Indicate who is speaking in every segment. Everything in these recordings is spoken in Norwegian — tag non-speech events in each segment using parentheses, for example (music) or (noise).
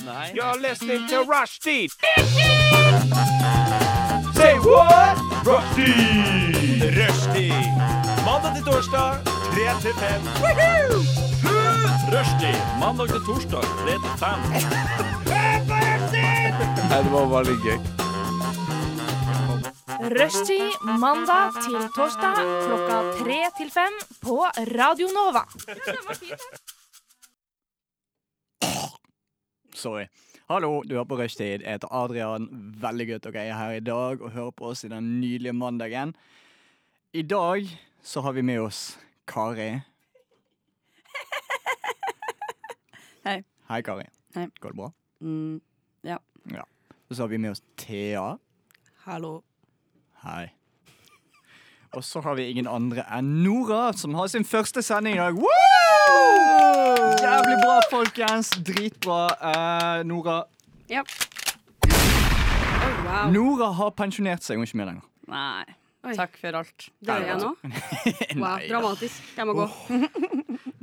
Speaker 1: Nei.
Speaker 2: You're listening to Rushdie. Say what? Rushdie. Rushdie. Mandag til torsdag, 3 til 5. Rushdie.
Speaker 1: Mandag til torsdag, 3 til 5.
Speaker 2: Nei, det var bare litt gøy.
Speaker 3: Rushtid mandag til torsdag klokka tre til fem på Radio Nova.
Speaker 4: Sorry. Hallo, du er på rushtid. Jeg heter Adrian. Veldig godt at dere er her i dag og hører på oss i den nydelige mandagen. I dag så har vi med oss Kari.
Speaker 5: (laughs) Hei.
Speaker 4: Hei, Kari.
Speaker 5: Hei.
Speaker 4: Går det bra?
Speaker 5: Mm,
Speaker 4: Og så har vi med oss Thea.
Speaker 5: hallo.
Speaker 4: Hei. Og så har vi ingen andre enn Nora, som har sin første sending i dag. Woo! Jævlig bra, folkens. Dritbra. Eh, Nora
Speaker 5: Ja. wow.
Speaker 4: Nora har pensjonert seg, hun er ikke med lenger. (laughs)
Speaker 5: Nei.
Speaker 6: Oi.
Speaker 5: Takk for alt.
Speaker 6: Dør jeg nå? Wow,
Speaker 4: Nei da.
Speaker 6: dramatisk. Jeg må gå.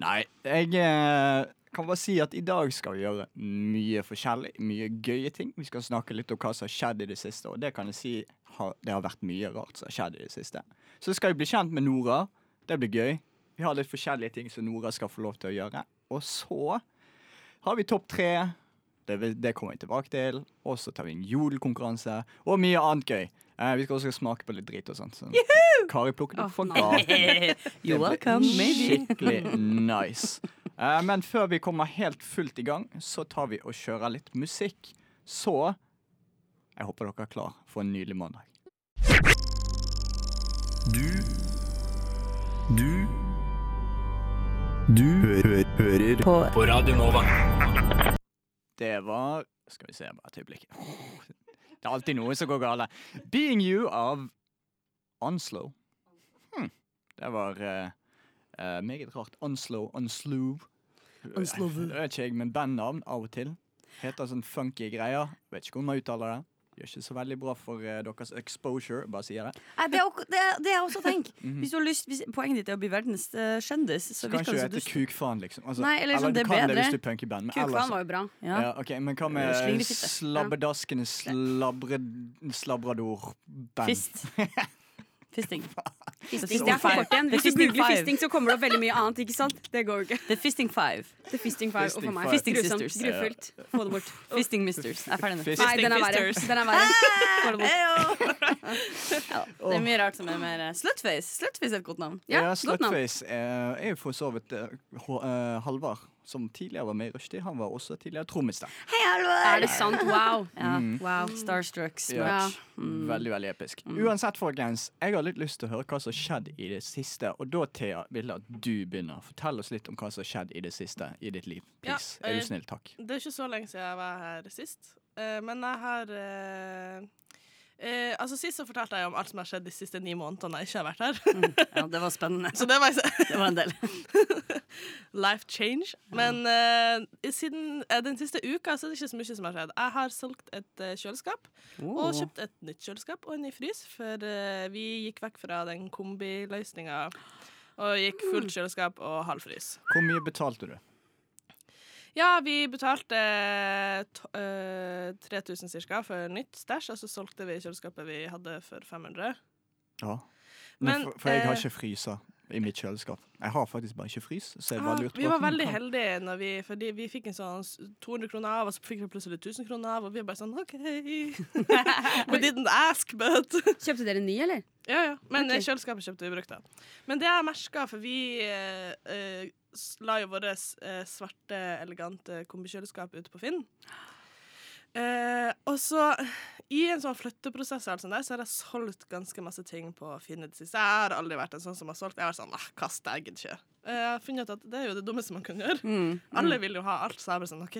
Speaker 4: Nei, jeg eh, kan bare si at i dag skal vi gjøre mye forskjellig, mye gøye ting. Vi skal snakke litt om hva som har skjedd i det siste, og det kan jeg si har, det har vært mye rart som har skjedd i det siste. Så skal vi bli kjent med Nora. Det blir gøy. Vi har litt forskjellige ting som Nora skal få lov til å gjøre. Og så har vi topp tre. Det, vil- det kommer vi tilbake til. Og så tar vi en julekonkurranse. Og mye annet gøy. Eh, vi skal også smake på litt drit og sånt. Så. Kari plukker opp fra gata.
Speaker 5: (laughs)
Speaker 4: Det
Speaker 5: You're
Speaker 4: blir
Speaker 5: welcome, maybe.
Speaker 4: Skikkelig nice. Eh, men før vi kommer helt fullt i gang, så tar vi og kjører litt musikk. Så jeg håper dere er klar for en nydelig mandag.
Speaker 7: Du Du Du hø hø hører på. Radio Nova.
Speaker 4: Det var Skal vi se bare et øyeblikk. Åh, Det er alltid noe som går galt. 'Being You' av Onslow. Hm. Det var eh, eh, meget rart. Onslow, Onslow.
Speaker 5: Onslow.
Speaker 4: Det vet ikke jeg, men bandnavn av og til. Heter sånn funky greier. Vet ikke hvordan man uttaler det. Gjør ikke så veldig bra for eh, deres exposure, bare sier det.
Speaker 5: Nei, det, er ok- det, er- det er jeg også tenker. Hvis du har lyst, hvis, poenget ditt er å bli verdens eh, kjendis, så
Speaker 4: Så
Speaker 5: virker
Speaker 4: kanskje du
Speaker 5: det som Mhm. du
Speaker 4: heter Kukfaen, liksom. Altså,
Speaker 5: Nei, eller sånn,
Speaker 4: du
Speaker 5: det er
Speaker 4: kan det
Speaker 5: bedre.
Speaker 4: hvis du er punk i band. Men ellers
Speaker 6: Kukfaen var jo bra.
Speaker 5: ja.
Speaker 4: Ja, ok, Men hva med
Speaker 5: Slingrefitte.
Speaker 4: slabbedaskende slabre, slabrador-band? (laughs)
Speaker 5: Fist. Fisting.
Speaker 6: Fisting, det er for kort igjen. Hvis du
Speaker 5: Fisting
Speaker 6: googler
Speaker 5: five.
Speaker 6: fisting, så kommer det opp veldig mye annet. ikke sant? Det går jo ikke.
Speaker 5: Det er Fisting Five.
Speaker 6: Det er fisting five og
Speaker 4: Fisting
Speaker 6: for meg.
Speaker 4: five.
Speaker 5: Fisting
Speaker 6: Grusomt.
Speaker 5: sisters.
Speaker 6: Grufullt. Få det bort.
Speaker 5: Fisting Misters. Jeg er ferdig nå.
Speaker 4: Fist-
Speaker 6: Nei, den er verre. Den er verre. Få det bort.
Speaker 5: Ja, det er mye rart som er mer eh, Slutface. Slutface er et godt navn.
Speaker 6: Ja,
Speaker 4: Ja,
Speaker 6: godt navn.
Speaker 4: Slutface eh, er jo for så vidt eh, H- eh, Halvard, som tidligere var med i Rushtid. Han var også tidligere trommis der.
Speaker 5: Hei,
Speaker 6: Er
Speaker 5: Halvor!
Speaker 6: det sant? Wow.
Speaker 5: Ja.
Speaker 4: Mm.
Speaker 6: Wow.
Speaker 5: Starstruck. Smart.
Speaker 6: Ja.
Speaker 5: Mm.
Speaker 4: Veldig, veldig episk. Uansett, folkens, jeg har litt lyst til å høre hva som har skjedd i det siste. Og da, Thea, vil jeg at du begynner. Fortell oss litt om hva som har skjedd i det siste i ditt liv.
Speaker 8: Ja,
Speaker 4: Please. er
Speaker 8: eh,
Speaker 4: du snill, takk.
Speaker 8: Det er ikke så lenge siden jeg var her sist, eh, men jeg har eh, eh, Altså Sist så fortalte jeg om alt som har skjedd de siste ni månedene jeg ikke har vært her.
Speaker 5: Ja, det var spennende. (laughs)
Speaker 8: (laughs) Så det var ikke- (laughs)
Speaker 5: Det var en del.
Speaker 8: life change. Men eh, i- siden eh, den siste uka så er det ikke så mye som har skjedd. Jeg har solgt et eh, kjøleskap, og kjøpt et nytt kjøleskap og en ny frys, for eh, vi gikk vekk fra den kombiløsninga og gikk fullt kjøleskap og halv frys.
Speaker 4: Hvor mye betalte du?
Speaker 8: Ja, vi betalte to- eh, 3000 cirka for nytt stæsj, og så solgte vi kjøleskapet vi hadde for 500.
Speaker 4: Ja.
Speaker 8: Men,
Speaker 4: Men, for, for jeg har
Speaker 8: eh,
Speaker 4: ikke fryser i mitt kjøleskap. Jeg har faktisk bare ikke frys, så jeg
Speaker 8: Ah,
Speaker 4: bare lurte
Speaker 8: vi var
Speaker 4: hm,
Speaker 8: veldig
Speaker 4: hva-
Speaker 8: heldige, når vi, fordi vi fikk en sånn s- 200 kroner av, og så fikk vi plutselig 1000 kroner av, og vi bare sånn OK. (laughs) We didn't ask, but
Speaker 6: Kjøpte dere en ny, eller?
Speaker 8: Ja, ja. Men
Speaker 6: Ok.
Speaker 8: eh, kjøleskapet kjøpte vi brukt, da. Men det jeg merka, for vi eh, eh, s- la jo vårt eh, svarte, elegante kombikjøleskap ut på Finn. Eh, og så, i en sånn flytteprosess, og alt sånt der, så har jeg solgt ganske masse ting på Finn i det siste. Jeg har aldri vært en sånn som har solgt. Jeg har vært sånn, ah, kast, jeg gidder ikke. Eh, Jeg har funnet ut at det er jo det dummeste man kan gjøre.
Speaker 5: Mm.
Speaker 8: Alle vil jo ha alt, så jeg bare sånn, ok.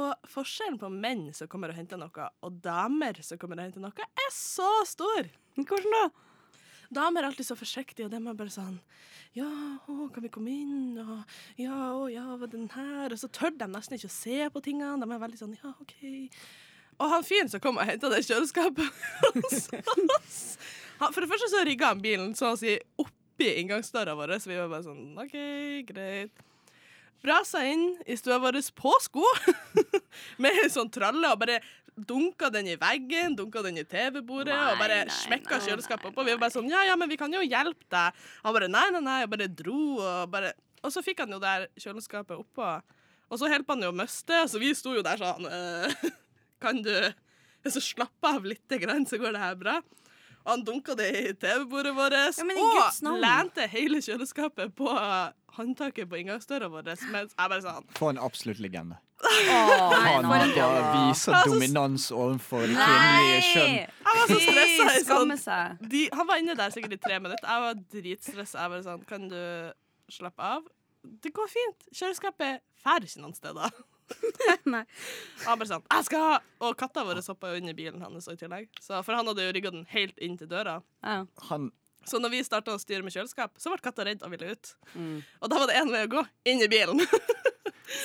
Speaker 8: Og forskjellen på menn som kommer og henter noe, og damer som kommer og henter noe, er så stor.
Speaker 5: Hvordan da?
Speaker 8: Damer er alltid så forsiktige, og de er bare sånn Ja, å, kan vi komme inn? Og ja, å, ja, var den her? Og så tør de nesten ikke å se på tingene. De er veldig sånn Ja, OK. Og han fyren som kom og henta det kjøleskapet (laughs) hos oss han, For det første så rygga han bilen så å si oppi inngangsdøra vår, så vi var bare sånn OK, sånn, greit. brasa inn i stua vår på sko (laughs) med en sånn tralle og bare dunka den i veggen, dunka den i TV-bordet
Speaker 5: Nei,
Speaker 8: og bare
Speaker 5: nei,
Speaker 8: smekka
Speaker 5: nei,
Speaker 8: kjøleskapet
Speaker 5: nei,
Speaker 8: oppå. Vi var bare sånn Ja, ja, men vi kan jo hjelpe deg. Han bare nei, nei, nei, og bare dro og bare Og så fikk han jo der kjøleskapet oppå, og så hjalp han jo å miste, så vi sto jo der sånn (laughs) «Eh, Kan du så slappe av litt, grann, så går det her bra. Og han dunka det i TV-bordet vårt.
Speaker 5: Ja, men i Guds
Speaker 8: og
Speaker 5: navn.
Speaker 8: lente hele kjøleskapet på eh, håndtaket på inngangsdøra vår. Mens jeg bare sånn
Speaker 4: For en absolutt legende.
Speaker 5: Nei,
Speaker 4: Han
Speaker 5: for en
Speaker 4: bare viser
Speaker 8: Altså, s-
Speaker 4: dominans overfor det kvinnelige kjønn.
Speaker 5: Nei! Altså,
Speaker 8: Jeg var så
Speaker 5: Fy,
Speaker 8: stressa. jeg Sånn.
Speaker 5: Skamme seg.
Speaker 8: De, han var inne der sikkert i tre minutter. Jeg var dritstressa. Jeg bare sånn Kan du slappe av? Det går fint. Kjøleskapet drar ikke noen
Speaker 5: (laughs)
Speaker 8: steder.
Speaker 6: Nei.
Speaker 8: Han bare sånn Jeg skal ha Og katta vår hoppa jo inn i bilen hans i tillegg. Så, for han hadde jo rygga den helt inn til døra.
Speaker 5: Ja.
Speaker 4: Han
Speaker 8: Så når vi starta å styre med kjøleskap, så ble katta redd og ville ut. Og da var det én vei å gå. Inn i bilen. (laughs)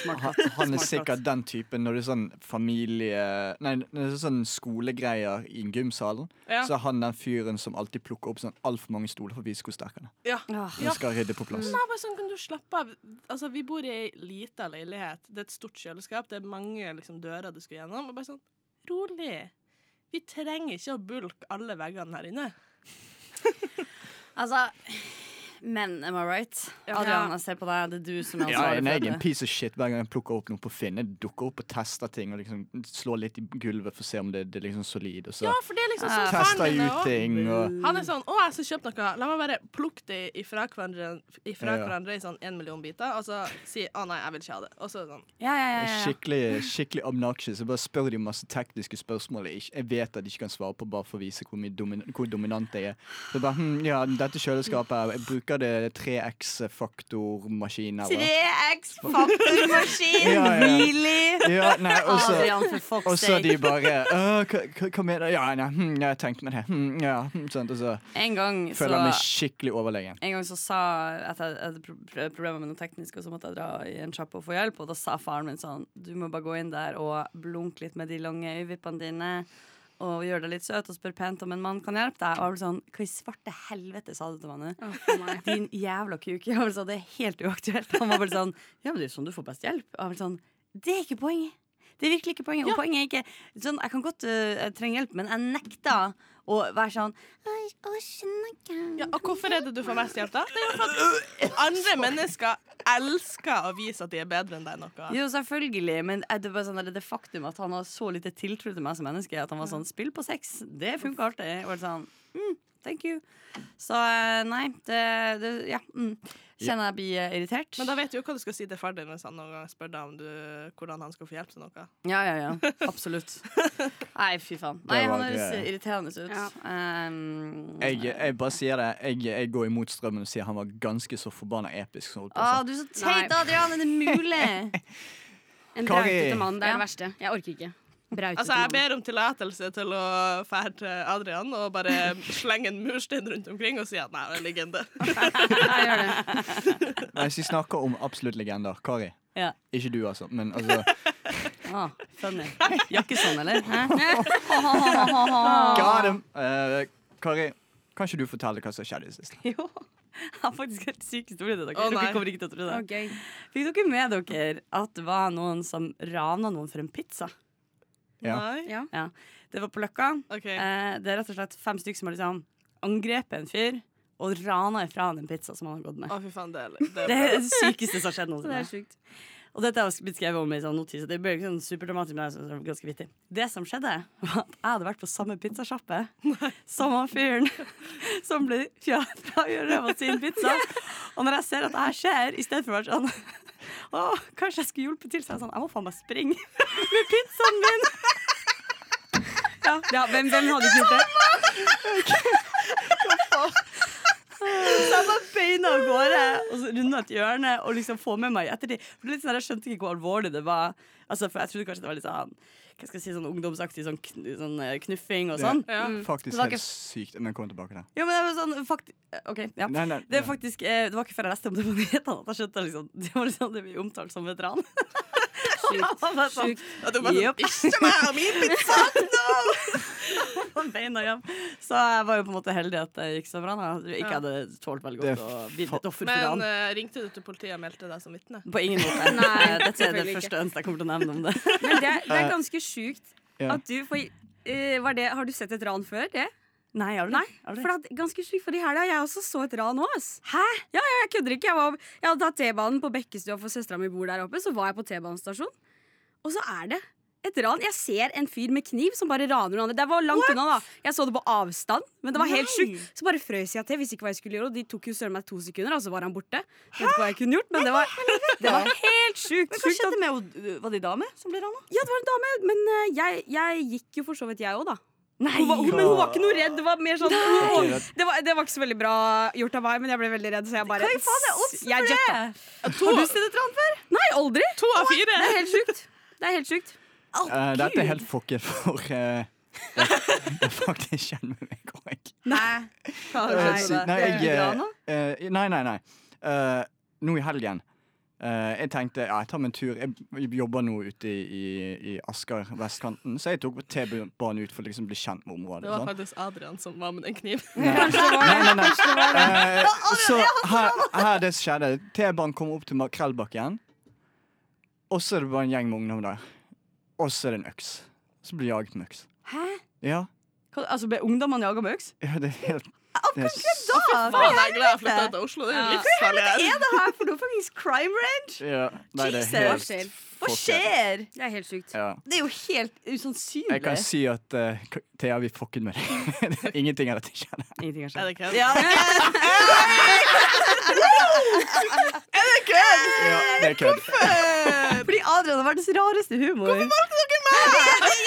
Speaker 4: Han, han er sikkert den typen når det er sånn familie Nei, når det er sånn skolegreier i gymsalen.
Speaker 8: Ja.
Speaker 4: Så er han den fyren som alltid plukker opp sånn altfor mange stoler for å vise hvor sterk han er.
Speaker 8: ja.
Speaker 4: Hun skal rydde på plass.
Speaker 8: Nei, bare sånn kan du slappe av. Altså, vi bor i ei lita leilighet. Det er et stort kjøleskap. Det er mange liksom, dører du skal gjennom. Og bare sånn, rolig. Vi trenger ikke å bulke alle veggene her inne.
Speaker 5: Altså Men am I right? Adrian, jeg ser på deg. Det er du som er
Speaker 4: Ja, jeg er
Speaker 5: ansvarlig for
Speaker 4: en
Speaker 5: dette.
Speaker 4: piece of shit hver gang jeg plukker opp noe på Finn. Jeg dukker opp og tester ting og liksom slår litt i gulvet for å se om det, det er liksom solid. Og så
Speaker 8: Ja, for det er liksom
Speaker 5: Ja.
Speaker 8: sånn faren
Speaker 4: tester
Speaker 8: min
Speaker 4: jeg
Speaker 8: er
Speaker 4: ut
Speaker 8: også.
Speaker 4: ting og
Speaker 8: Han er sånn 'Å, jeg skal kjøpe noe. La meg bare plukke det ifra hverandre, ifra
Speaker 4: Ja, ja.
Speaker 8: hverandre i sånn en million biter.' Og så si 'Å nei, jeg vil ikke ha det.' Og så er det sånn
Speaker 5: Ja, ja, ja,
Speaker 4: er
Speaker 5: ja.
Speaker 4: Skikkelig, skikkelig obnoxious. Jeg bare spør de masse tekniske spørsmål jeg, ikke- jeg vet at de ikke kan svare på, bare for å vise hvor, mye domin hvor dominant jeg er. Så bare, hm, ja, dette kjøleskapet her, jeg bruker det 3X-faktormaskiner. hva?
Speaker 5: 3X faktormaskin!
Speaker 4: Ja, ja, ja.
Speaker 5: Really?
Speaker 4: Ja, nei, og så-
Speaker 5: Adrian, for
Speaker 4: og
Speaker 5: fuck's
Speaker 4: så de
Speaker 5: sake.
Speaker 4: bare «Øh, hva, hva- hva mener du? Ja, nei, hm, jeg tenkte meg det. Hm, ja, hm, sånt, og så
Speaker 5: En gang så
Speaker 4: føler jeg meg skikkelig overlegen.
Speaker 5: en gang så sa jeg at jeg hadde pro- pro- problemer med noe teknisk, og så måtte jeg dra i en sjappe og få hjelp. Og da sa faren min sånn Du må bare gå inn der og blunke litt med de lange øyevippene dine. Og gjøre deg litt søt og spørre pent om en mann kan hjelpe deg. Og jeg ble sånn Hva i svarte helvete sa du til meg nå?
Speaker 6: Å, for
Speaker 5: (laughs)
Speaker 6: meg.
Speaker 5: Din jævla kuk. Jeg var sånn, det er helt uaktuelt. Han var bare sånn Ja, men det er jo sånn du får best hjelp. Jeg var sånn Det er ikke poenget. Det er virkelig ikke poenget. Og poenget er ikke sånn, Jeg kan godt øh, jeg trenger hjelp, men jeg nekter å være sånn «Oi, å, skjønner ikke».
Speaker 8: Ja, og hvorfor er det du får mest hjelp, da? Det er jo for at andre mennesker elsker å vise at de er bedre enn deg i noe.
Speaker 5: Jo, selvfølgelig, men er det, bare sånn, der, det faktum at han har så lite tiltro til meg som menneske, at han var sånn 'spill på sex', det funka alltid. Og jeg var sånn, mm, thank you. Så eh, nei, det, det Ja. Mm. Kjenner jeg blir eh, irritert.
Speaker 8: Men da vet du jo hva du skal si til far din hvis han noen gang spør deg om du, hvordan han skal få hjelp til noe.
Speaker 5: Ja, ja, ja. Absolutt.
Speaker 6: (laughs)
Speaker 5: Nei, fy faen. Nei,
Speaker 4: Det var
Speaker 5: han høres
Speaker 4: det.
Speaker 5: irriterende ut.
Speaker 6: Ja.
Speaker 5: Um,
Speaker 4: Jeg, jeg bare sier det. Jeg, jeg går imot strømmen og sier han var ganske så forbanna episk. Som holdt på, å si.
Speaker 5: Å, du er så teit,
Speaker 6: Nei.
Speaker 5: Adrian! Er det mulig?
Speaker 6: (laughs) En
Speaker 4: Kari.
Speaker 6: brautete mann. Det er
Speaker 5: Ja.
Speaker 6: det verste. Jeg orker ikke. Brautete
Speaker 8: Altså, jeg
Speaker 6: mann.
Speaker 8: ber om tillatelse til å fære til Adrian og bare slenge en murstein rundt omkring og si at nei, det er en legende.
Speaker 6: Jeg gjør det.
Speaker 4: Hvis vi snakker om absolutt legender, Kari.
Speaker 5: Ja.
Speaker 4: Ikke du, altså. Men altså
Speaker 5: Ah, funny. Jakkesson, eller? Hæ?
Speaker 4: Got him! Eh, Kari, kan ikke du fortelle hva som skjedde i det siste?
Speaker 5: Jo. (laughs) Jeg har faktisk helt syk historie til dere.
Speaker 8: Å, nei.
Speaker 5: dere kommer ikke til å tro det.
Speaker 6: Å, gøy.
Speaker 5: Fikk dere med dere at det var noen som rana noen for en pizza?
Speaker 4: Ja.
Speaker 8: Nei?
Speaker 6: Ja.
Speaker 5: Ja. Det var på Løkka.
Speaker 8: OK.
Speaker 5: Eh, det er rett og slett fem stykker som har liksom angrepet en fyr og rana ifra han en pizza som han har gått med.
Speaker 8: Å, fy faen, det er det
Speaker 5: Det
Speaker 8: er
Speaker 5: er det sykeste som har skjedd
Speaker 6: (laughs) Det
Speaker 5: noensinne.
Speaker 6: er sjukt.
Speaker 5: Og dette har også blitt skrevet om i sånn notis. og Det ble ikke sånn superdramatisk, men det er sånn ganske vittig. Det som skjedde, var at jeg hadde vært på samme
Speaker 6: (laughs)
Speaker 5: pizzasjappe som han fyren (laughs) som ble fja- frarøvet av sin
Speaker 6: (laughs)
Speaker 5: pizza. Og når jeg ser at det her skjer, i stedet for å være sånn (laughs) Å, kanskje jeg skulle hjulpet til, så er jeg sånn Jeg må faen meg springe med pizzaen min. Ja, ja hvem, hvem hadde ikke gjort det? Så jeg bare beina av gårde og så runda et hjørne og liksom få med meg etter de. For det er litt sånn, der, Jeg skjønte ikke hvor alvorlig det var. Altså, for Jeg trodde kanskje det var litt sånn Hva skal jeg si, sånn ungdomsaktig sånn, kn sånn eh, knuffing og sånn.
Speaker 8: Ja.
Speaker 4: Faktisk
Speaker 5: Det var
Speaker 4: helt
Speaker 5: ikke-
Speaker 4: sykt. Men kom tilbake til det.
Speaker 5: Jo, men det var sånn fakt OK. ja
Speaker 4: Nei, nei,
Speaker 5: det, er
Speaker 4: nei.
Speaker 5: faktisk, eh, det var ikke før jeg leste om det på nyhetene at jeg skjønte liksom, det var liksom det vi omtalte som veteran. Sjukt. (laughs)
Speaker 8: Og du bare sånn,
Speaker 5: Yep.
Speaker 8: Ikke meg og min pizza! No!
Speaker 5: på beina hjem. Så jeg var jo på en måte heldig at det gikk så bra. Da. Jeg ikke
Speaker 8: Ja.
Speaker 5: hadde tålt veldig
Speaker 4: Det
Speaker 5: godt
Speaker 4: er
Speaker 5: å bli
Speaker 4: fa-
Speaker 5: et offer for
Speaker 8: Men
Speaker 5: han.
Speaker 8: eh, ringte du til politiet og meldte deg som vitne?
Speaker 5: På ingen (laughs) måte. Eh,
Speaker 6: Nei,
Speaker 5: Dette er det
Speaker 6: selvfølgelig ikke.
Speaker 5: første eneste jeg kommer til å nevne om det.
Speaker 6: Men det, er- det er ganske sjukt
Speaker 4: Ja.
Speaker 6: at du får eh, var det, Har du sett et ran før? det?
Speaker 5: (laughs) Nei, har du
Speaker 6: Nei,
Speaker 5: det? Har du
Speaker 6: For det er ganske sjukt, for i helga jeg også så et ran òg. Hæ? Ja, ja, jeg kødder ikke. Jeg, var, jeg hadde tatt T-banen på Bekkestua, for søstera mi bor der oppe. Så var jeg på T-banestasjonen, og så er det et ran. Jeg ser en fyr med kniv som bare raner noen andre. Det var langt unna, da. Jeg så det på avstand, men det var helt sjukt. Så bare frøs jeg til, visste ikke hva jeg skulle gjøre, og de tok jo søren meg to sekunder, og så var han borte. Jeg vet ikke hva jeg kunne gjort, men det var, det var helt sjukt.
Speaker 5: Men hva
Speaker 6: sjukt at-
Speaker 5: skjedde med henne? Var det ei dame som ble rana?
Speaker 6: Ja, det var en dame, men eh, jeg, jeg gikk jo for så vidt, jeg òg, da.
Speaker 5: Nei!
Speaker 6: Hun var, hun, men hun var ikke noe redd. Det var mer sånn «Åh,
Speaker 4: Ok,
Speaker 6: det, var, det var ikke så veldig bra gjort av meg, men jeg ble veldig redd, så jeg bare
Speaker 5: Hva i faen er oddsen
Speaker 6: Jeg
Speaker 5: for
Speaker 6: jetta.
Speaker 5: det?
Speaker 6: Har du sett et ran før? Nei, aldri.
Speaker 8: To av fire!
Speaker 6: Det er helt sjukt. Det er helt sjukt.
Speaker 4: eh, dette er helt fucket for eh, det, det faktisk kjenner meg òg.
Speaker 6: Nei.
Speaker 4: Eh,
Speaker 5: Nei,
Speaker 4: siden-
Speaker 5: det er
Speaker 4: jeg,
Speaker 5: bra
Speaker 4: eh,
Speaker 5: nå.
Speaker 4: eh, nei, nei, nei. Eh, nå i helgen eh, Jeg tenkte ja, jeg tar meg en tur. Jeg jobber nå ute i, i, i Asker, vestkanten, så jeg tok T-banen ut for å liksom bli kjent med området.
Speaker 8: Det var
Speaker 4: sant?
Speaker 8: faktisk Adrian som var med den kniven.
Speaker 4: Nei, nei, nei. Eh, så her, her det som skjedde. T-banen kom opp til Makrellbakken. Og så er det bare en gjeng med ungdom der. Og så er det en øks. Så blir jeg jaget med øks.
Speaker 6: Hæ?
Speaker 4: Ja,
Speaker 5: Hva- Altså, ble ungdommene jaga med øks? Ah,
Speaker 4: ja det er helt det er, s-
Speaker 5: Da!
Speaker 8: Faen, jeg er glad jeg flytta til Oslo. Det er jo livsfarlig her.
Speaker 5: Er det her for noe fuckings crime range?
Speaker 4: ja, nei, det er
Speaker 5: Jesus.
Speaker 4: helt
Speaker 5: Hva
Speaker 4: fucked.
Speaker 5: skjer?
Speaker 6: Det er helt sjukt.
Speaker 4: Ja.
Speaker 5: Det er jo helt
Speaker 4: Jeg kan
Speaker 5: usannsynlig.
Speaker 4: si at eh, k- Thea, vi fucket med deg. (laughs) Det er Ingenting av dette skjedde.
Speaker 5: Ingenting har
Speaker 8: Er det kødd?
Speaker 5: Ja, men-
Speaker 4: Ja, det er kødd.
Speaker 5: Fordi Adrian har verdens rareste humor. Hvorfor valgte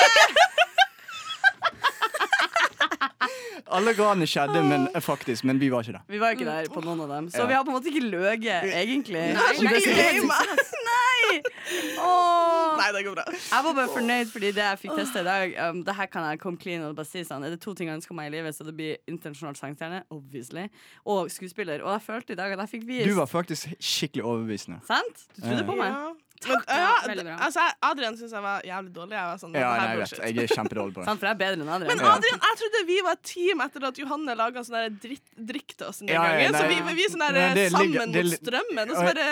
Speaker 4: Alle ranene skjedde, men, faktisk, men vi var ikke der.
Speaker 5: Vi var ikke der på noen av dem, så
Speaker 4: Ja.
Speaker 5: vi har på en måte ikke løyet, egentlig.
Speaker 6: Nei, det er helt sykt.
Speaker 5: Åh.
Speaker 8: Nei, det går bra.
Speaker 5: Jeg var bare fornøyd fordi det jeg fikk testa i dag um, Det her kan jeg komme clean og bare si sånn Er det to ting jeg ønsker meg i livet, så det blir internasjonal sangstjerne, obviously, og skuespiller. Og jeg følte i dag at jeg fikk vist
Speaker 4: Du var faktisk skikkelig overbevisende.
Speaker 5: Sant? Du trodde på meg?
Speaker 8: Ja. Men, ja,
Speaker 6: Veldig
Speaker 8: d-
Speaker 6: bra.
Speaker 8: altså, jeg- Adrian syntes jeg var jævlig dårlig. Jeg var sånn,
Speaker 4: Ja,
Speaker 8: det her
Speaker 4: nei,
Speaker 8: er
Speaker 4: jeg vet.
Speaker 8: bullshit.
Speaker 4: Jeg er kjempedårlig på det.
Speaker 5: Sant, for jeg er bedre enn Adrian.
Speaker 8: Men Adrian, jeg trodde vi var et team etter at Johanne laga sånn der dritt, drikk til oss den
Speaker 4: Ja, ja,
Speaker 8: gangen. Så
Speaker 4: nei.
Speaker 8: vi, vi er sånn der,
Speaker 4: Nei, det ligger-
Speaker 8: sammen
Speaker 4: det
Speaker 8: mot
Speaker 4: li-
Speaker 8: strømmen, og så bare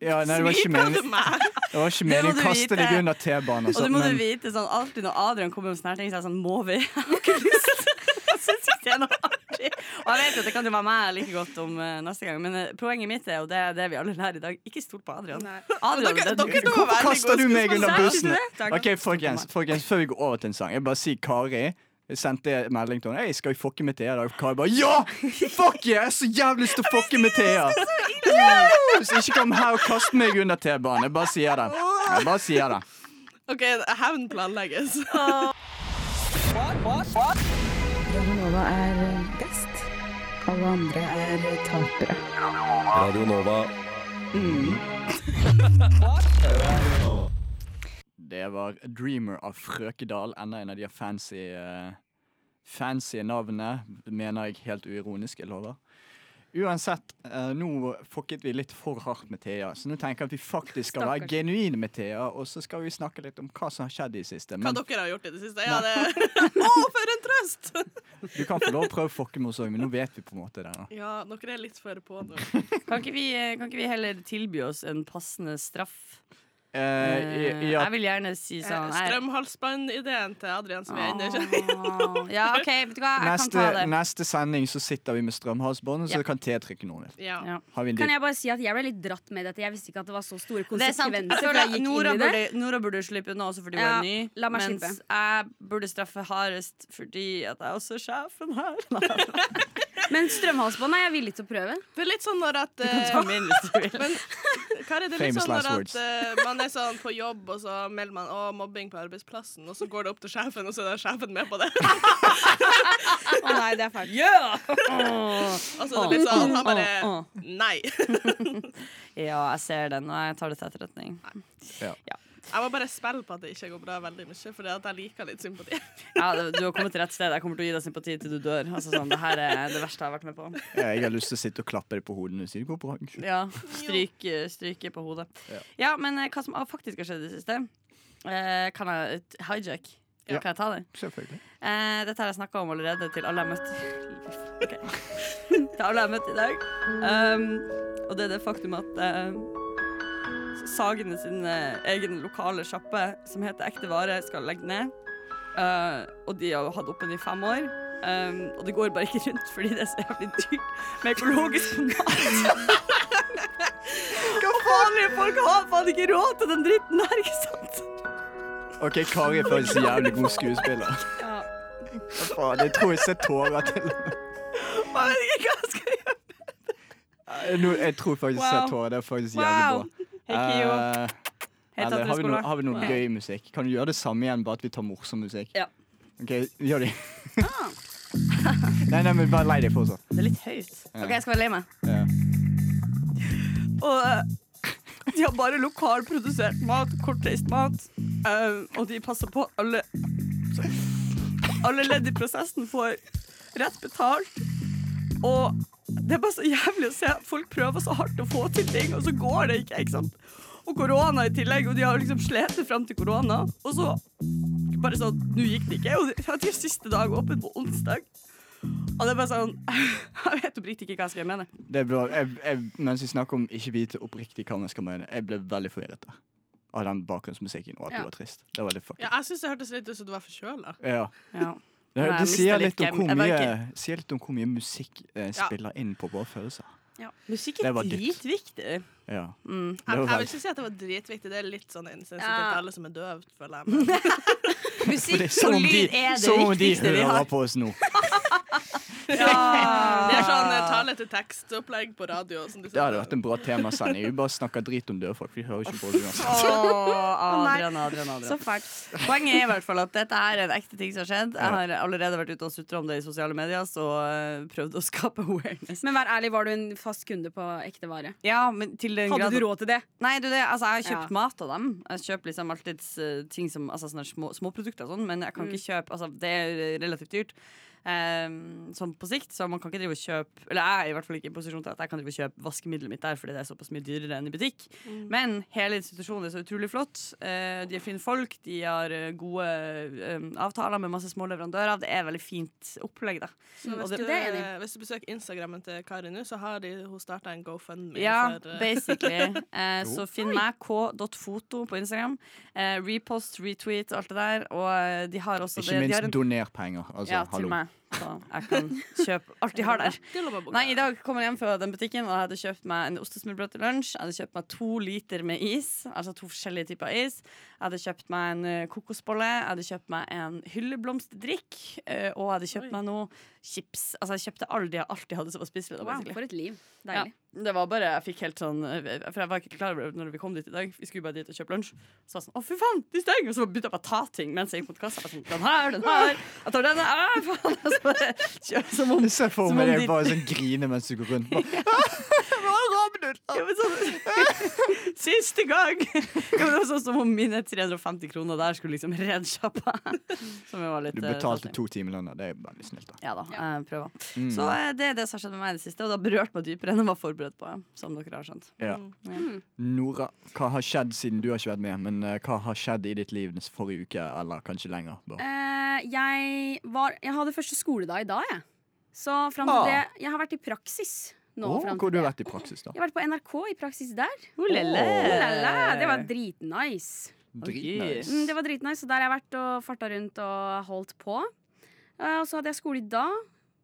Speaker 4: Ja, nei, det var ikke
Speaker 8: sniper
Speaker 4: meningen.
Speaker 8: du meg.
Speaker 4: Det var ikke
Speaker 5: Det må
Speaker 4: meningen
Speaker 5: du
Speaker 4: å kaste deg
Speaker 5: vite.
Speaker 4: under T-banen. og
Speaker 5: Og
Speaker 4: sånt,
Speaker 5: du må du
Speaker 4: men-
Speaker 5: vite sånn alltid når Adrian kommer med sånne her ting, så er jeg sånn Må vi? (laughs) Jeg har ikke lyst. Jeg synes ikke det er noe artig. Og jeg vet at det kan jo være meg like godt om eh, neste gang, men eh, poenget mitt er, og det er det vi alle lærer i dag, ikke stol på Adrian. Adrian
Speaker 8: Dere,
Speaker 5: det er du.
Speaker 8: dere to var
Speaker 4: Hvorfor
Speaker 8: veldig
Speaker 4: kaster
Speaker 8: gode
Speaker 4: du meg under
Speaker 8: skuespillere.
Speaker 4: bussen?
Speaker 6: Takk.
Speaker 4: Ok, folkens, folkens, Før vi går over til en sang, jeg bare sier Kari. Jeg sendte en melding til henne. Hei, skal vi fucke med Thea i dag? Og Kari bare ja! Fuck yeah! Jeg har så jævlig lyst til å fucke med Thea! Yes! Så ikke kom her og kast meg under T-banen. Jeg bare sier det. Jeg bare sier det.
Speaker 8: OK, hevn (laughs) planlegges.
Speaker 7: Radio Nova.
Speaker 4: Det var Dreamer av Frøkedal. Enda en av de fancy, eh, fancy navnene. Mener jeg helt uironisk, jeg lover. Uansett, eh, nå fucket vi litt for hardt med Thea, så nå tenker jeg at vi faktisk skal være
Speaker 6: Stakkars.
Speaker 4: genuine med Thea, og så skal vi snakke litt om hva som har skjedd i det siste.
Speaker 8: Hva
Speaker 4: Men
Speaker 8: dere har gjort i det siste? Ja, det Å, for en trøst!
Speaker 4: du kan få lov å prøve å fucke med oss òg, men nå vet vi på en måte det. da.
Speaker 8: (laughs) Ja, dere er litt for på nå.
Speaker 5: Kan ikke, vi, eh, kan ikke vi heller tilby oss en passende straff?
Speaker 4: Eh, i, i
Speaker 5: Jeg
Speaker 4: at,
Speaker 5: vil gjerne
Speaker 6: Eh,
Speaker 5: si sånn jeg-
Speaker 8: Eh, Strømhalsbånd-ideen til Adrian som jeg ennå ikke
Speaker 5: Åh. Ja, OK, vet du hva, jeg kan
Speaker 4: neste,
Speaker 5: ta det.
Speaker 4: neste sending så sitter vi med strømhalsbånd, og så
Speaker 5: Ja.
Speaker 4: kan Thea trykke noen. litt.
Speaker 8: Ja.
Speaker 5: Ja.
Speaker 4: Har vi en
Speaker 6: Kan
Speaker 4: deal?
Speaker 6: jeg bare si at jeg ble litt dratt med dette. Jeg visste ikke at det var så store
Speaker 5: Det er sant. Jeg
Speaker 6: konsekvenser. før
Speaker 5: føler
Speaker 6: jeg
Speaker 5: at
Speaker 6: gikk
Speaker 5: Nora,
Speaker 6: inn i det.
Speaker 5: burde, Nora burde slippe unna også fordi hun
Speaker 6: Ja,
Speaker 5: er ny.
Speaker 6: la meg
Speaker 5: mens
Speaker 6: slippe.
Speaker 5: jeg burde straffe hardest fordi at jeg også er sjefen her. (laughs)
Speaker 6: Men strømhalsbånd er jeg villig til å prøve.
Speaker 8: Det er litt sånn når at eh,
Speaker 5: Ta min hvis du vil.
Speaker 8: Men
Speaker 5: (laughs)
Speaker 8: Kari, det er litt
Speaker 4: Famous
Speaker 8: sånn når
Speaker 4: last
Speaker 8: at
Speaker 4: words.
Speaker 8: eh, man er sånn på jobb, og så melder man 'å, mobbing på arbeidsplassen', og så går det opp til sjefen, og så er det sjefen med på det. (laughs)
Speaker 6: Å nei, det er fælt.
Speaker 8: Og så er det litt sånn, han bare
Speaker 5: Åh, åh.
Speaker 8: Nei. (laughs)
Speaker 5: Ja, jeg ser den, og jeg tar det til etterretning.
Speaker 8: Jeg må bare spille på at det ikke går bra veldig mye, for jeg liker litt sympati.
Speaker 5: Ja, du du har kommet til rett sted. Jeg kommer til å gi deg sympati til du dør. Altså, sånn, det her er det verste jeg har vært med på.
Speaker 4: Eh, Jeg har lyst til å sitte og klappe deg på hodet og si det går bra. unnskyld.
Speaker 5: Ja, stryk, stryke på hodet. Ja, men eh, hva som faktisk har skjedd i det siste, eh, kan Eh, jeg et hijack?
Speaker 4: Ja.
Speaker 5: Kan jeg ta den?
Speaker 4: Selvfølgelig.
Speaker 5: Eh, dette har jeg snakka om allerede til alle jeg møtte Ok. (laughs) Til alle jeg møtte i dag. Um, og det er det faktum at eh, Sagene sin eh, egen lokale sjappe, som heter Ekte Vare, skal legge ned. Eh, og de har jo hatt åpen i fem år. Um, og det går bare ikke rundt fordi det er så jævlig dyrt med økologisk mat. Hva vanlige folk har faen ikke råd til den dritten der, ikke sant?
Speaker 4: OK, Kari er faktisk en jævlig god skuespiller.
Speaker 5: Ja.
Speaker 4: Hva faen, jeg tror jeg ser tårer til
Speaker 5: Jeg vet ikke hva jeg skal gjøre.
Speaker 4: Eh, nå, Jeg tror faktisk jeg
Speaker 5: Wow.
Speaker 4: ser tårer. Det er faktisk jævlig bra.
Speaker 5: Hei, Kio.
Speaker 4: Eh, eller,
Speaker 5: Hei,
Speaker 4: har, vi
Speaker 5: Tatteskola.
Speaker 4: noe, har vi noe
Speaker 5: Wow.
Speaker 4: gøy musikk? Kan du gjøre det samme igjen, bare at vi tar morsom musikk?
Speaker 5: Ja. Ah.
Speaker 4: OK, vi gjør det. (laughs) nei, nei, men bare lei deg fortsatt.
Speaker 5: Det er litt høyt.
Speaker 4: Ok, jeg
Speaker 5: skal være lei meg.
Speaker 4: Ja.
Speaker 5: Og eh, de har bare lokalprodusert mat, kortreist mat, eh, og de passer på at alle Sorry. Alle ledd i prosessen får rett betalt, og det er bare så jævlig å se at folk prøver så hardt å få til ting, og så går det ikke, ikke sant? Og korona i tillegg, og de har liksom slitt fram til korona, og så bare sånn Nå gikk det ikke, og de har til siste dag åpen på onsdag. Og det er bare sånn (laughs) Jeg vet oppriktig ikke hva jeg skal mene.
Speaker 4: Det er bra. Jeg, jeg, mens vi snakker om ikke vite oppriktig hva man skal mene, jeg ble veldig forvirret der. Av den bakgrunnsmusikken og at
Speaker 6: Ja.
Speaker 4: det var trist. Det var litt fucking.
Speaker 8: Ja, jeg syns det hørtes litt ut som du var forkjøla.
Speaker 4: Ja.
Speaker 5: Ja.
Speaker 4: Det,
Speaker 5: Nei,
Speaker 4: det
Speaker 5: jeg
Speaker 4: sier,
Speaker 5: mistet litt
Speaker 4: litt om hvor
Speaker 5: hvem- jeg var
Speaker 4: mye,
Speaker 5: ikke-
Speaker 4: sier litt om hvor mye musikk eh,
Speaker 8: Ja.
Speaker 4: spiller inn på våre følelser.
Speaker 5: Musikk
Speaker 4: Det
Speaker 5: er
Speaker 4: var dypt.
Speaker 5: dritviktig.
Speaker 4: Ja.
Speaker 5: Mm.
Speaker 4: Det
Speaker 8: Jeg,
Speaker 4: var
Speaker 8: jeg vil
Speaker 4: veldig.
Speaker 8: ikke si at det var dritviktig. Det er litt sånn insensitivt
Speaker 5: Ja.
Speaker 8: til alle som er døve,
Speaker 5: (laughs)
Speaker 8: føler jeg. Men
Speaker 5: Musikk
Speaker 4: Det er som om de, som om de hører på oss nå.
Speaker 8: (laughs) det er sånn eh, tale til tekst-opplegg på radio. Som du
Speaker 4: Det hadde vært en bra temasending. Vi bare snakker drit om døde folk. Vi hører ikke på det
Speaker 5: (laughs)
Speaker 4: uansett.
Speaker 5: Adrian, Adrian,
Speaker 6: Så
Speaker 5: Adrian.
Speaker 6: fælt.
Speaker 5: Poenget er i hvert fall at dette er en ekte ting som har skjedd. Jeg har allerede vært ute og sutra om det i sosiale medier, så eh, prøvd å skape awareness.
Speaker 6: Men vær ærlig, var du en fast kunde på ekte vare?
Speaker 5: Ja, men til den
Speaker 6: Hadde
Speaker 5: grad
Speaker 6: du råd til det?
Speaker 5: Nei, du, det, altså, jeg har kjøpt
Speaker 6: Ja.
Speaker 5: mat av dem. Jeg kjøper liksom alltid eh, ting som, altså, sånne små, småprodukter og sånn, men jeg kan
Speaker 8: Mm.
Speaker 5: ikke kjøpe altså, Det er relativt dyrt. ehm, sånn på sikt, så man kan ikke drive og kjøpe Eller jeg er i hvert fall ikke i posisjon til at jeg kan drive og kjøpe vaskemiddelet mitt der, fordi det er såpass mye dyrere enn i butikk.
Speaker 8: Mm.
Speaker 5: Men hele institusjonen er så utrolig flott. Eh, de er fine folk, de har eh, gode eh, avtaler med masse små leverandører. Det er veldig fint opplegg, da.
Speaker 8: Så
Speaker 5: Og
Speaker 8: hvis,
Speaker 5: det-
Speaker 8: du, eh,
Speaker 6: det er jeg enig
Speaker 8: hvis du besøker Instagrammen til Kari nå, så har de, hun starta en GoFundMe.
Speaker 5: Ja,
Speaker 8: for, eh,
Speaker 5: basically. Eh, så finn meg k.foto på Instagram. Eh, repost, retweet, alt det der. Og eh, de har også
Speaker 4: Ikke
Speaker 5: det, de har
Speaker 4: minst
Speaker 5: en,
Speaker 4: doner penger. Altså,
Speaker 5: ja, til
Speaker 4: hallo.
Speaker 5: meg. Så jeg kan kjøpe alt de
Speaker 8: (laughs)
Speaker 5: har der.
Speaker 8: til å bare bo-
Speaker 5: Nei, I dag kom jeg hjem fra den butikken og jeg hadde kjøpt meg en ostesmørbrød til lunsj. Jeg hadde kjøpt meg to liter med is, altså to forskjellige typer is. Jeg hadde kjøpt meg en eh, kokosbolle, jeg hadde kjøpt meg en hylleblomstdrikk, eh, og jeg hadde kjøpt
Speaker 8: Oi.
Speaker 5: meg noe chips. Altså, jeg kjøpte alle de jeg alltid hadde som var spiselig. da,
Speaker 6: Wow,
Speaker 5: basically.
Speaker 6: for et liv.
Speaker 5: Ja,
Speaker 6: Deilig.
Speaker 5: det var bare, jeg fikk helt sånn For jeg var ikke klar over det når vi kom dit i dag. Vi skulle bare dit og kjøpe lunsj. Så var jeg sånn, å fy faen, de stenger Og så begynte jeg bare å ta ting mens jeg gikk mot kassa. Jeg var sånn, den her, den her, jeg tar denne, ah, faen Og (laughs) så bare kjøp som
Speaker 4: (laughs)
Speaker 5: om
Speaker 4: Jeg ser for
Speaker 5: Som
Speaker 4: meg
Speaker 5: om
Speaker 4: deg
Speaker 5: de-
Speaker 4: bare sånn grine mens du går rundt.
Speaker 5: (laughs)
Speaker 4: Bare,
Speaker 5: ja, men sånn, (laughs) Siste gang! Ja, men det var sånn som om mine 350 kroner der skulle liksom redde sjappa. (laughs) Som jo var litt
Speaker 4: Du
Speaker 5: eh,
Speaker 4: betalte
Speaker 5: trasig.
Speaker 4: to timelønner. Det er veldig snilt, da.
Speaker 5: Ja da, jeg prøver.
Speaker 4: Mm.
Speaker 5: Så eh, det er det som har skjedd med meg i det siste, og det har berørt meg dypere enn jeg var forberedt på. Som dere har skjønt.
Speaker 4: Ja.
Speaker 5: Mm.
Speaker 4: Nora, hva har skjedd siden du har ikke vært med? Men eh, hva har skjedd i ditt liv den forrige uke, eller kanskje lenger? Bare.
Speaker 6: Eh, jeg, var, jeg hadde første skoledag i dag, jeg. Så fram til
Speaker 4: Ah.
Speaker 6: det Jeg har vært i praksis nå.
Speaker 4: Å,
Speaker 6: fram til
Speaker 4: hvor har du
Speaker 6: det.
Speaker 4: vært i praksis, da?
Speaker 6: Jeg har vært på NRK i praksis der.
Speaker 5: Olele.
Speaker 4: Eh.
Speaker 6: Olala, det var dritnice.
Speaker 4: Dritnice.
Speaker 6: Mm, det var dritnice, og der har jeg vært og farta rundt og holdt på. Eh, og så hadde jeg skole i dag.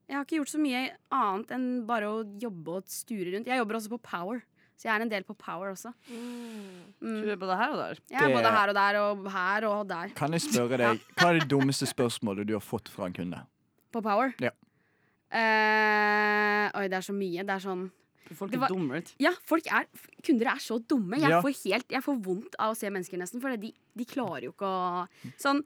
Speaker 6: Jeg har ikke gjort så mye annet enn bare å jobbe og sture rundt. Jeg jobber også på Power, så jeg er en del på Power også. Mm.
Speaker 5: Du er både her og der.
Speaker 6: Jeg er
Speaker 4: Det-
Speaker 6: både her og der og her og der.
Speaker 4: Kan jeg spørre deg, hva er det dummeste spørsmålet du har fått fra en kunde?
Speaker 6: På Power?
Speaker 4: Ja.
Speaker 6: Eh, oi, det er så mye. Det er sånn
Speaker 5: Folk
Speaker 6: Det
Speaker 5: er
Speaker 6: var-
Speaker 5: dumme ut.
Speaker 6: Ja, folk er, f- kunder er så dumme. Jeg,
Speaker 4: Ja.
Speaker 6: får helt, jeg får vondt av å se mennesker, nesten. For de, de klarer jo ikke å Sånn.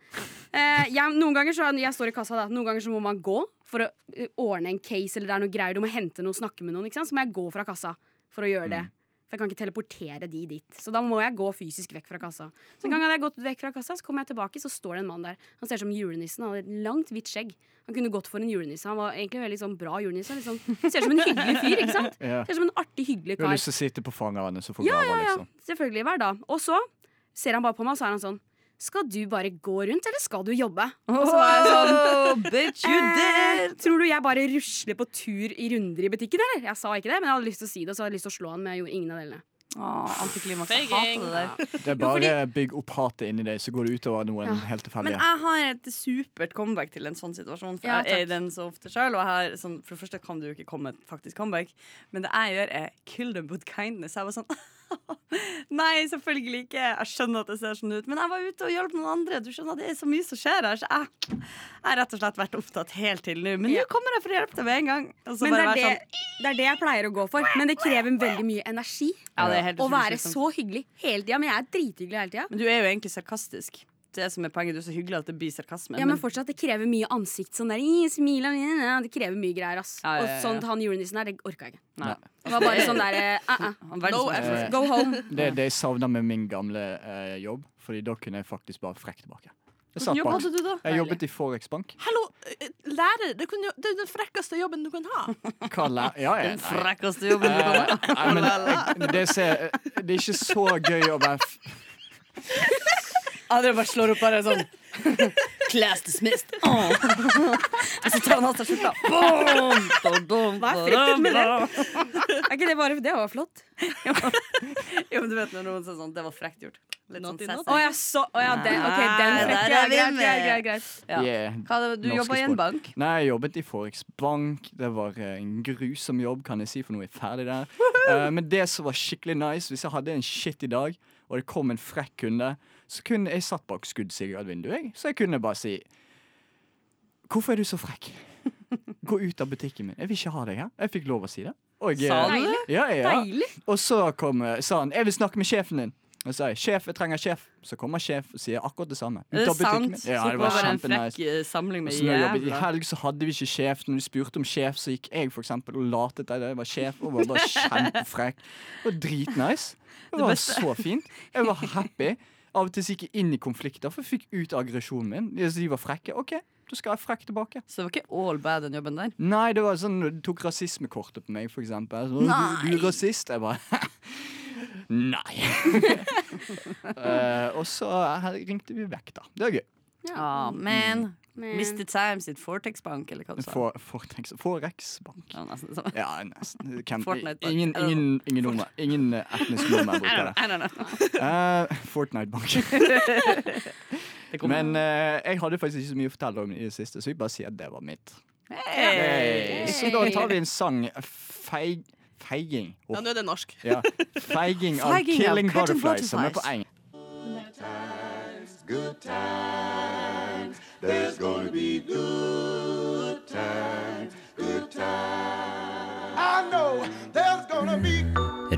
Speaker 6: eh, jeg, noen ganger så Jeg står i kassa, da. Noen ganger så må man gå for å eh, ordne en case eller det er noe greier. Du må hente noe, snakke med noen. Ikke sant? Så må jeg gå fra kassa for å gjøre det.
Speaker 4: Mm.
Speaker 6: For jeg kan ikke teleportere de dit. Så da må jeg gå fysisk vekk fra kassa. Så en gang hadde jeg gått vekk fra kassa, så kom jeg tilbake, så står det en mann der. Han ser ut som julenissen. Han hadde et langt, hvitt skjegg. Han kunne gått for en julenisse. Han var egentlig veldig sånn bra julenisse. Liksom. Ser ut som en hyggelig fyr, ikke sant?
Speaker 4: (laughs) Ja.
Speaker 6: Ser ut som en artig, hyggelig
Speaker 4: Du har
Speaker 6: kar.
Speaker 4: lyst til å sitte på fanget av henne, så får du ja,
Speaker 6: Ja,
Speaker 4: liksom.
Speaker 6: selvfølgelig hver dag. Og så ser han bare på meg, og så er han sånn Skal du bare gå rundt, eller skal du jobbe? Og så var jeg sånn
Speaker 5: Oh, bitch, you
Speaker 6: eh,
Speaker 5: did!
Speaker 6: Tror du jeg bare rusler på tur i runder i butikken, eller? Jeg sa ikke det, men jeg hadde lyst til å si det, og så hadde jeg lyst til å slå han, men jeg gjorde ingen av delene.
Speaker 5: Åh, antiklimaks. Jeg
Speaker 8: Faking.
Speaker 5: hater det der.
Speaker 4: Det er bare bygg opp hatet inni deg, så går det utover noen
Speaker 6: Ja.
Speaker 4: helt
Speaker 5: Men
Speaker 4: tilfeldige.
Speaker 5: jeg har et supert comeback til en sånn situasjon. For
Speaker 6: Ja,
Speaker 5: jeg er
Speaker 6: takk.
Speaker 5: i den så ofte selv, og jeg har sånn, For det første kan det jo ikke komme et faktisk comeback, men det jeg gjør, er kill them with kindness. Jeg var sånn (laughs) Nei, selvfølgelig ikke. Jeg skjønner at det ser sånn ut, men jeg var ute og hjalp noen andre. Du skjønner, Det er så mye som skjer her, så jeg jeg har rett og slett vært opptatt helt til nå. Men nå
Speaker 6: Ja.
Speaker 5: kommer jeg for å hjelpe deg med en gang. Og så
Speaker 6: Men det
Speaker 5: bare
Speaker 6: er
Speaker 5: være
Speaker 6: det,
Speaker 5: sånn
Speaker 6: det er det jeg pleier å gå for. Men det krever veldig mye energi
Speaker 5: Ja, det er liksom? helt
Speaker 6: å
Speaker 5: utrolig
Speaker 6: være
Speaker 5: slitsomt.
Speaker 6: så hyggelig hele tida. Men jeg er drithyggelig hele tida.
Speaker 5: Men du er jo egentlig sarkastisk. Det som er poenget, du er så hyggelig at det blir sarkasme.
Speaker 6: Ja, men fortsatt, det krever mye ansikt. Sånn der, «Ih, smil, og ja, ja», det krever mye greier, ass.
Speaker 5: Ja, ja, ja,
Speaker 6: Og sånn han julenissen her, det orka jeg ikke.
Speaker 5: Nei.
Speaker 6: Det var bare sånn derre uh -uh.
Speaker 5: (laughs) Han sånn er verdens
Speaker 8: No
Speaker 5: beste.
Speaker 8: effort.
Speaker 6: Go home.
Speaker 4: Det er det jeg savner med min gamle eh, jobb, Fordi da kunne jeg faktisk bare frekke tilbake. Jeg, satt
Speaker 5: Hvilken jobb
Speaker 4: bak-
Speaker 5: hadde du da?
Speaker 4: jeg jobbet i Forex Bank.
Speaker 8: Hallo, eh, lærer! Det, kunne, jo- det er den frekkeste jobben du kan ha.
Speaker 4: Hva
Speaker 5: (laughs)
Speaker 4: læ- Ja, jeg,
Speaker 5: Den
Speaker 4: nei.
Speaker 5: frekkeste jobben du kan
Speaker 4: Eh, nei, men, jeg, det, ser, eh, det er ikke så gøy å være f-
Speaker 5: Adrian bare slår opp bare sånn Class dismissed Åh. Og så tar han av seg skjorta Boom! Ba-dum,
Speaker 6: Hva er frykten med
Speaker 5: ba-dum,
Speaker 6: Er ikke det bare Det var flott.
Speaker 5: ba-dum. Jo, men du vet når noen sier sånn Det var frekt gjort Litt sånn
Speaker 8: Naughty,
Speaker 5: sassy
Speaker 6: Å ja, så Å ja, den. OK, den
Speaker 5: Nei,
Speaker 6: frekke.
Speaker 5: der er
Speaker 6: Ja,
Speaker 5: vi
Speaker 6: greit,
Speaker 5: med.
Speaker 6: greit, greit, greit.
Speaker 5: Ja.
Speaker 4: yeah.
Speaker 5: Hva, er det- Du
Speaker 4: Norske
Speaker 5: jobber i en
Speaker 4: sport.
Speaker 5: bank
Speaker 4: Nei, jeg jobbet i Forex Bank. Det var eh, en grusom jobb, kan jeg si, for nå er jeg ferdig
Speaker 5: (laughs)
Speaker 4: der. Eh, men det som var skikkelig nice, hvis jeg hadde en shit i dag, og det kom en frekk kunde, så kunne jeg satt bak skuddsigarvinduet, jeg. Så jeg kunne bare si Hvorfor er du så frekk? Gå ut av butikken min. Jeg vil ikke ha deg her. Jeg fikk lov å si det. Og, eh,
Speaker 5: Sa du det?
Speaker 4: Ja, ja.
Speaker 6: Deilig.
Speaker 4: Og så kom, eh, sa han 'Jeg vil snakke med sjefen din'. Og så sa jeg 'Sjef, jeg trenger sjef'. Så kommer sjef og sier akkurat det samme.
Speaker 5: Er
Speaker 4: Ut
Speaker 5: det
Speaker 4: av butikken
Speaker 5: sant?
Speaker 4: min.
Speaker 5: Så
Speaker 4: Ja, det
Speaker 5: det
Speaker 4: var
Speaker 5: var en
Speaker 4: kjempenice.
Speaker 5: frekk eh, samling med
Speaker 4: Så når jeg jobbet I
Speaker 5: jævla
Speaker 4: helg så hadde vi ikke sjef. Når du spurte om sjef, så gikk jeg for eksempel, og latet til jeg var sjef. Og var bare kjempefrekk. Og dritnice. Det var så fint. Jeg var happy. Av og til så gikk jeg inn i konflikter, for jeg fikk ut aggresjonen min. Så de var frekke. OK, da skal jeg frekk tilbake.
Speaker 5: Så det var ikke all bad den jobben der
Speaker 4: Nei, det var sånn du tok rasismekortet på meg, for eksempel. Så, du, du er rasist. Jeg bare (laughs) Nei. Eh, og så her ringte vi vekk, da. Det var gøy.
Speaker 5: Ja, Ah, mm. men
Speaker 6: Men-
Speaker 5: Mr. Times sitt Fortex bank Eller hva du sa
Speaker 4: For, Fortex, Forex Bank.
Speaker 5: Ja, nesten sånn.
Speaker 4: Ja, nesten. Hvem-
Speaker 5: Fortnite Bank.
Speaker 4: ingen, ingen, ingen, nordmenn- ingen eh, etnisk nordmenn bruker det.
Speaker 5: I don't know.
Speaker 4: Eh, Fortnite-bank.
Speaker 5: (laughs) Det kommer-
Speaker 4: Men eh, jeg hadde faktisk ikke så mye å fortelle om i det siste, så vi bare sier at det var mitt. Eh,
Speaker 5: Hey.
Speaker 4: Så da tar vi en sang. Feig, feiging. Oh,
Speaker 8: Ja, nå er det norsk.
Speaker 4: ja. Feiging av
Speaker 5: Feiging av
Speaker 4: Killing
Speaker 5: Cutting
Speaker 4: Butterflies, som er på
Speaker 5: Butterflies.
Speaker 4: engelsk.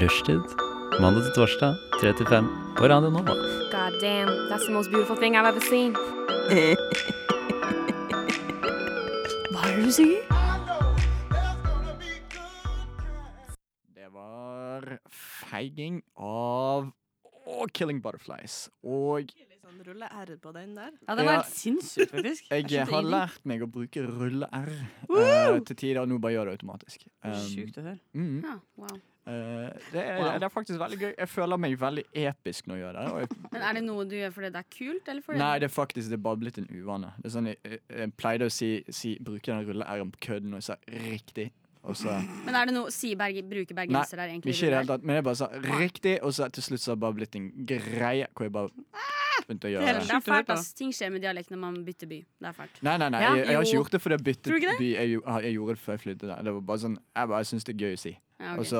Speaker 9: Rushtid. Mandag til torsdag, 3 til 5 på Radio Nova.
Speaker 3: God damn, that's the most beautiful thing I've ever seen.
Speaker 4: Det var feiging av oh, Killing Butterflies. Og
Speaker 8: Litt sånn rulle-r på den der.
Speaker 5: Ja, det var
Speaker 4: Ja.
Speaker 5: helt sinnssykt faktisk
Speaker 4: jeg har
Speaker 5: lært
Speaker 4: lært meg å bruke rulle-r eh, til tider, og nå bare gjør det automatisk. Um,
Speaker 5: Sjukt å høre
Speaker 4: mm.
Speaker 6: Ja, wow.
Speaker 4: Eh, det, er,
Speaker 5: Wow.
Speaker 4: det er faktisk veldig gøy. Jeg føler meg veldig episk når jeg gjør det. Og jeg,
Speaker 6: Men er det noe du gjør fordi det er kult, eller fordi
Speaker 4: nei, det er faktisk det er bare blitt en uvane. Det er sånn, jeg, jeg, jeg pleide å si, si bruke den rulle-r-en på kødden, og jeg sa riktig. Og så,
Speaker 6: Men er det noe sier berge, bruker
Speaker 4: nei,
Speaker 6: bergensere her
Speaker 4: ikke
Speaker 6: egentlig?
Speaker 4: i det hele tatt. Men jeg bare sa riktig, og så til slutt så har det bare blitt en greie hvor jeg bare begynte å
Speaker 6: Det
Speaker 4: gjøre
Speaker 6: er,
Speaker 4: det.
Speaker 6: det er fælt,
Speaker 5: da.
Speaker 6: ass. Ting skjer med dialekt når man bytter by. Det er fælt.
Speaker 4: Nei, nei, nei,
Speaker 5: Ja,
Speaker 4: jeg, jeg har ikke
Speaker 5: jo.
Speaker 4: gjort det fordi jeg
Speaker 6: Tror du
Speaker 4: byttet
Speaker 6: ikke det?
Speaker 4: by. Jeg, gjo- jeg gjorde det før jeg flyttet der. Det var bare sånn, jeg bare syns det er gøy å si.
Speaker 6: Ja, ok.
Speaker 4: Og så,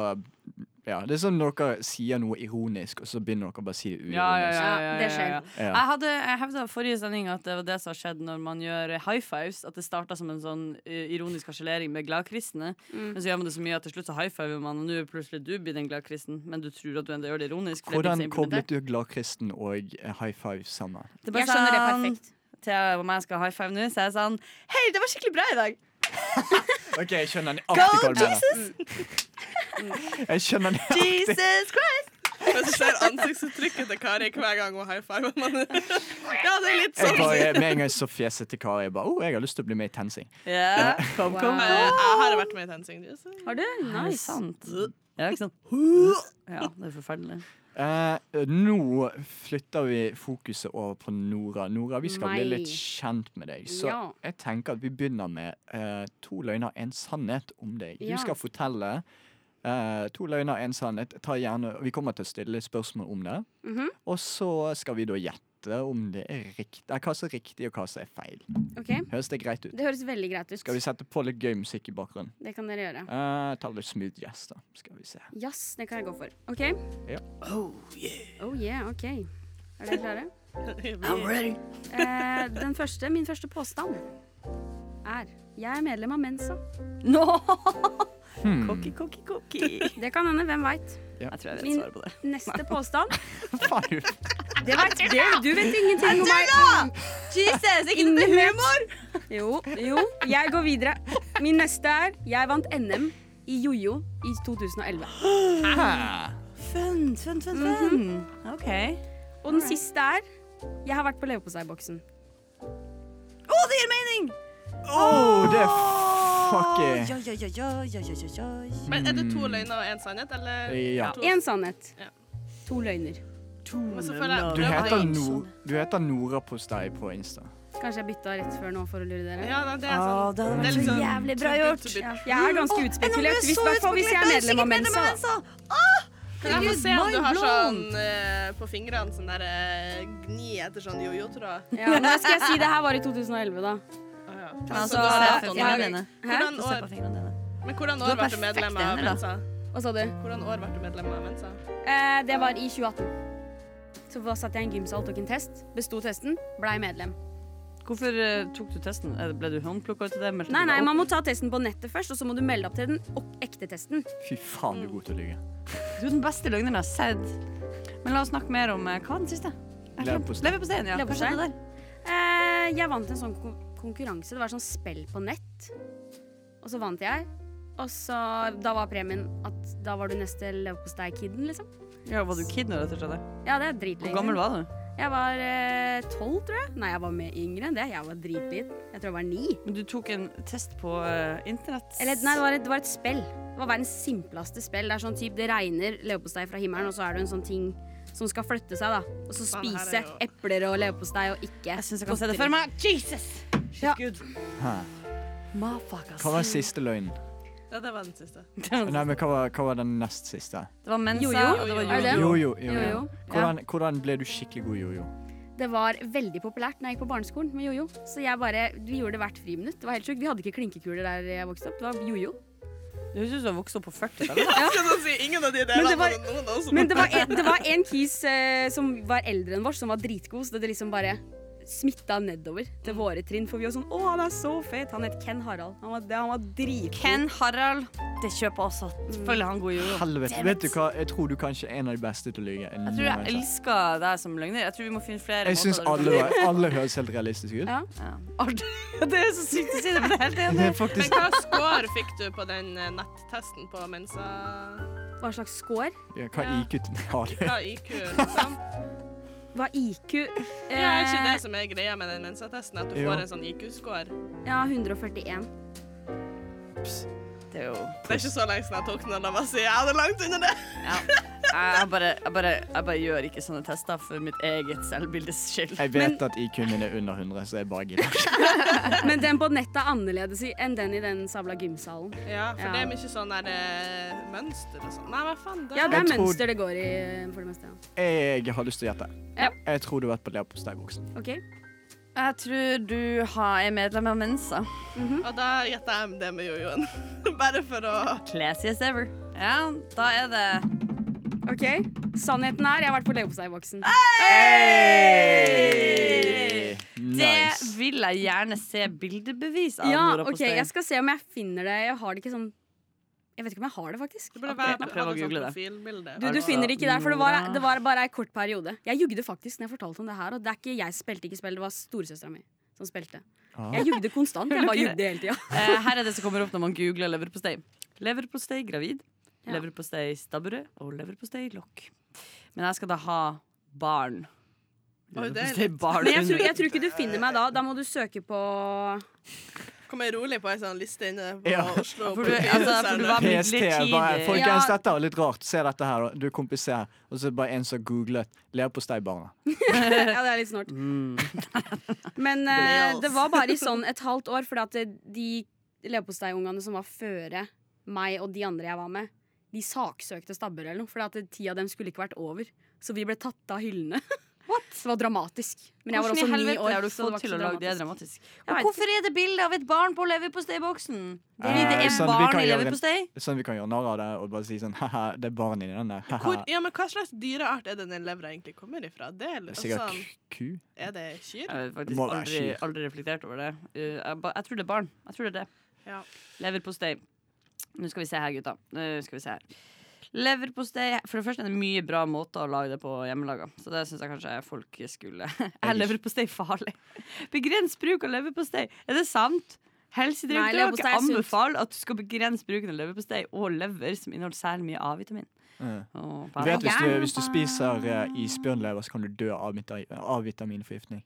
Speaker 4: ja, det er sånn når dere sier noe ironisk, og så begynner dere bare å si det uironisk.
Speaker 5: Ja, ja, ja, ja,
Speaker 6: Ja,
Speaker 5: ja,
Speaker 6: det
Speaker 5: ja,
Speaker 6: skjer.
Speaker 5: ja.
Speaker 4: Ja.
Speaker 5: Jeg, hadde, jeg hevda forrige sending at det var det som har skjedd når man gjør high fives. At det starta som en sånn eh, ironisk harselering med gladkristne. Men så gjør man det så mye at til slutt så high fiver man, og nå er plutselig du blitt en gladkristen. Men du tror at du enda gjør det ironisk. for det er blitt
Speaker 4: Hvordan
Speaker 5: så implementert.
Speaker 4: koblet du gladkristen og eh, high five sammen?
Speaker 5: Det er bare
Speaker 6: Jeg skjønner det
Speaker 5: sånn,
Speaker 6: perfekt.
Speaker 5: Til om jeg skal high five nå, så er jeg sånn Hei, det var skikkelig bra i dag!
Speaker 4: Ok, Jeg skjønner
Speaker 5: Go,
Speaker 4: alltid hva du mener.
Speaker 5: Jesus!
Speaker 4: Jeg skjønner
Speaker 5: Mm. Jesus Christ!
Speaker 8: Jeg ser ansiktsuttrykket til Kari hver gang hun high five. Men, (laughs) ja, det er litt
Speaker 4: jeg
Speaker 8: sånn.
Speaker 4: bare, Med en gang jeg så fjeset til Kari, jeg bare oh, jeg har lyst til å bli med i TenSing.
Speaker 5: Ja, kom, kom.
Speaker 8: Eh, Jeg har vært med i TenSing. du, så-
Speaker 6: Har du?
Speaker 5: Det er
Speaker 6: Nice.
Speaker 5: sant. Ja, ikke sant? Ja, det er forferdelig.
Speaker 4: Eh, nå flytter vi fokuset over på Nora. Nora, vi skal bli
Speaker 6: Nei.
Speaker 4: litt kjent med deg. Så
Speaker 6: Ja.
Speaker 4: jeg tenker at vi begynner med eh, to løgner, en sannhet om deg.
Speaker 6: Ja.
Speaker 4: Du skal fortelle eh, to løgner, en sannhet. Ta gjerne, vi kommer til å stille litt spørsmål om det.
Speaker 6: Mhm.
Speaker 4: Og så skal vi da gjette om det er riktig, eh, hva som er riktig og hva som er feil.
Speaker 6: Ok,
Speaker 4: Høres det greit ut?
Speaker 6: Det høres veldig greit ut.
Speaker 4: Skal vi sette på litt gøy musikk i bakgrunnen?
Speaker 6: Det kan dere gjøre.
Speaker 4: Eh, ta litt smooth jazz, da. Skal
Speaker 6: (laughs)
Speaker 4: vi se.
Speaker 6: Jazz, det kan jeg gå for. OK?
Speaker 4: Ja.
Speaker 6: Oh yeah. OK. Er dere (laughs) klare?
Speaker 8: I'm ready.
Speaker 6: Eh, den første, min første påstand er jeg er medlem av Mensa.
Speaker 5: Nå!
Speaker 4: Hmm.
Speaker 5: Kokki, kokki, kokki.
Speaker 6: Det kan hende, hvem veit.
Speaker 5: Jeg tror jeg vet
Speaker 6: Min-
Speaker 5: svaret på det.
Speaker 6: Neste påstand
Speaker 4: Faen,
Speaker 6: Det (laughs) vet det, Du vet ingenting om meg. Jesus, ikke noe humor! Jo, jo. Jeg går videre. Min neste er jeg vant NM i jojo i 2011.
Speaker 5: Fun, fun, fun, fun. OK.
Speaker 6: Og den siste er jeg har vært på leverposteiboksen.
Speaker 5: Å, det gir mening!
Speaker 4: Oh, det er fucky.
Speaker 5: Oi, oi, oi, oi, oi, oi, oi.
Speaker 8: Men er det to løgner og én sannhet, eller?
Speaker 4: Ja.
Speaker 8: To-
Speaker 6: Én sannhet.
Speaker 8: Ja.
Speaker 6: To løgner.
Speaker 8: Men så føler jeg
Speaker 4: Du
Speaker 8: prøver-
Speaker 4: heter, no, du heter Nora Postei på Insta.
Speaker 6: Kanskje jeg bytta rett før nå for å lure dere.
Speaker 8: Ja, nei, det er sånn.
Speaker 5: det
Speaker 8: Det er litt sånn
Speaker 5: jævlig
Speaker 8: bra gjort.
Speaker 6: Ja, jeg er ganske utspekulert. Hvis, hvertfall hvis jeg er medlem av Mensa. da.
Speaker 8: Men jeg får se om
Speaker 5: Mind
Speaker 8: du har
Speaker 5: blown.
Speaker 8: sånn eh, på fingrene sånn der eh, gni etter sånn jojo-tråd.
Speaker 6: Ja, men skal jeg si det her var i 2011, da.
Speaker 8: Å, ja.
Speaker 5: Altså,
Speaker 8: Så da-
Speaker 5: se på
Speaker 8: ja,
Speaker 5: fingrene dine.
Speaker 8: Hvordan
Speaker 5: Se på
Speaker 8: år,
Speaker 5: fingrene dine.
Speaker 8: men hvordan
Speaker 5: Du
Speaker 8: år
Speaker 5: er
Speaker 8: ble du
Speaker 5: perfekt
Speaker 8: medlem av
Speaker 5: enig, da.
Speaker 8: Mensa?
Speaker 6: Hva sa du?
Speaker 8: Hvordan år ble du medlem av Mensa?
Speaker 6: Eh, det var i 2018. Så da satt jeg i en gymsal, tok en test, besto testen, blei medlem.
Speaker 5: Hvorfor eh, tok du testen? Eh, Ble du håndplukka ut til det? Meldte du
Speaker 6: Nei, nei,
Speaker 5: deg
Speaker 6: man
Speaker 5: opp?
Speaker 6: må ta testen på nettet først, og så må du melde opp til den ok- ekte testen.
Speaker 4: Fy faen, du er god til å lyve.
Speaker 5: Du er den beste løgneren jeg har sett. Men la oss snakke mer om eh, Hva var den siste? Jeg glemte.
Speaker 4: Leverpostei.
Speaker 5: Leverposteien, ja. Hva
Speaker 6: Leverpostei.
Speaker 5: skjedde der?
Speaker 6: Eh, jeg vant en sånn kon- konkurranse. Det var sånn spill på nett. Og så vant jeg. Og så, da var premien at da var du neste leverpostei-kiden, liksom.
Speaker 5: Ja, var du kid når dette skjedde?
Speaker 6: Ja, det er dritlenge.
Speaker 5: Hvor gammel var du?
Speaker 6: Jeg var eh, tolv, tror jeg. Nei, jeg var med yngre enn det. Jeg var dritliten. Jeg tror jeg var ni.
Speaker 5: Men du tok en test på eh, internett?
Speaker 6: Eller nei, det var, et, det var et spill. Det var verdens simpleste spill. Det er sånn typ, det regner leverpostei fra himmelen, og så er det en sånn ting som skal flytte seg, da. Og så
Speaker 8: Faen, her er
Speaker 6: spise
Speaker 8: jo-
Speaker 6: epler og leverpostei og ikke
Speaker 5: Jeg syns jeg kan se det for meg. Jesus! She's
Speaker 6: Ja.
Speaker 5: good.
Speaker 4: Hæ.
Speaker 5: Motherfuckers.
Speaker 4: Hva var siste løgnen?
Speaker 8: Ja, det var den siste.
Speaker 4: Nei, men hva var, hva var den nest siste?
Speaker 5: Det var mensa.
Speaker 6: Jojo.
Speaker 5: og det var
Speaker 6: Er det?
Speaker 5: jojo.
Speaker 4: Jojo. jo,
Speaker 6: Jo, jo.
Speaker 4: jo. Hvordan, hvordan ble du skikkelig god i jojo?
Speaker 6: Det var veldig populært når jeg gikk på barneskolen med jojo. Så jeg bare, vi gjorde det hvert friminutt. Det var helt sjukt. Vi hadde ikke klinkekuler der jeg vokste opp. Det var jojo.
Speaker 5: Det høres ut som du har vokst opp på 40-tallet.
Speaker 8: (laughs) Jeg skal sånn si ingen av de
Speaker 6: Men
Speaker 8: delene
Speaker 6: det var-
Speaker 8: var noen av oss som
Speaker 6: Men det var en, det var en kis eh, som var eldre enn vår, som var dritgod, så det liksom bare smitta nedover til våre trinn. For vi var sånn Å, han er så fet! Han het Ken Harald. Han var, han var dritgod.
Speaker 5: (laughs) Ken Harald. Det kjøper også. Selvfølgelig han god jojo.
Speaker 4: Helvete. Vet du hva, jeg tror du kanskje er en av de beste til å lyve.
Speaker 5: Jeg tror jeg elsker deg som løgner. Jeg tror vi må finne flere
Speaker 4: Jeg syns
Speaker 5: måter
Speaker 4: alle, alle høres helt realistiske ut.
Speaker 6: Ja.
Speaker 5: (laughs) Ja. Alt- Det er så sykt å si det, men det er helt
Speaker 4: Det
Speaker 5: enig.
Speaker 4: er faktisk
Speaker 8: Men hva score fikk du på den eh, nettesten på Mensa?
Speaker 6: Hva slags score?
Speaker 4: (laughs) ja, Hva IQ har du?
Speaker 8: Hva IQ, liksom?
Speaker 6: Hva IQ
Speaker 8: Det er ikke det som er greia med den Mensa-testen, at du
Speaker 4: Jo.
Speaker 8: får en sånn IQ-score.
Speaker 6: Ja, 141.
Speaker 5: Det er jo
Speaker 8: Det er ikke så lenge siden jeg tok den, la meg si. Jeg hadde langt under det.
Speaker 5: jeg bare, jeg, bare, jeg bare gjør ikke sånne tester for mitt eget selvbildes skyld.
Speaker 4: Jeg vet at IQ-en min er under 100, så jeg bare gidder.
Speaker 6: Men den på nettet er annerledes i- enn den i den sabla gymsalen.
Speaker 8: Ja, for
Speaker 6: Ja.
Speaker 8: det er mye sånn der eh, mønster og sånn. Nei, hva faen? Det
Speaker 6: Ja, det er
Speaker 4: Jeg tror-
Speaker 6: mønster det går i eh, for det meste. ja.
Speaker 4: Jeg har lyst til å gjette.
Speaker 6: Ja.
Speaker 4: Jeg tror du har vært på leverposteiboksen.
Speaker 6: OK?
Speaker 5: Jeg tror du har, er medlem av Mensa.
Speaker 8: Og da gjetter jeg det med jojoen. (laughs) Bare for å
Speaker 5: Classiest ever. Ja, da er det
Speaker 6: Ok, Sannheten er jeg har vært på leverposteiboksen.
Speaker 4: Ah!
Speaker 5: Det
Speaker 4: Nice.
Speaker 5: vil jeg gjerne se bildebevis av.
Speaker 6: Ja,
Speaker 5: Nora på
Speaker 6: OK,
Speaker 5: stein.
Speaker 6: jeg skal se om jeg finner det. Jeg har det ikke sånn Jeg vet ikke om jeg har det, faktisk.
Speaker 8: Det burde
Speaker 5: Ok,
Speaker 8: være sånn
Speaker 5: jeg prøver å google det.
Speaker 8: profilbilde.
Speaker 6: Du, du finner det ikke der, for det var,
Speaker 5: Nora.
Speaker 6: det var bare ei kort periode. Jeg jugde faktisk når jeg fortalte om det her, og det er ikke jeg spilte ikke spill, det var storesøstera mi som spilte.
Speaker 4: Ah.
Speaker 6: Jeg jugde konstant. Jeg bare jugde hele tida.
Speaker 5: Eh, her er det som kommer opp når man googler leverpostei. Leverpostei gravid,
Speaker 6: Ja.
Speaker 5: leverpostei stabburet og leverpostei lokk. Men jeg skal da ha barn.
Speaker 8: Oi, det er
Speaker 5: Leverpostei barn
Speaker 6: Men jeg tror,
Speaker 5: under.
Speaker 6: jeg tror ikke du finner meg da. Da må du søke på
Speaker 8: Kommer jeg rolig på ei sånn liste inne på
Speaker 4: Ja.
Speaker 8: Oslo.
Speaker 5: For du- altså, for du var-
Speaker 4: PST bare
Speaker 5: Midlertidig.
Speaker 4: Folkens,
Speaker 6: Ja.
Speaker 4: dette er litt rart. Se dette her, da. Du er kompis her. Og så bare en som googlet leverposteibarna.
Speaker 6: (laughs) Ja, det er litt snålt.
Speaker 5: Mm.
Speaker 6: (laughs) Men eh, det var bare i sånn et halvt år, fordi at eh, de leverposteingungene som var føre meg og de andre jeg var med, de saksøkte Stabburet eller noe, fordi at ti av dem skulle ikke vært over. Så vi ble tatt av hyllene. (laughs) Det var dramatisk. Men jeg var
Speaker 5: Hvordan i
Speaker 6: også ni
Speaker 5: helvete
Speaker 6: år.
Speaker 5: har du
Speaker 6: så det
Speaker 5: fått
Speaker 6: var ikke
Speaker 5: til
Speaker 6: så
Speaker 5: å lage det
Speaker 6: dramatisk.
Speaker 5: dramatisk?
Speaker 6: Jeg vet
Speaker 10: Hvorfor er det bilde av et barn på leverposteiboksen? Fordi
Speaker 4: Eh,
Speaker 10: det er
Speaker 4: sånn, vi
Speaker 10: barn
Speaker 4: kan
Speaker 10: i
Speaker 4: gjøre det.
Speaker 10: leverpostei?
Speaker 4: Sånn vi kan gjøre narr av det og bare si sånn ha-ha, det er barn inni den der. Ha-ha.
Speaker 8: Hvor, ja, men hva slags dyreart er det den levra egentlig kommer ifra? Det er, litt
Speaker 4: Sikkert
Speaker 8: sånn,
Speaker 4: k- ku.
Speaker 8: er det kyr?
Speaker 5: Jeg har
Speaker 4: Det
Speaker 5: faktisk
Speaker 4: må være
Speaker 5: aldri,
Speaker 4: skyld.
Speaker 5: aldri reflektert over det. Eh, Jeg, ba- jeg tror det er barn. Jeg tror det er det.
Speaker 8: Ja.
Speaker 5: Leverpostei. Nå skal vi se her, gutta. Nå skal vi se her. Leverpostei For det første er det mye bra måter å lage det på hjemmelaga. Så det syns jeg kanskje folk skulle (laughs) Er leverpostei farlig? Begrens bruk av leverpostei. Er det sant?
Speaker 6: Nei, leverpostei
Speaker 5: Helsedirektoratet
Speaker 6: er sunt.
Speaker 5: anbefaler at du skal begrense bruken av leverpostei og lever som inneholder særlig mye A-vitamin.
Speaker 4: Eh.
Speaker 5: Å,
Speaker 4: Du vet, hvis, du, hvis du spiser eh, isbjørnlever, så kan du dø av, vita- av vitaminforgiftning.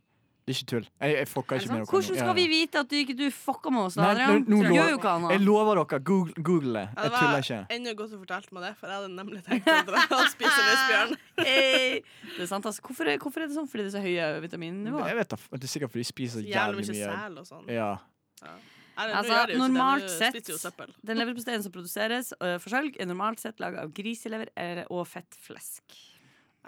Speaker 4: Det er ikke tull. Jeg, jeg fucker ikke med dere.
Speaker 5: Hvordan
Speaker 4: nå.
Speaker 5: skal
Speaker 4: Ja,
Speaker 5: vi
Speaker 4: ja.
Speaker 5: vite at du ikke du fucker med oss?
Speaker 4: Nei,
Speaker 5: Adrian?
Speaker 4: nå- nå
Speaker 5: du
Speaker 4: lov-
Speaker 5: gjør jo ikke
Speaker 4: Jeg
Speaker 5: annet.
Speaker 4: lover dere, google, google det.
Speaker 8: Ja, det
Speaker 4: Jeg
Speaker 8: var
Speaker 4: tuller ikke.
Speaker 8: ennå godt du fortalte meg det, for jeg hadde nemlig tenkt å dra og spise
Speaker 4: (laughs)
Speaker 8: isbjørn.
Speaker 5: Hey. (laughs) Det er sant, altså. hvorfor, er- hvorfor er det sånn? Fordi det er så høye vitaminnivåer?
Speaker 4: Jeg vet da, f- Det er sikkert fordi de spiser jævlig
Speaker 8: Jævlig mye
Speaker 4: mye.
Speaker 8: sel og sånn.
Speaker 4: Ja.
Speaker 8: Nei, nå
Speaker 5: Altså,
Speaker 8: gjør det jo ikke det,
Speaker 5: normalt
Speaker 8: nå
Speaker 5: sett-
Speaker 8: Spiser jo søppel.
Speaker 5: Den leverposteien som produseres øh, for salg, er normalt sett laga av griselever eller- og fettflesk.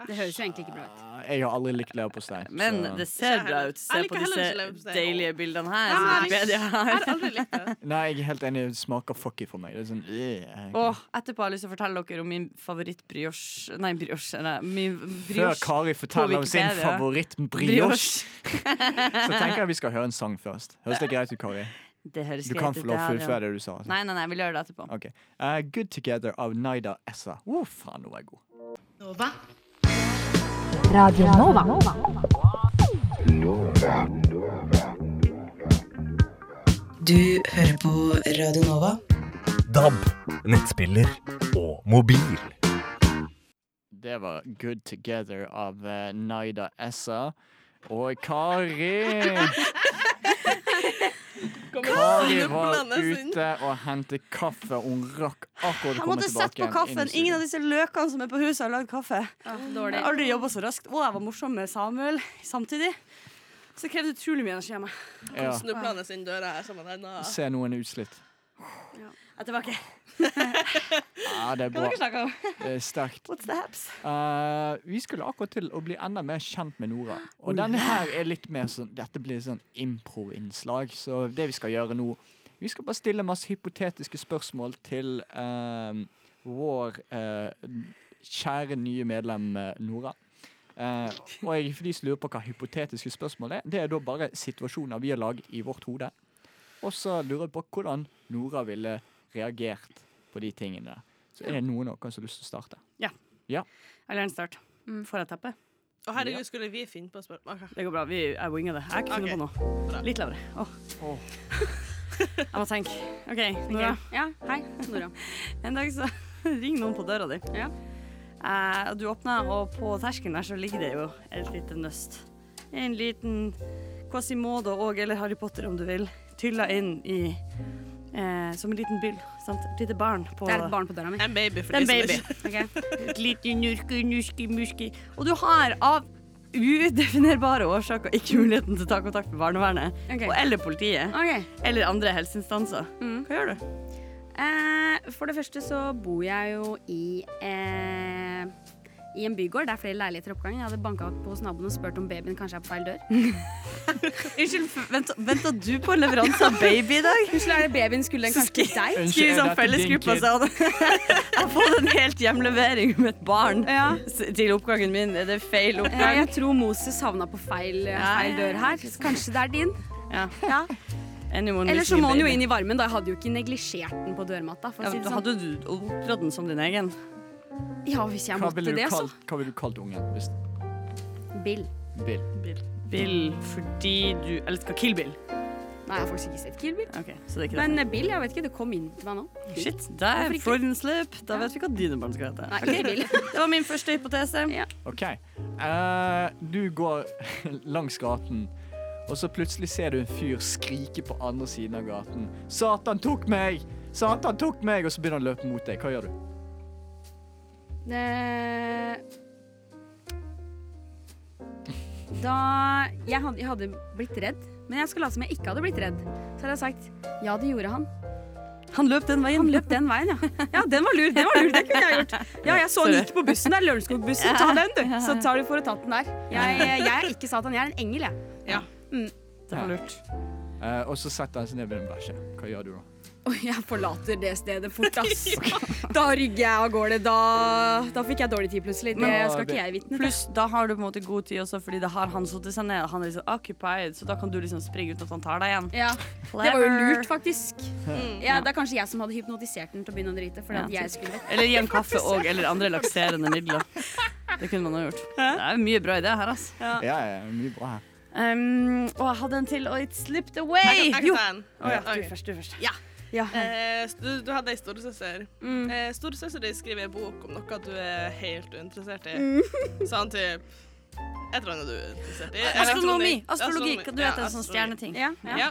Speaker 6: Det høres jo egentlig ikke bra ut.
Speaker 4: Jeg har aldri likt leverpostei.
Speaker 5: Men
Speaker 4: så-
Speaker 5: det ser
Speaker 8: Ikke
Speaker 5: bra
Speaker 8: heller.
Speaker 5: ut. Se
Speaker 8: Jeg liker
Speaker 5: på
Speaker 8: heller
Speaker 5: disse
Speaker 8: ikke leverpostei.
Speaker 5: deilige bildene her.
Speaker 8: Ja,
Speaker 5: som
Speaker 8: men jeg-
Speaker 5: Wikipedia
Speaker 8: Jeg
Speaker 5: har.
Speaker 8: har
Speaker 5: (laughs)
Speaker 8: aldri likt det.
Speaker 4: Nei, jeg er helt enig. Det smaker fucky for meg. Det er sånn, øh.
Speaker 5: Og etterpå har jeg lyst til å fortelle dere om min favoritt-brioche Nei, brioche. Nei, min
Speaker 4: Før
Speaker 5: brioche.
Speaker 4: Kari forteller om sin
Speaker 5: Wikipedia.
Speaker 4: favoritt-brioche, så tenker jeg vi skal høre en sang først. Høres det greit ut, Kari?
Speaker 5: Det høres
Speaker 4: Du
Speaker 5: greit
Speaker 4: kan
Speaker 5: ut,
Speaker 4: få lov å
Speaker 5: det her, ja.
Speaker 4: fullføre det du sa. altså.
Speaker 5: Nei, nei, nei, vi gjør det etterpå.
Speaker 4: Ok. Eh, Good Together av Naida Essa. Å, faen, nå var jeg god.
Speaker 11: Du hører på Radio Nova.
Speaker 7: DAB, nettspiller og mobil.
Speaker 4: Det var Good Together av eh, Naida Essa. Og
Speaker 5: (laughs)
Speaker 4: Kari Kari var
Speaker 8: Snublandes inn.
Speaker 4: ute og hentet kaffe. Hun rakk akkurat å
Speaker 5: Jeg
Speaker 4: komme
Speaker 5: måtte
Speaker 4: tilbake.
Speaker 5: sette på kaffen. Ingen av disse løkene som er på huset, har lagd kaffe. Jeg
Speaker 6: dårlig.
Speaker 5: har aldri jobba så raskt. Og jeg var morsom med Samuel samtidig. Så det krevde utrolig mye energi av meg.
Speaker 4: ja.
Speaker 8: Snublende inn døra her som en annen.
Speaker 4: Se noen er utslitt.
Speaker 5: Jeg er tilbake.
Speaker 4: (laughs) Ja, det er
Speaker 5: Hva
Speaker 4: bra.
Speaker 5: dere snakker om?
Speaker 4: Det er sterkt.
Speaker 5: What's the haps?
Speaker 4: Eh, vi skulle akkurat til å bli enda mer kjent med Nora. Og denne her er litt mer sånn Dette blir sånn impro-innslag. Så det vi skal gjøre nå Vi skal bare stille masse hypotetiske spørsmål til eh, vår eh, kjære nye medlem eh, Nora. Eh, og jeg, for de som lurer på hva hypotetiske spørsmål er, det er da bare situasjoner vi har laget i vårt hode. Og så lurer jeg på hvordan Nora ville reagert på de tingene. Så er det noen av dere som har lyst til å starte?
Speaker 5: Jeg vil gjerne starte. Får jeg teppe?
Speaker 8: Å, herregud, skulle vi finne på å spørre Ok.
Speaker 5: Det går bra. Vi, jeg winga det. Jeg har ikke funnet på noe. Litt lavere. Åh.
Speaker 4: Åh.
Speaker 5: (laughs) jeg må tenke. OK, Nora.
Speaker 6: Ja, hei, Nora.
Speaker 5: (laughs) En dag så ringer noen på døra di.
Speaker 6: Ja.
Speaker 5: Eh, og du åpner, og på terskelen der så ligger det jo et lite nøst. En liten Quasimodo og eller Harry Potter, om du vil, tylla inn i eh, Som en liten byll. Sant? Et lite barn på
Speaker 6: Det er et barn på døra mi.
Speaker 8: En baby for
Speaker 5: Det er
Speaker 8: de
Speaker 5: en
Speaker 8: som
Speaker 5: baby.
Speaker 8: ikke
Speaker 6: Ok.
Speaker 5: Et lite nurki, nurki, murki. Og du har av udefinerbare årsaker ikke muligheten til å ta kontakt med barnevernet
Speaker 6: Ok.
Speaker 5: og eller politiet.
Speaker 6: Ok.
Speaker 5: Eller andre helseinstanser.
Speaker 6: Mm.
Speaker 5: Hva gjør du?
Speaker 6: Eh, for det første så bor jeg jo i eh, i en bygård. Det er flere leiligheter i oppgangen. Jeg hadde banka på hos naboen og spurt om babyen kanskje er på feil dør.
Speaker 5: Unnskyld, f- vent, venta du på en leveranse av baby i dag? (laughs)
Speaker 6: Unnskyld, er det babyen? Skulle den kanskje til deg?
Speaker 5: Skriv sånn
Speaker 4: er dette din
Speaker 5: fellesgruppa
Speaker 4: kid?
Speaker 5: sånn. (laughs) Jeg har fått en helt hjemlevering med et barn s- til oppgangen min. Er det feil
Speaker 6: Eh,
Speaker 5: oppgang?
Speaker 6: jeg tror Moses havna på feil, eh, feil dør her. Så kanskje det er din.
Speaker 5: Ja.
Speaker 6: Ja.
Speaker 5: Anyone
Speaker 6: Eller så
Speaker 5: missing
Speaker 6: må den jo
Speaker 5: baby?
Speaker 6: inn i varmen. Da. Jeg hadde jo ikke neglisjert den på dørmatta. For
Speaker 5: Ja,
Speaker 6: å si det sånn.
Speaker 5: hadde du oppdratt den som din egen?
Speaker 6: Ja, hvis jeg
Speaker 4: Hva
Speaker 6: måtte
Speaker 4: ville du,
Speaker 6: det, så.
Speaker 4: kalt- hva ville du kalt ungen? Hvis
Speaker 6: Bill.
Speaker 4: Bill.
Speaker 5: Bill fordi du elsker Kill Bill.
Speaker 6: Nei, jeg har faktisk ikke sett Kill Bill.
Speaker 5: Ok, så det er ikke
Speaker 6: Men eh, Bill, jeg vet ikke. Det kom inn til meg nå.
Speaker 5: det. Shit, der,
Speaker 6: Hvorfor ikke?
Speaker 5: Freudian slip. Da vet vi hva dine barn skal hete.
Speaker 6: Nei, ikke Bill.
Speaker 5: Det var min første hypotese.
Speaker 6: Ja.
Speaker 4: (laughs) OK. Eh, du går langs gaten, Og så plutselig ser du en fyr skrike på andre siden av gaten. 'Satan tok meg! Satan tok meg!' Og så begynner han å løpe mot deg. Hva gjør du?
Speaker 6: Eh, Da jeg hadde, jeg hadde blitt redd, men jeg skulle late som jeg ikke hadde blitt redd. Så hadde jeg sagt ja, det gjorde han. Han løp den veien. Han løp den veien, ja. Ja, den var lur. Den var lur, det kunne jeg gjort. Ja, jeg så han gikk på bussen der. Lørenskog-bussen. Ta den, du. Så tar du for å ta den der. Jeg, jeg er ikke Satan, jeg er en engel, jeg.
Speaker 8: Ja.
Speaker 6: Mm.
Speaker 4: Det var lurt. Eh, og så setter han seg ned ved en bæsje. Hva gjør du da?
Speaker 6: Oi, jeg forlater det stedet fort, ass. (laughs) Da rygger jeg av gårde. Da, da fikk jeg dårlig tid plutselig. Det skal ikke jeg vitne til.
Speaker 5: Pluss, da har du på en måte god tid også, fordi da har han sittet seg ned, og han er liksom occupied, så da kan du liksom springe uten at han tar deg igjen.
Speaker 6: Ja. Det var jo lurt, faktisk. Mm. Ja, det er kanskje jeg som hadde hypnotisert den til å begynne å drite. Fordi
Speaker 5: Ja.
Speaker 6: at jeg skulle
Speaker 5: Eller gi en kaffe og eller andre lakserende midler. Det kunne man ha gjort. Det er mye bra ideer her, altså.
Speaker 4: Ja, ja, mye bra her.
Speaker 5: Um, og jeg hadde en til, og it slipped
Speaker 8: Jeg
Speaker 5: away.
Speaker 8: kan, jeg kan
Speaker 5: Jo.
Speaker 8: ta en.
Speaker 5: Å ja,
Speaker 8: Ok.
Speaker 5: du først, du først.
Speaker 8: Ja.
Speaker 5: Ja.
Speaker 8: Eh, s- du, du hadde ei storesøster.
Speaker 6: Mm.
Speaker 8: Eh, Storesøster di skriver en bok om noe du er helt uinteressert i.
Speaker 6: Mm.
Speaker 8: (laughs) Sånn typ Jeg tror du er interessert i
Speaker 5: Astronomi.
Speaker 8: elektronikk.
Speaker 5: Astronogi. Du vet det er sånn
Speaker 8: astronomi.
Speaker 5: stjerneting.
Speaker 8: Ja. ja.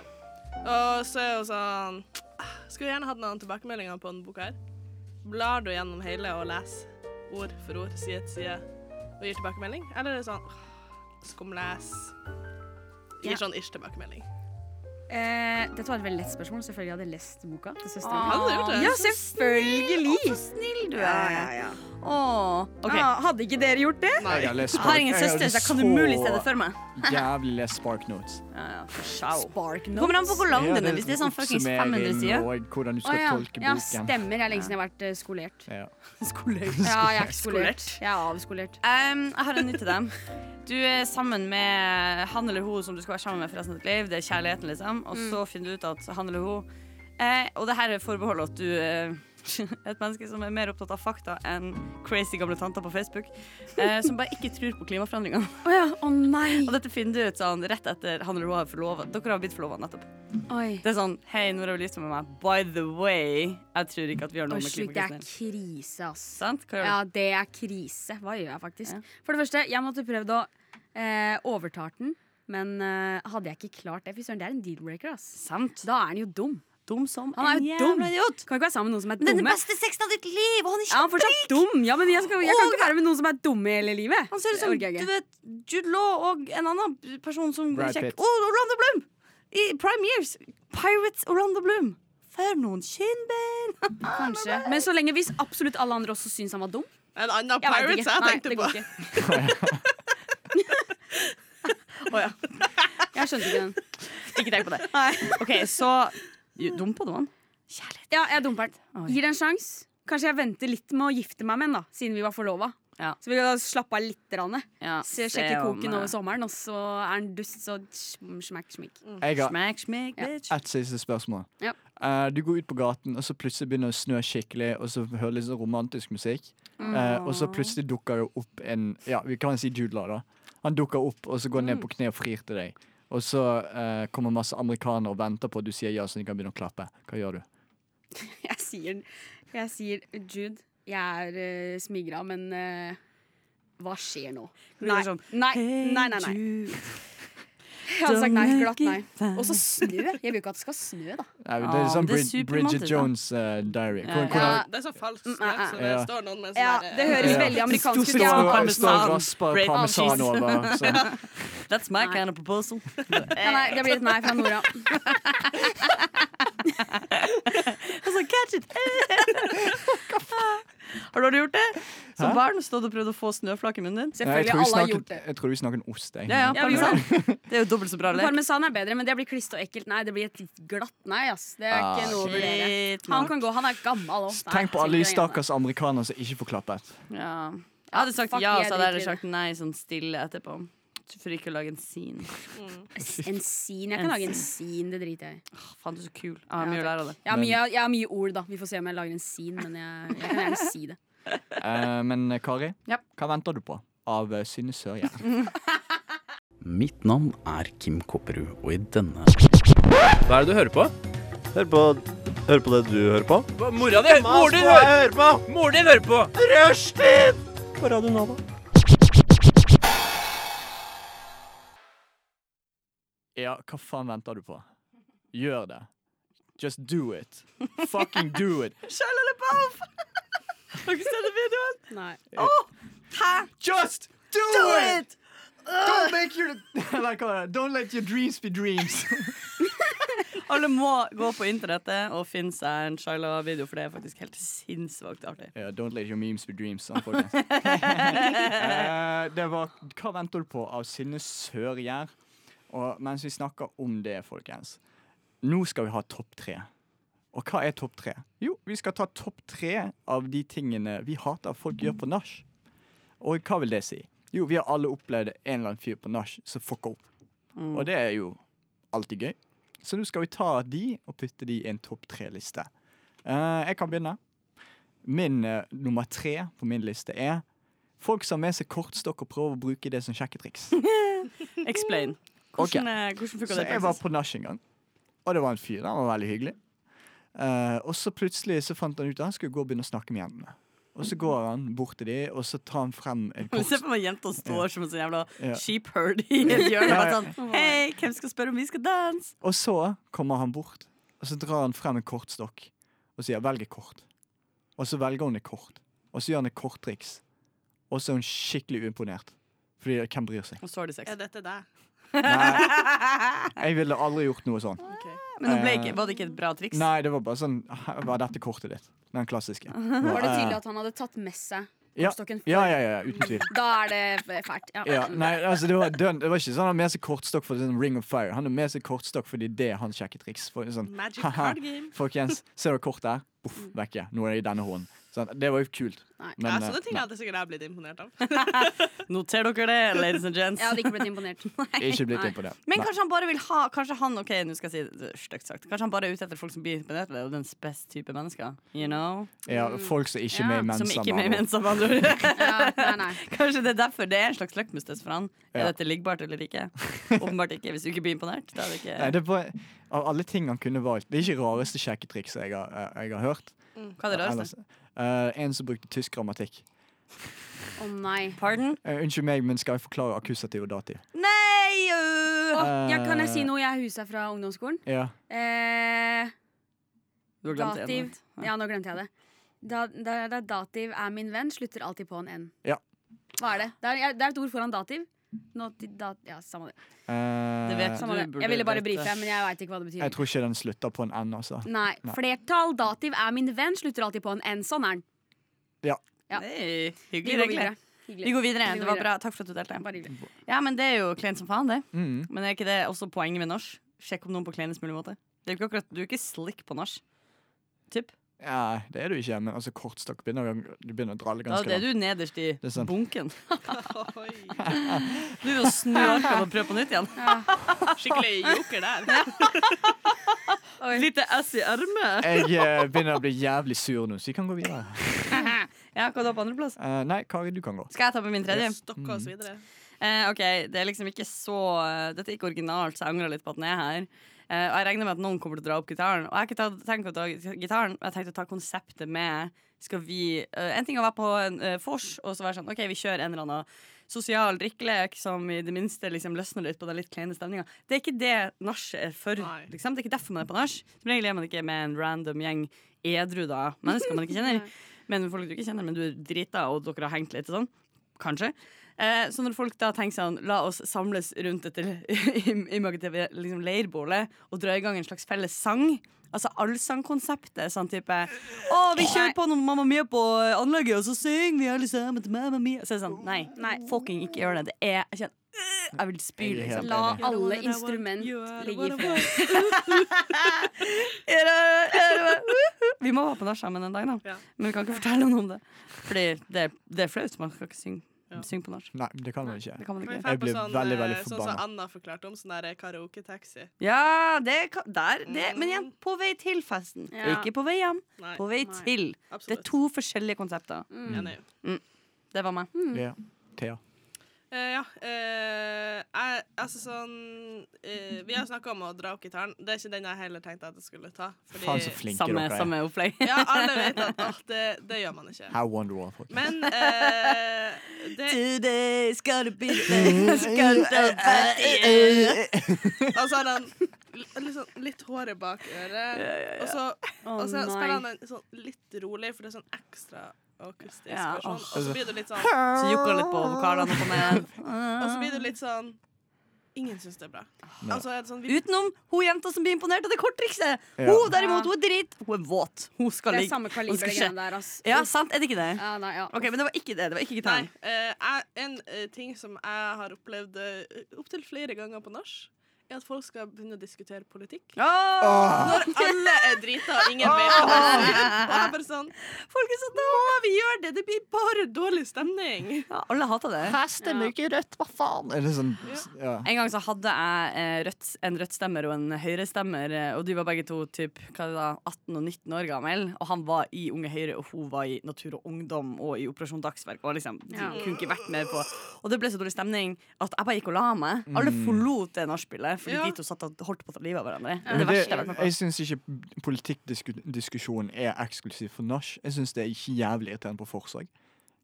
Speaker 8: Og så er hun sånn «Ah, Skulle gjerne hatt noen tilbakemeldinger på denne boka her. Blar du gjennom hele og leser ord for ord, side til side, og gir tilbakemelding? Eller er det sånn «Åh, skumles Gir
Speaker 6: Ja.
Speaker 8: sånn ish-tilbakemelding.
Speaker 6: eh, Dette var et veldig lett spørsmål. Selvfølgelig hadde jeg lest boka til søsteren
Speaker 8: Åh, Hadde du gjort det?
Speaker 6: Ja,
Speaker 8: så
Speaker 6: selvfølgelig! Så snill
Speaker 5: du er.
Speaker 6: ok. Ah, hadde ikke dere gjort det?
Speaker 4: Nei. Jeg har lest
Speaker 5: Jeg har ingen
Speaker 4: Spark- jeg
Speaker 5: søster, så jeg
Speaker 4: hadde
Speaker 5: kan umulig
Speaker 4: så-
Speaker 5: se det for meg.
Speaker 4: Jævlig les Spark Notes.
Speaker 6: Spark
Speaker 5: Kommer an på hvor lang
Speaker 4: Ja,
Speaker 5: den er. Hvis det er sånn fuckings 500
Speaker 4: oppsummering
Speaker 5: sider.
Speaker 4: Og hvordan du
Speaker 6: Å
Speaker 4: skal
Speaker 6: ja.
Speaker 4: tolke
Speaker 6: ja,
Speaker 4: boken.
Speaker 6: stemmer. Jeg er lenge siden jeg har vært eh, skolert.
Speaker 4: Ja.
Speaker 5: Skolert.
Speaker 6: Ja, jeg er ikke skolert. Jeg er avskolert.
Speaker 5: Um, jeg har en ny til dem. Du er sammen med han eller hun som du skal være sammen med for resten av ditt liv. Det er kjærligheten, liksom. Og
Speaker 6: Mm.
Speaker 5: så finner du ut at han eller hun eh, Og det her er forbeholdet at du eh, (laughs) er et menneske som er mer opptatt av fakta enn crazy gamle tanter på Facebook. Eh, som bare ikke tror på
Speaker 6: (laughs)
Speaker 5: klimaforandringene.
Speaker 6: Å ja. Å nei.
Speaker 5: Og dette finner du ut sånn rett etter han eller hun har forlovet. Dere har blitt forlova nettopp.
Speaker 6: Oi.
Speaker 5: Det er sånn Hei, Nora vil gifte seg med meg. By the way, jeg tror ikke at vi har noe
Speaker 6: Å,
Speaker 5: med
Speaker 6: slutt, det er
Speaker 5: klimakrisen å gjøre.
Speaker 6: krise, ass.
Speaker 5: Sant? Hva gjør
Speaker 6: Ja,
Speaker 5: du?
Speaker 6: det er krise. Hva gjør jeg faktisk? For det første, jeg måtte prøvd å eh, overtale den. Men eh, hadde jeg ikke klart det Fy søren, det er en deal-breaker, ass.
Speaker 5: Sant.
Speaker 6: Da er han jo dum.
Speaker 5: Dum som
Speaker 6: Han er
Speaker 5: en
Speaker 6: jo dum!
Speaker 5: jævla idiot.
Speaker 6: Kan ikke være sammen med noen som er
Speaker 10: Den
Speaker 6: dumme.
Speaker 10: beste sexen av ditt liv! Og han er
Speaker 6: Ja, han er fortsatt dum! Ja, men jeg, skal, jeg kan ikke være med noen som er dumme hele livet.
Speaker 5: Han ser ut
Speaker 6: Det
Speaker 5: som
Speaker 6: orker jeg
Speaker 5: du
Speaker 6: ikke.
Speaker 5: vet, Jude Law og en annen person som
Speaker 4: Brad
Speaker 5: kjekk.
Speaker 4: Pitt.
Speaker 5: Å, Orlando Bloom! I prime years. Pirates Orlando Bloom. For noen kinnbein!
Speaker 6: Kanskje. Men så lenge hvis absolutt alle andre også syns han var dum.
Speaker 8: En annen
Speaker 6: Jeg vet
Speaker 8: Pirates
Speaker 6: ikke.
Speaker 8: jeg
Speaker 6: Nei,
Speaker 8: tenkte
Speaker 6: det
Speaker 8: på.
Speaker 6: går ikke.
Speaker 5: (laughs)
Speaker 6: (laughs) Jeg skjønte ikke den.
Speaker 5: Ikke tenk på det. OK, så Jo, Dum på det, mann. Kjærlighet.
Speaker 6: Ja, jeg dumper den.
Speaker 5: Oi.
Speaker 6: Gir det en sjanse. Kanskje jeg venter litt med å gifte meg med en, da, siden vi var forlova.
Speaker 5: Ja.
Speaker 6: Så vi kan da slappe av litt. Rande.
Speaker 5: Ja,
Speaker 6: Se,
Speaker 5: se
Speaker 6: sjekke
Speaker 5: om,
Speaker 6: koken
Speaker 5: eh,
Speaker 6: over sommeren, og så er han dust, så sm- smekk, smikk.
Speaker 5: Mm.
Speaker 4: Jeg har
Speaker 5: Smack, smack, bitch.
Speaker 4: ett siste spørsmål.
Speaker 6: Ja.
Speaker 4: Eh, du går ut på gaten, og så plutselig begynner det å snø skikkelig, og så hører litt sånn romantisk musikk. Eh, og så
Speaker 5: Mm.
Speaker 4: plutselig dukker det opp en Ja, vi kan si Judla, da. Han dukker opp, og så går han
Speaker 5: Mm.
Speaker 4: ned på kne og frir til deg. Og så eh, kommer masse amerikanere og venter på at du sier ja, så de kan begynne å klappe. Hva gjør du?
Speaker 6: Jeg sier, jeg sier Jude, jeg er uh, smigra, men eh, hva skjer nå?
Speaker 5: Du
Speaker 6: Nei,
Speaker 5: er sånn,
Speaker 6: nei,
Speaker 5: «Hey,
Speaker 6: nei, nei, nei.
Speaker 5: Jude».
Speaker 6: Jeg hadde sagt nei, glatt nei.
Speaker 5: Don't
Speaker 6: Og så snø. Jeg vil ikke at det skal snø,
Speaker 5: (laughs)
Speaker 6: da.
Speaker 4: Eh, det er
Speaker 5: Ah,
Speaker 4: sånn
Speaker 5: det er
Speaker 4: Brid Bridget
Speaker 5: superromantisk, da.
Speaker 4: Jones' eh, diary.
Speaker 5: Ja,
Speaker 4: Hvordan,
Speaker 5: ja.
Speaker 4: hvordan,
Speaker 8: Ja, det er så falskt snakk, så det
Speaker 4: Ja.
Speaker 8: står noen med en
Speaker 6: Mm, Ja,
Speaker 8: sånn der,
Speaker 6: det
Speaker 8: eh,
Speaker 6: høres
Speaker 4: Ja.
Speaker 6: veldig amerikansk ut.
Speaker 4: Står-
Speaker 6: Ja.
Speaker 5: parmesan.
Speaker 4: står og rasper
Speaker 5: Bread
Speaker 4: parmesan
Speaker 5: cheese.
Speaker 4: over. Sånn.
Speaker 5: That's my kind of proposal.
Speaker 6: Ja, nei, det blir et nei fra Nora.
Speaker 5: Altså, catch it! (laughs) har du aldri gjort det? Som
Speaker 4: Hæ?
Speaker 5: barn stått og prøvd å få snøflak i munnen din?
Speaker 4: Nei, jeg
Speaker 6: Selvfølgelig,
Speaker 4: tror vi
Speaker 6: alle har
Speaker 4: snakket-
Speaker 6: gjort det.
Speaker 4: Jeg tror vi snakker om ost. egentlig.
Speaker 5: Ja, ja,
Speaker 6: Ja, vi gjorde
Speaker 5: parmesan. Det er jo dobbelt så bra lek.
Speaker 6: Parmesan er bedre, men det blir klist og ekkelt. Nei, det blir et glatt nei, ass. Det er ikke
Speaker 4: Ah,
Speaker 6: noe å vurdere.
Speaker 5: Shit,
Speaker 6: Han
Speaker 5: man.
Speaker 6: kan gå, han er gammel òg.
Speaker 4: Tenk på alle de stakkars amerikanere som ikke får klappet.
Speaker 5: Ja. Jeg hadde sagt
Speaker 6: Fuck
Speaker 5: ja,
Speaker 6: yeah,
Speaker 5: og så hadde jeg
Speaker 6: dritvidere.
Speaker 5: sagt nei sånn stille etterpå. For ikke å lage en scene.
Speaker 6: En sin. Jeg kan lage en sin, det driter jeg i.
Speaker 5: Åh, faen, du er så kul. Jeg har
Speaker 6: Ja,
Speaker 5: mye å lære av det.
Speaker 6: Jeg har, mye, jeg har mye ord, da. Vi får se om jeg lager en sin, men jeg, jeg kan gjerne si det.
Speaker 4: Eh, men eh, Kari,
Speaker 5: Ja.
Speaker 4: hva venter du på av eh, Synne Sørjern?
Speaker 12: Mitt navn er Kim Kopperud, og i denne
Speaker 9: Hva er det du hører på?
Speaker 13: Hør på, hør på det du hører på.
Speaker 9: Mora di! Mor din hører,
Speaker 13: hører på!
Speaker 9: mor din hører på!
Speaker 13: Rushtid! På Radio Nova.
Speaker 4: Ja, hva faen venter du på? Gjør det. Just do it. Fucking do it.
Speaker 5: Shia LaBeouf! (laughs) Har dere sett den videoen?
Speaker 6: Nei.
Speaker 5: hæ?
Speaker 4: Just do,
Speaker 5: Do
Speaker 4: it! Don't make your (laughs) Nei, hva var det? Don't let your dreams be dreams.
Speaker 5: Alle må gå på internettet og finne seg en Shaila-video, for det er faktisk helt sinnsvakt artig.
Speaker 4: Ja, don't let your memes be dreams. sant, folkens? Eh, det var Hva venter du på av Synne Sørgjær? Og mens vi snakker om det, folkens Nå skal vi ha topp tre. Og hva er topp tre? Jo, vi skal ta topp tre av de tingene vi hater at folk gjør på nach. Og hva vil det si? Jo, vi har alle opplevd en eller annen fyr på nach som fucker opp.
Speaker 5: Mm.
Speaker 4: Og det er jo alltid gøy. Så nå skal vi ta de og putte de i en topp tre-liste. Eh, jeg kan begynne. Min eh, nummer tre på min liste er folk som har med seg kortstokk og prøver å bruke det som sjekketriks.
Speaker 5: Explain. Hvordan, eh, hvordan funka
Speaker 4: Så
Speaker 5: det i
Speaker 4: jeg var
Speaker 5: praksis?
Speaker 4: på nach en gang, og det var en fyr. Han var veldig hyggelig. Eh, og så plutselig så fant han ut at han skulle gå og begynne å snakke med jentene. Og så går han bort til dem, og så tar han frem en
Speaker 5: (laughs) Se
Speaker 4: kortstokk.
Speaker 5: på meg jenta står som en sånn jævla
Speaker 4: Ja.
Speaker 5: sheep herd i et hjørne.
Speaker 4: Ja,
Speaker 5: bare
Speaker 4: ja.
Speaker 5: Sånn, Hei, hvem skal spørre om vi skal danse?
Speaker 4: Og så kommer han bort, og så drar han frem en kortstokk og sier 'velg et kort'. Og så velger hun et kort, og så gjør han et korttriks. Og så er hun skikkelig uimponert. Fordi hvem bryr seg?
Speaker 5: Og så har de sex.
Speaker 8: Er dette deg?
Speaker 4: Jeg ville aldri gjort noe sånn.
Speaker 5: Men det ble ikke, var det ikke et bra triks?
Speaker 4: Eh, Nei, det var bare sånn «Her Var dette kortet ditt? Den klassiske.
Speaker 6: Var det tydelig
Speaker 4: Eh,
Speaker 6: at han hadde tatt med seg
Speaker 4: ja,
Speaker 6: kortstokken?
Speaker 4: ja, ja, ja, uten tvil.
Speaker 6: Da er det fælt. Ja.
Speaker 4: Ja, nei, altså det var, dønn- det var ikke sånn Han har med seg kortstokk for sånn Ring of Fire. Han har med seg kortstokk fordi det er hans sjekketriks. For, sånn,
Speaker 8: Magic
Speaker 4: «Haha,
Speaker 8: card game».
Speaker 4: Folkens, ser dere kortet her? Boff,
Speaker 5: Mm.
Speaker 4: vekke. Nå er det i denne hånden. Sånn, det var jo kult.
Speaker 8: ja,
Speaker 5: altså,
Speaker 4: Men,
Speaker 8: sånne
Speaker 4: eh,
Speaker 8: ting
Speaker 4: nei,
Speaker 8: hadde sikkert jeg blitt imponert av.
Speaker 6: (laughs)
Speaker 5: Noter dere det, ladies and gents.
Speaker 6: Jeg hadde ikke blitt imponert.
Speaker 4: (laughs)
Speaker 5: Nei.
Speaker 4: ikke blitt imponert.
Speaker 5: Men
Speaker 4: Nei.
Speaker 5: kanskje han bare vil ha Kanskje han ok, nå skal jeg si det stygt sagt Kanskje han bare er ute etter folk som blir imponert over den beste type mennesker. You know?
Speaker 4: Ja, folk som ikke er med i Mensa,
Speaker 5: Som ikke er med i
Speaker 4: med
Speaker 5: Mensa,
Speaker 4: andre
Speaker 5: med andre ord. (laughs)
Speaker 6: Nei, nei.
Speaker 5: Kanskje det er derfor det er en slags løkkmustest for han. Er
Speaker 4: Ja.
Speaker 5: dette liggbart eller ikke?
Speaker 4: (laughs)
Speaker 5: Åpenbart ikke. Hvis du ikke blir imponert, da er det ikke
Speaker 4: Nei, det var, av alle ting han kunne valgt Det er ikke rareste sjekketrikset jeg, har- eh, jeg har hørt.
Speaker 5: Hva er det
Speaker 4: altså.
Speaker 5: rareste?
Speaker 4: Ellers, eh, en som brukte tysk grammatikk.
Speaker 6: Å nei.
Speaker 5: Pardon?
Speaker 4: Eh, unnskyld meg, men skal jeg forklare akkusativ og dativ?
Speaker 6: Nei!
Speaker 4: øh.
Speaker 6: ja, kan jeg si noe? Jeg huset fra ungdomsskolen.
Speaker 4: Ja.
Speaker 6: Eh,
Speaker 5: Du har glemt det
Speaker 6: dativ.
Speaker 5: ene.
Speaker 6: Ja, nå glemte jeg det. Da, da, da dativ er min venn, slutter alltid på en n.
Speaker 4: Ja.
Speaker 6: Hva er det? Det er, det er et ord foran dativ. Nå til dat, ja, samme det.
Speaker 4: Eh,
Speaker 6: Samme det. Jeg ville bare brife, men jeg veit ikke hva det betyr.
Speaker 4: Jeg tror ikke den slutter på en N, altså.
Speaker 6: Nei. Flertall dativ er min venn, slutter alltid på en n. Sånn er den.
Speaker 4: Ja.
Speaker 6: Ja.
Speaker 5: Hey,
Speaker 6: Vi
Speaker 5: hyggelig
Speaker 6: går
Speaker 5: regler.
Speaker 6: videre. Hyggelig.
Speaker 5: Vi går videre.
Speaker 6: Vi går
Speaker 5: Det var
Speaker 6: videre.
Speaker 5: bra. Takk for at du delte.
Speaker 6: Bare hyggelig.
Speaker 5: Ja, men det er jo kleint som faen, det.
Speaker 4: Mm.
Speaker 5: Men er ikke det også poenget med norsk? Sjekk om noen på kleinest mulig måte. Det er jo ikke akkurat, du er ikke slick på norsk. Typ.
Speaker 4: Ja, det er du ikke, men altså kortstokk begynner, å- du begynner å dralle
Speaker 5: Da
Speaker 4: ganske
Speaker 5: er du nederst i
Speaker 4: Det er sant.
Speaker 5: bunken. Du er jo snøarka og prøver på nytt (laughs) igjen.
Speaker 8: Skikkelig joker der.
Speaker 5: Lite ass i ermet.
Speaker 4: Jeg eh, begynner å bli jævlig sur nå, så vi kan gå videre.
Speaker 5: Ja, hva da på andreplass?
Speaker 4: Eh, nei, Kari, du kan gå.
Speaker 5: Skal jeg ta på min tredje?
Speaker 8: Stokka
Speaker 4: Mm.
Speaker 8: oss videre.
Speaker 5: Eh, ok, det er liksom ikke så Dette er ikke originalt, så jeg angrer litt på at den er her. Eh, og jeg regner med at noen kommer til å dra opp gitaren. Og jeg har ikke tatt- tenkt å ta gitaren, men jeg tenkte å ta konseptet med Skal vi eh, En ting er å være på en eh, vors og så være sånn OK, vi kjører en eller annen sosial drikkelek som i det minste liksom løsner litt på den litt kleine stemninga. Det er ikke det nachet er for. Liksom. Det er ikke derfor man er på nach. Som regel er man ikke med en random gjeng edru da mennesker man ikke kjenner. Men folk du ikke kjenner, men du er drita, og dere har hengt litt og sånn. Kanskje. Eh, så når folk da tenker sånn La oss samles rundt dette (laughs) im- imaginative liksom, leirbålet og dra i gang en slags felles sang. Altså allsangkonseptet. Sånn type Å, vi kjører på noen Mamma Mia på anlegget, og så synger vi alle sammen til Mamma Mia. Så er det sånn Nei, fucking ikke gjør det. Det er Jeg kjenner øh, Jeg vil spy,
Speaker 4: Jeg er helt
Speaker 5: liksom.
Speaker 6: La
Speaker 4: enig.
Speaker 6: alle instrument ligge i fred.
Speaker 5: Er det- er det- uhu. Vi må være på nach sammen en dag, da. Men vi kan ikke fortelle noen om det. Fordi det, det er flaut. Man skal ikke synge, synge på nach.
Speaker 4: Nei, det kan man ikke.
Speaker 5: det kan man ikke.
Speaker 8: Kan vi dra
Speaker 4: Jeg
Speaker 8: på
Speaker 4: blir
Speaker 8: sånn,
Speaker 4: veldig, veldig
Speaker 8: eh, Sånn som
Speaker 4: forbanna.
Speaker 8: Anna forklarte om, sånn der karaoke-taxi.
Speaker 5: Ja, det kan, der, det, men igjen, på vei til festen.
Speaker 8: Mm. Ja.
Speaker 5: Ikke på vei hjem.
Speaker 8: Nei.
Speaker 5: På vei
Speaker 8: Nei.
Speaker 5: til.
Speaker 8: Absolutt. Mm.
Speaker 6: Mm.
Speaker 5: Det er to forskjellige konsepter.
Speaker 8: Enig.
Speaker 5: Mm. Det var meg.
Speaker 4: Ja. Thea.
Speaker 8: Eh, ja. eh, jeg, altså sånn eh, Vi har snakka om å dra opp gitaren. Det er ikke den jeg heller tenkte at jeg skulle ta. fordi-
Speaker 4: Faen, så flinke Samme- dere er. samme opplegg.
Speaker 8: ja, alle vet at åh, det, det gjør man ikke.
Speaker 4: How wonderful.
Speaker 8: Men eh,
Speaker 6: (laughs)
Speaker 8: det
Speaker 5: Today is gonna be
Speaker 4: Eh,
Speaker 8: Og så har han l- litt sånn litt håret bak
Speaker 5: Ja,
Speaker 8: øret,
Speaker 5: ja, ja.
Speaker 8: og så,
Speaker 5: Å,
Speaker 8: og så spiller han
Speaker 5: nei.
Speaker 8: den sånn litt rolig, for det er sånn ekstra akustisk.
Speaker 5: Ja,
Speaker 8: versjon,
Speaker 5: åh.
Speaker 8: og så blir det litt sånn
Speaker 5: Så jukker han litt på vokalene opp og ned.
Speaker 8: Og så blir det litt sånn Ingen syns det er bra.
Speaker 5: Nei.
Speaker 8: Altså, er det sånn, vi,
Speaker 5: Utenom hun jenta som blir imponert av det korttrikset!
Speaker 8: Ja.
Speaker 5: Hun derimot, hun er dritt. Hun er våt. Hun skal
Speaker 8: Det er
Speaker 5: ligge.
Speaker 8: samme kaliber,
Speaker 5: Hun skal
Speaker 8: det
Speaker 5: ikke-
Speaker 8: greiene der, ass.
Speaker 5: Ja, sant? Er det ikke det? Ok, Men det var ikke det. Det var ikke
Speaker 8: nei,
Speaker 5: gitaren.
Speaker 8: eh, jeg, en eh, ting som jeg har opplevd uh, opptil flere ganger på nach, er at folk skal begynne å diskutere politikk. Når alle er drita og ingen vet hva de
Speaker 5: (laughs) Åh.
Speaker 8: sier. Og jeg bare sånn Folk er sånn Nå må vi gjøre det! Det blir bare dårlig stemning.
Speaker 5: alle hater det.
Speaker 4: Her stemmer ikke Rødt, hva faen? Er det sånn ja.
Speaker 5: En gang så hadde jeg eh, rødt, en rødt-stemmer og en høyre-stemmer, eh, og de var begge to typ, hva er det da, 18 og 19 år gammel Og han var i Unge Høyre, og hun var i Natur og Ungdom og i Operasjon Dagsverk. Og liksom, de
Speaker 14: Ja.
Speaker 5: kunne ikke vært mer på Og det ble så dårlig stemning at jeg bare gikk og la meg. Alle
Speaker 4: Mm.
Speaker 5: forlot det nachspielet fordi
Speaker 4: Ja.
Speaker 5: de to satt og holdt på å ta livet av hverandre. Det, er
Speaker 4: Men det,
Speaker 5: det verste jeg har vært med
Speaker 4: jeg
Speaker 5: på.
Speaker 4: syns ikke politikkdiskusjon er eksklusiv for nach. Jeg syns det er ikke jævlig irriterende på forsøk.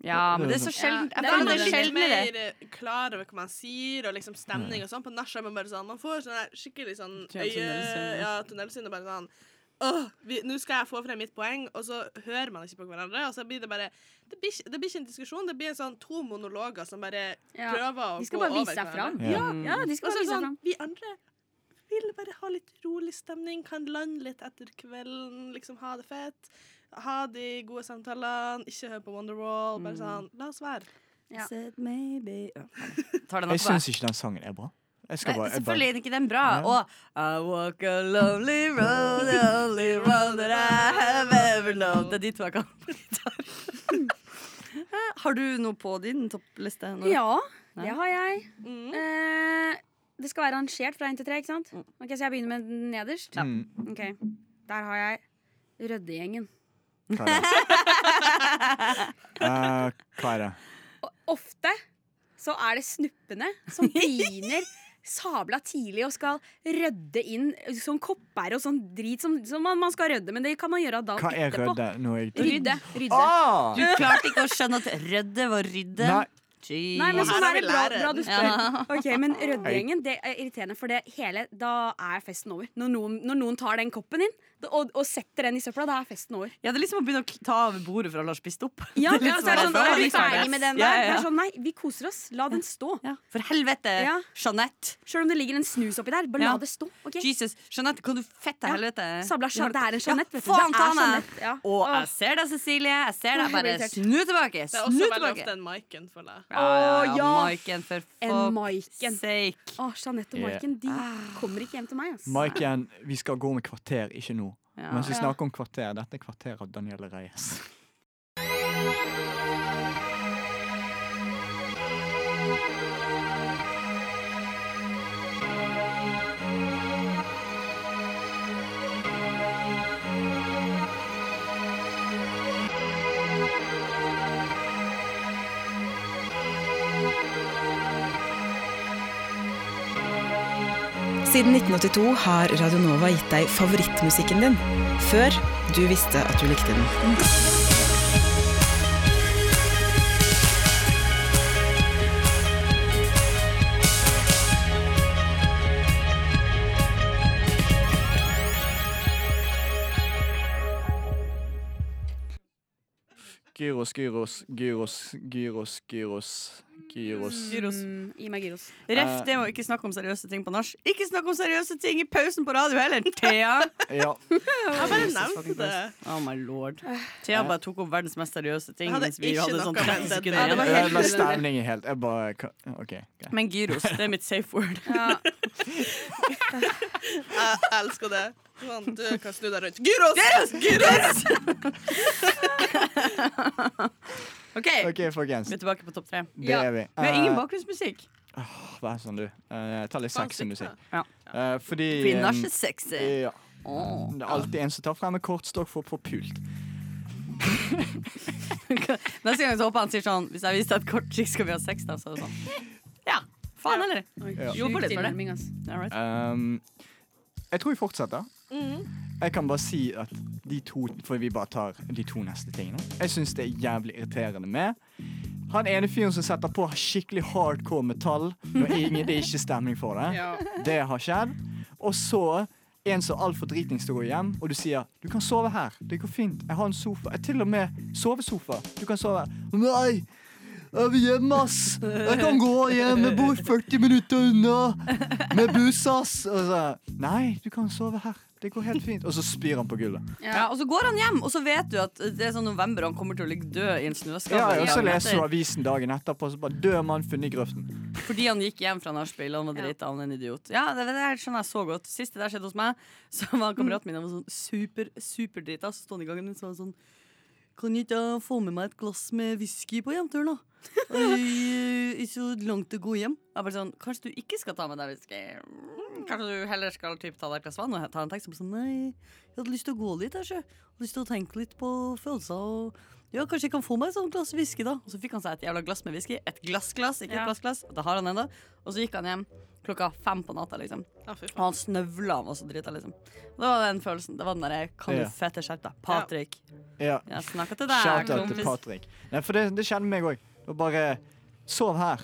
Speaker 5: Ja, men det er så sjelden.
Speaker 8: Ja,
Speaker 5: Jeg føler
Speaker 8: det
Speaker 5: det
Speaker 8: er
Speaker 5: er
Speaker 8: litt
Speaker 5: sjeldnere.
Speaker 8: mer eh, klar over hva man sier, og liksom stemning og sånn. På nach er man bare sånn Man får sånn der skikkelig sånn øye...
Speaker 5: Mm. Tunnelsyn.
Speaker 8: Ja, tunnelsyn og bare sånn Åh, vi- nå skal jeg få frem mitt poeng, og så hører man ikke på hverandre. Og så blir det bare Det blir ikke, det blir ikke en diskusjon, det blir en sånn to monologer som bare
Speaker 6: Ja.
Speaker 8: prøver å
Speaker 6: De skal
Speaker 8: gå
Speaker 6: bare vise
Speaker 8: over
Speaker 6: seg fram.
Speaker 8: hverandre.
Speaker 6: Ja. Ja, de skal
Speaker 8: Og
Speaker 6: bare
Speaker 8: så er det
Speaker 6: vise seg
Speaker 8: sånn,
Speaker 6: fram.
Speaker 8: Vi andre vil bare ha litt rolig stemning, kan lande litt etter kvelden, liksom ha det fett. Ha de gode samtalene, ikke hør på Wonderwall.
Speaker 6: Mm.
Speaker 8: Bare sånn, la oss være.
Speaker 5: I said maybe Ja. Tar den
Speaker 4: Jeg
Speaker 5: opp, da.
Speaker 4: syns ikke den sangen er bra. Jeg skal
Speaker 5: Nei,
Speaker 4: bare, jeg
Speaker 5: selvfølgelig
Speaker 4: bare
Speaker 5: er ikke den bra.
Speaker 4: Ja.
Speaker 5: Og I walk a lonely road, the only road that I have ever known. Det er de to jeg kan (laughs) på gitar. Har du noe på din toppliste? nå?
Speaker 6: Ja,
Speaker 5: Nei?
Speaker 6: det har jeg.
Speaker 5: Mm.
Speaker 6: Eh, det skal være rangert fra én til tre, ikke sant? Ok, Så jeg begynner med den nederst?
Speaker 5: Ja. Mm.
Speaker 6: Ok, Der har jeg Røddegjengen.
Speaker 4: Hva er
Speaker 5: (laughs)
Speaker 4: Eh, Hva er det?
Speaker 6: Ofte så er det snuppene
Speaker 5: (laughs)
Speaker 6: som begynner sabla tidlig og skal rødde inn sånn kopper og sånn drit som, som man, man skal rødde, men det kan man gjøre da
Speaker 4: Hva er
Speaker 6: etterpå.
Speaker 4: rødde? Nå er jeg
Speaker 6: Rydde. rydde.
Speaker 4: Ah!
Speaker 5: Du klarte ikke å skjønne at rødde var rydde?
Speaker 4: Nei.
Speaker 5: Jeez.
Speaker 6: Nei, men sånn er det bra, bra du spør.
Speaker 5: Ja.
Speaker 6: Ok, Men Røddegjengen, det er irriterende, for det hele, da er festen over. Når noen, når noen tar den koppen din da- og, og setter den i søpla, da er festen over.
Speaker 5: Ja, det er liksom å begynne å ta over bordet for alle har spist opp.
Speaker 6: Ja,
Speaker 5: (laughs) Det er litt
Speaker 6: så er det
Speaker 5: sånn,
Speaker 6: sånn, er
Speaker 5: ja,
Speaker 6: du ferdig med den der?
Speaker 5: Ja, ja, ja.
Speaker 6: Det er sånn, nei, vi koser oss. La den stå.
Speaker 5: For helvete,
Speaker 6: Ja.
Speaker 5: Jeanette.
Speaker 6: Selv om det ligger en snus oppi der, bare
Speaker 5: Ja.
Speaker 6: la det stå. ok?
Speaker 5: Jesus, Jeanette, kan du fette
Speaker 6: Ja.
Speaker 5: helvete?
Speaker 6: Sabla Jean- det er en
Speaker 5: Ja,
Speaker 6: Jeanette, vet du. Det
Speaker 5: faen
Speaker 6: er
Speaker 5: ta meg!
Speaker 6: Jeanette, ja.
Speaker 5: Og
Speaker 6: Åh.
Speaker 5: jeg ser deg, Cecilie. Jeg ser
Speaker 6: Åh,
Speaker 5: deg.
Speaker 6: jeg blir
Speaker 5: Bare
Speaker 6: irritert.
Speaker 5: snu tilbake.
Speaker 8: Det er
Speaker 5: Snu
Speaker 8: også veldig
Speaker 5: tilbake.
Speaker 8: ofte en Maiken, føler jeg.
Speaker 5: Ja, ja, ja.
Speaker 6: Åh, ja.
Speaker 5: Maiken, for
Speaker 6: En
Speaker 5: fuck
Speaker 6: Maiken.
Speaker 5: sake.
Speaker 6: Åh, Jeanette og
Speaker 4: Ja.
Speaker 6: Maiken de kommer ikke hjem til meg. ass.
Speaker 4: Maiken, vi skal gå om et kvarter, ikke nå.
Speaker 6: Ja.
Speaker 4: Mens vi
Speaker 6: Ja.
Speaker 4: snakker om kvarter, dette er kvarter av Danielle Reyes.
Speaker 11: Siden 1982 har Radionova gitt deg favorittmusikken din, før du visste at du likte den.
Speaker 4: Gyros, gyros, gyros, gyros, gyros. Gyros.
Speaker 5: Gyros.
Speaker 6: Mm, Gi meg gyros.
Speaker 5: Ref, det må ikke snakke om seriøse ting på nach. Ikke snakk om seriøse ting i pausen på radio heller, (laughs) Thea!
Speaker 4: Ja.
Speaker 8: Jeg bare
Speaker 5: Jesus
Speaker 8: nevnte
Speaker 5: fucking
Speaker 8: det.
Speaker 5: Christ. Oh my lord. Thea bare tok opp verdens mest seriøse ting.
Speaker 8: Jeg hadde
Speaker 5: mens vi
Speaker 8: ikke
Speaker 5: hadde
Speaker 8: noe
Speaker 5: sånn
Speaker 8: med
Speaker 5: 30
Speaker 8: det.
Speaker 5: sekunder
Speaker 8: Ja, det var
Speaker 5: igjen.
Speaker 8: helt
Speaker 4: eh, Men stemning er helt Jeg bare hva- OK. greit.
Speaker 5: Men gyros, det er mitt safe word.
Speaker 8: Jeg elsker det. Sånn, du kan snu deg rundt. Gyros!
Speaker 5: (laughs) Gyros! Gyros! (laughs) OK.
Speaker 4: OK, folkens.
Speaker 5: Vi er tilbake på topp tre.
Speaker 4: Det er vi.
Speaker 5: Vi har ingen
Speaker 4: Eh,
Speaker 5: bakgrunnsmusikk.
Speaker 4: Åh, Vær sånn, du. Eh, ta litt sexy musikk.
Speaker 5: Ja.
Speaker 4: Eh, fordi
Speaker 5: Fordi nach
Speaker 4: ehm,
Speaker 5: er sexy.
Speaker 4: Ja. Det er alltid en som tar frem en kortstokk for å få pult.
Speaker 5: Neste gang så håper jeg han sier sånn Hvis jeg visste at korttrikk skal vi ha sex, da, så er det sånn. Faen heller.
Speaker 4: Ja.
Speaker 5: Jo, på litt for det.
Speaker 10: Tilnærming, ass.
Speaker 5: All right.
Speaker 4: Ehm, jeg tror vi fortsetter. Jeg kan bare si at de to For vi bare tar de to neste tingene. Jeg syns det er jævlig irriterende med han ene fyren som setter på skikkelig hardcore metall når ingen, det er ikke stemning for det.
Speaker 14: Ja.
Speaker 4: Det har skjedd. Og så en som altfor driting står hjem, og du sier 'du kan sove her', det går fint, jeg har en sofa. Jeg til og med sovesofa. Du kan sove her. Nei! Jeg vil hjem, ass! Jeg kan gå hjem, jeg bor 40 minutter unna! Med buss, ass! Og så, Nei, du kan sove her. Det går helt fint. Og så spyr han på gulvet.
Speaker 5: Ja, og så går han hjem, og så vet du at det er sånn november, og han kommer til å ligge død i en snøskade.
Speaker 4: Ja, og så
Speaker 5: dagen
Speaker 4: leser
Speaker 5: etter.
Speaker 4: du avisen dagen etterpå, så bare dør mann funnet i grøften.
Speaker 5: Fordi han gikk hjem fra nachspiel og han var drita, han er en idiot. Ja, det, det her skjønner jeg så godt. Sist det der skjedde hos meg, (laughs) så var kameraten min han var sånn super, superdrita. Så stod han i gangen min så var han sånn Kan ikke jeg få med meg et glass med whisky på hjemturen, da? (laughs) Oi, Ikke så langt å gå hjem. Jeg bare sånn, Kanskje du ikke skal ta med deg whisky? Mm, Kanskje du heller skal typ, ta deg et glass vann? Og jeg tar en tekst og bare sånn Nei, jeg hadde lyst til å gå litt, jeg, sjø. Jeg hadde lyst til å tenke litt på følelser og ja, kanskje jeg kan få meg et sånt glass whisky, da. Og så fikk han seg et jævla glass med whisky. Et glassglass, ikke
Speaker 10: Ja.
Speaker 5: et plastglass. Det har han ennå. Og så gikk han hjem klokka fem på natta, liksom.
Speaker 8: Ja, fy
Speaker 5: Og han snøvla, han var så drita, liksom. Det var den følelsen. Det var den derre kan
Speaker 4: Ja.
Speaker 5: du fette skjerpe deg, Patrick.
Speaker 4: Ja.
Speaker 5: Jeg snakker til deg,
Speaker 4: Shout-out til
Speaker 5: kompis.
Speaker 4: Patrick. Nei, for det, det skjedde meg òg. Bare sov her.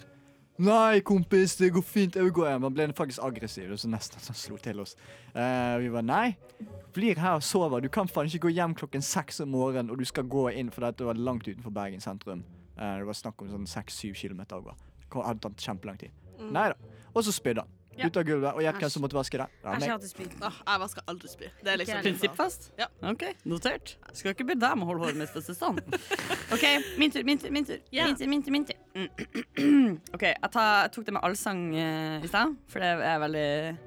Speaker 4: Nei, kompis, det går fint. Jeg vil gå hjem. Han ble faktisk aggressiv. Det var så nesten så han slo til oss. Eh, vi var nei. Blir her og sover. Du kan faen ikke gå hjem klokken seks om morgenen, og du skal gå inn, for dette var langt utenfor Bergen sentrum. Eh, det var snakk om sånn seks-syv kilometer. over. Det hadde tatt kjempelang tid.
Speaker 8: Mm.
Speaker 4: Nei da. Og så spydde han.
Speaker 8: Ja.
Speaker 4: Ut av gulvet. Og gjett hvem
Speaker 8: Æsj.
Speaker 4: som måtte vaske det? Ja, meg.
Speaker 8: Ah, jeg vasker aldri spy. Det er liksom
Speaker 5: Prinsippfast?
Speaker 8: Ja.
Speaker 5: OK, notert. Skal ikke be deg om å holde håret mitt
Speaker 10: (laughs)
Speaker 5: på stand. OK, min tur, min tur, min tur. Min tur, min tur, min tur. Mm. (clears throat) OK, jeg, tar, jeg tok det med allsang eh, i stad, for det er jeg veldig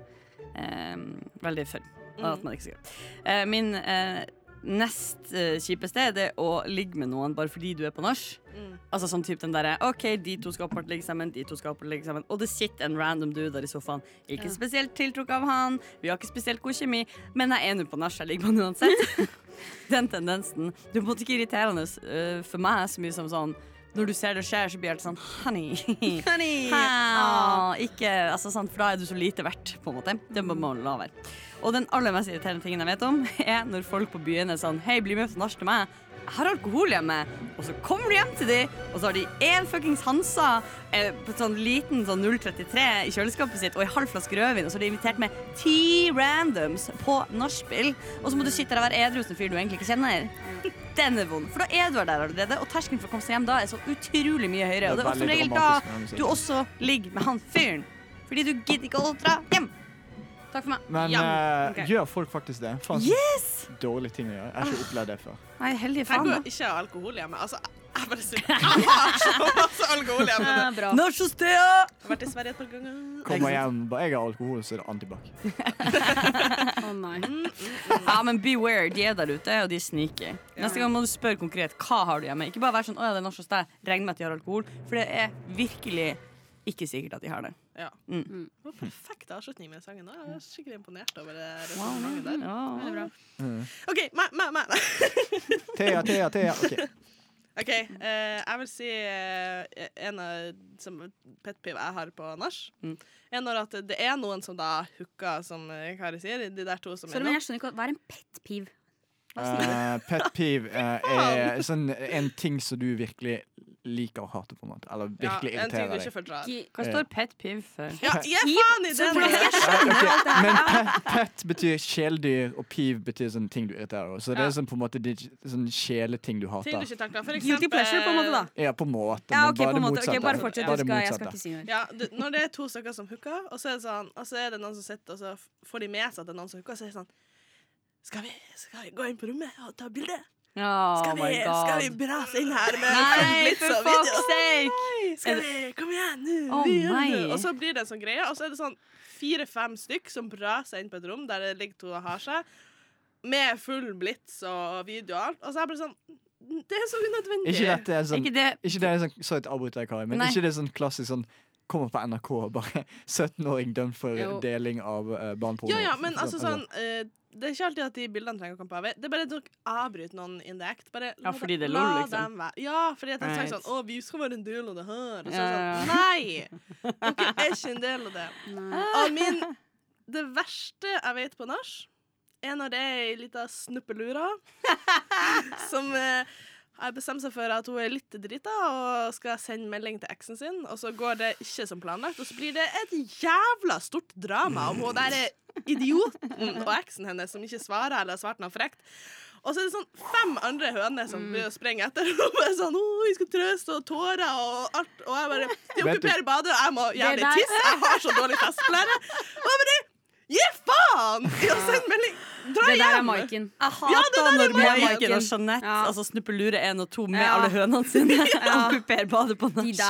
Speaker 5: eh, Veldig for.
Speaker 10: Mm.
Speaker 5: At man ikke skal Eh, Min eh, nest eh, kjipeste er det å ligge med noen bare fordi du er på nach.
Speaker 10: Mm.
Speaker 5: Altså sånn typ den derre OK, de to skal åpenbart ligge sammen, de to skal åpenbart ligge sammen. Og det sitter en random dude der i sofaen. Ikke
Speaker 10: Ja.
Speaker 5: spesielt tiltrukket av han, vi har ikke spesielt god kjemi, men jeg er nå på nach, jeg ligger med han uansett. (laughs) den tendensen. Det er på en måte ikke irriterende eh, for meg så mye som sånn når du ser det skjer, så blir jeg helt sånn honey.
Speaker 10: Honey.
Speaker 5: How? Ikke, altså, sant, for da er du så lite verdt, på en måte. Det må man la være. Og den aller mest irriterende tingen jeg vet om, (laughs) er når folk på byen er sånn Hei, bli med på nach til meg. Jeg har alkohol hjemme. Og så kommer du hjem til de, og så har de én fuckings Hansa eh, på sånn liten sånn 033 i kjøleskapet sitt og ei halv flaske rødvin, og så har de invitert med ti randoms på nachspiel, og så må du sitte der og være edru hos en fyr du egentlig ikke kjenner. Den er vond, for da er du her der allerede, og terskelen for å komme seg hjem da er så utrolig mye høyere. Og det
Speaker 10: Det er
Speaker 5: er som
Speaker 10: veldig
Speaker 5: regel
Speaker 10: dramatisk med den
Speaker 5: da
Speaker 10: musikken.
Speaker 5: du også ligger med han fyren. Fordi du gidder ikke å dra hjem. Takk for meg.
Speaker 4: Men
Speaker 5: Hjem.
Speaker 4: eh,
Speaker 5: Ok.
Speaker 4: gjør folk faktisk det? Faen, så
Speaker 5: Yes!
Speaker 4: Dårlig ting å gjøre. Jeg har
Speaker 8: Ah.
Speaker 4: ikke opplevd det før.
Speaker 5: Nei, heldige
Speaker 8: Jeg
Speaker 5: faen.
Speaker 8: går ikke av alkohol hjemme. Altså, jeg bare sier Jeg har så masse alkohol hjemme.
Speaker 5: Ja, bra. Nachostea!
Speaker 8: Jeg har vært i Sverige et par ganger.
Speaker 4: Kommer hjem, bare jeg har alkohol, så er det antibac.
Speaker 5: Ja, men beware. De er der ute, og de er sneaky. Neste gang må du spørre konkret hva har du hjemme. Ikke bare være sånn 'Å ja, det er norsk hos deg'. Regn med at de har alkohol. For det er virkelig ikke sikkert at de har det.
Speaker 8: Ja.
Speaker 5: Mm.
Speaker 8: Det var perfekt avslutning med sangen. da. Jeg er skikkelig imponert over det resonnementet der. Veldig bra.
Speaker 4: Mm.
Speaker 8: OK, meg, meg, meg.
Speaker 4: Thea, Thea, Thea. ok.
Speaker 8: OK, eh, jeg vil si eh, en av som pet peeve jeg har på nach, er når at det er noen som da hooker, som eh, Kari sier. De der to som
Speaker 6: Sorry, men jeg skjønner ikke hva- Hva er en pet peeve?
Speaker 4: Eh, pet peeve eh, er sånn, en ting som du virkelig liker å hate, på en måte. Eller virkelig
Speaker 8: ja, en
Speaker 4: irriterer
Speaker 8: ting du
Speaker 4: deg.
Speaker 8: ikke forstår.
Speaker 5: Hva står pet piv for?
Speaker 8: Ja, gi faen i det!
Speaker 5: Så hvordan skal jeg
Speaker 4: Eh, ok,
Speaker 8: alt det her?
Speaker 4: Men pet, pet betyr kjæledyr, og piv betyr sånn ting du irriterer deg over. Så det
Speaker 8: Ja.
Speaker 4: er sånn på en måte de, sånn kjæleting du
Speaker 8: Ting du
Speaker 4: hater.
Speaker 8: ikke takler. For
Speaker 6: Guilty pleasure, på en måte, da.
Speaker 4: Ja, på en måte,
Speaker 6: Ja,
Speaker 4: men
Speaker 6: ok,
Speaker 4: bare
Speaker 6: på en
Speaker 4: det
Speaker 6: måte.
Speaker 4: motsatte.
Speaker 6: Ok, bare fortsett,
Speaker 4: Bare det
Speaker 6: du skal- jeg
Speaker 4: motsatte.
Speaker 6: skal ikke si noe.
Speaker 8: Ja, du, når det er to stykker som hooker, og så er det, sånn, og så er det noen som sitter, og så f- får de med seg at det er noen som hooker, og så er det sånn Skal vi, skal vi gå inn på rommet og ta bilde?
Speaker 5: Ja,
Speaker 8: Skal vi,
Speaker 5: Oh my God.
Speaker 8: skal vi brase inn her med
Speaker 5: Nei,
Speaker 8: blitz
Speaker 5: for
Speaker 8: og
Speaker 5: fuck's
Speaker 8: video?
Speaker 5: sake!
Speaker 8: Nei,
Speaker 5: Er
Speaker 8: Skal
Speaker 5: det-
Speaker 8: vi, kom igjen, nå!
Speaker 5: Å,
Speaker 8: vi gjør det.
Speaker 5: nei.
Speaker 8: Og så blir det en sånn greie, og så er det sånn fire-fem stykk som braser inn på et rom der det ligger to og har seg, med full blitz og video og alt, og så er jeg bare sånn Det er så unødvendig.
Speaker 4: Ikke dette er sånn,
Speaker 8: Ikke
Speaker 4: ikke det er sånn Sorry at jeg avbryter deg, Kari, men
Speaker 8: Nei.
Speaker 4: ikke det er sånn klassisk sånn kommer på NRK og bare (laughs) 17-åring dømt for
Speaker 8: Jo.
Speaker 4: deling av uh, barneporno.
Speaker 8: Ja, ja, men altså sånn eh, Det er ikke alltid at de bildene trenger å komme på AV. Det er bare at dere avbryter noen in the act. Bare
Speaker 5: Ja,
Speaker 8: la
Speaker 5: fordi
Speaker 8: dem-
Speaker 5: det er lol,
Speaker 8: la
Speaker 5: liksom.
Speaker 8: dem være. Ja, fordi at de sier
Speaker 5: Right.
Speaker 8: sånn Å, vi skal være en del av det her. Og så
Speaker 5: Ja,
Speaker 8: er
Speaker 5: ja, ja.
Speaker 8: det sånn Nei! Dere er ikke en del
Speaker 5: (laughs)
Speaker 8: av det. Og min Det verste jeg vet på nach, er når det er ei lita snuppelura som eh, har bestemt seg for at hun er litt drita og skal sende melding til eksen sin, og så går det ikke som planlagt, og så blir det et jævla stort drama om hun der er idioten og eksen hennes som ikke svarer eller har svart noe frekt. Og så er det sånn fem andre høner som blir å sprenge etter. (laughs) Og bare sånn, «Åh, vi skal trøste og tårer og alt. Og jeg bare De
Speaker 14: Vet du-
Speaker 8: okkuperer badet, og jeg må
Speaker 14: Det
Speaker 8: jævlig
Speaker 14: er deg.
Speaker 8: tisse. Jeg har så dårlig festblære. Og jeg bare Gi
Speaker 6: (laughs)
Speaker 8: faen! I å sende melding. Dra
Speaker 6: Det der er
Speaker 8: hjem!
Speaker 6: Maiken.
Speaker 5: Jeg
Speaker 8: Ja, det
Speaker 5: hater
Speaker 8: der er
Speaker 5: når
Speaker 8: Maiken.
Speaker 5: Maiken og Jeanette altså, snupper lure én og to med
Speaker 8: Ja.
Speaker 5: alle hønene (laughs) sine.
Speaker 8: Ja.
Speaker 5: og Okkuper badet på nach.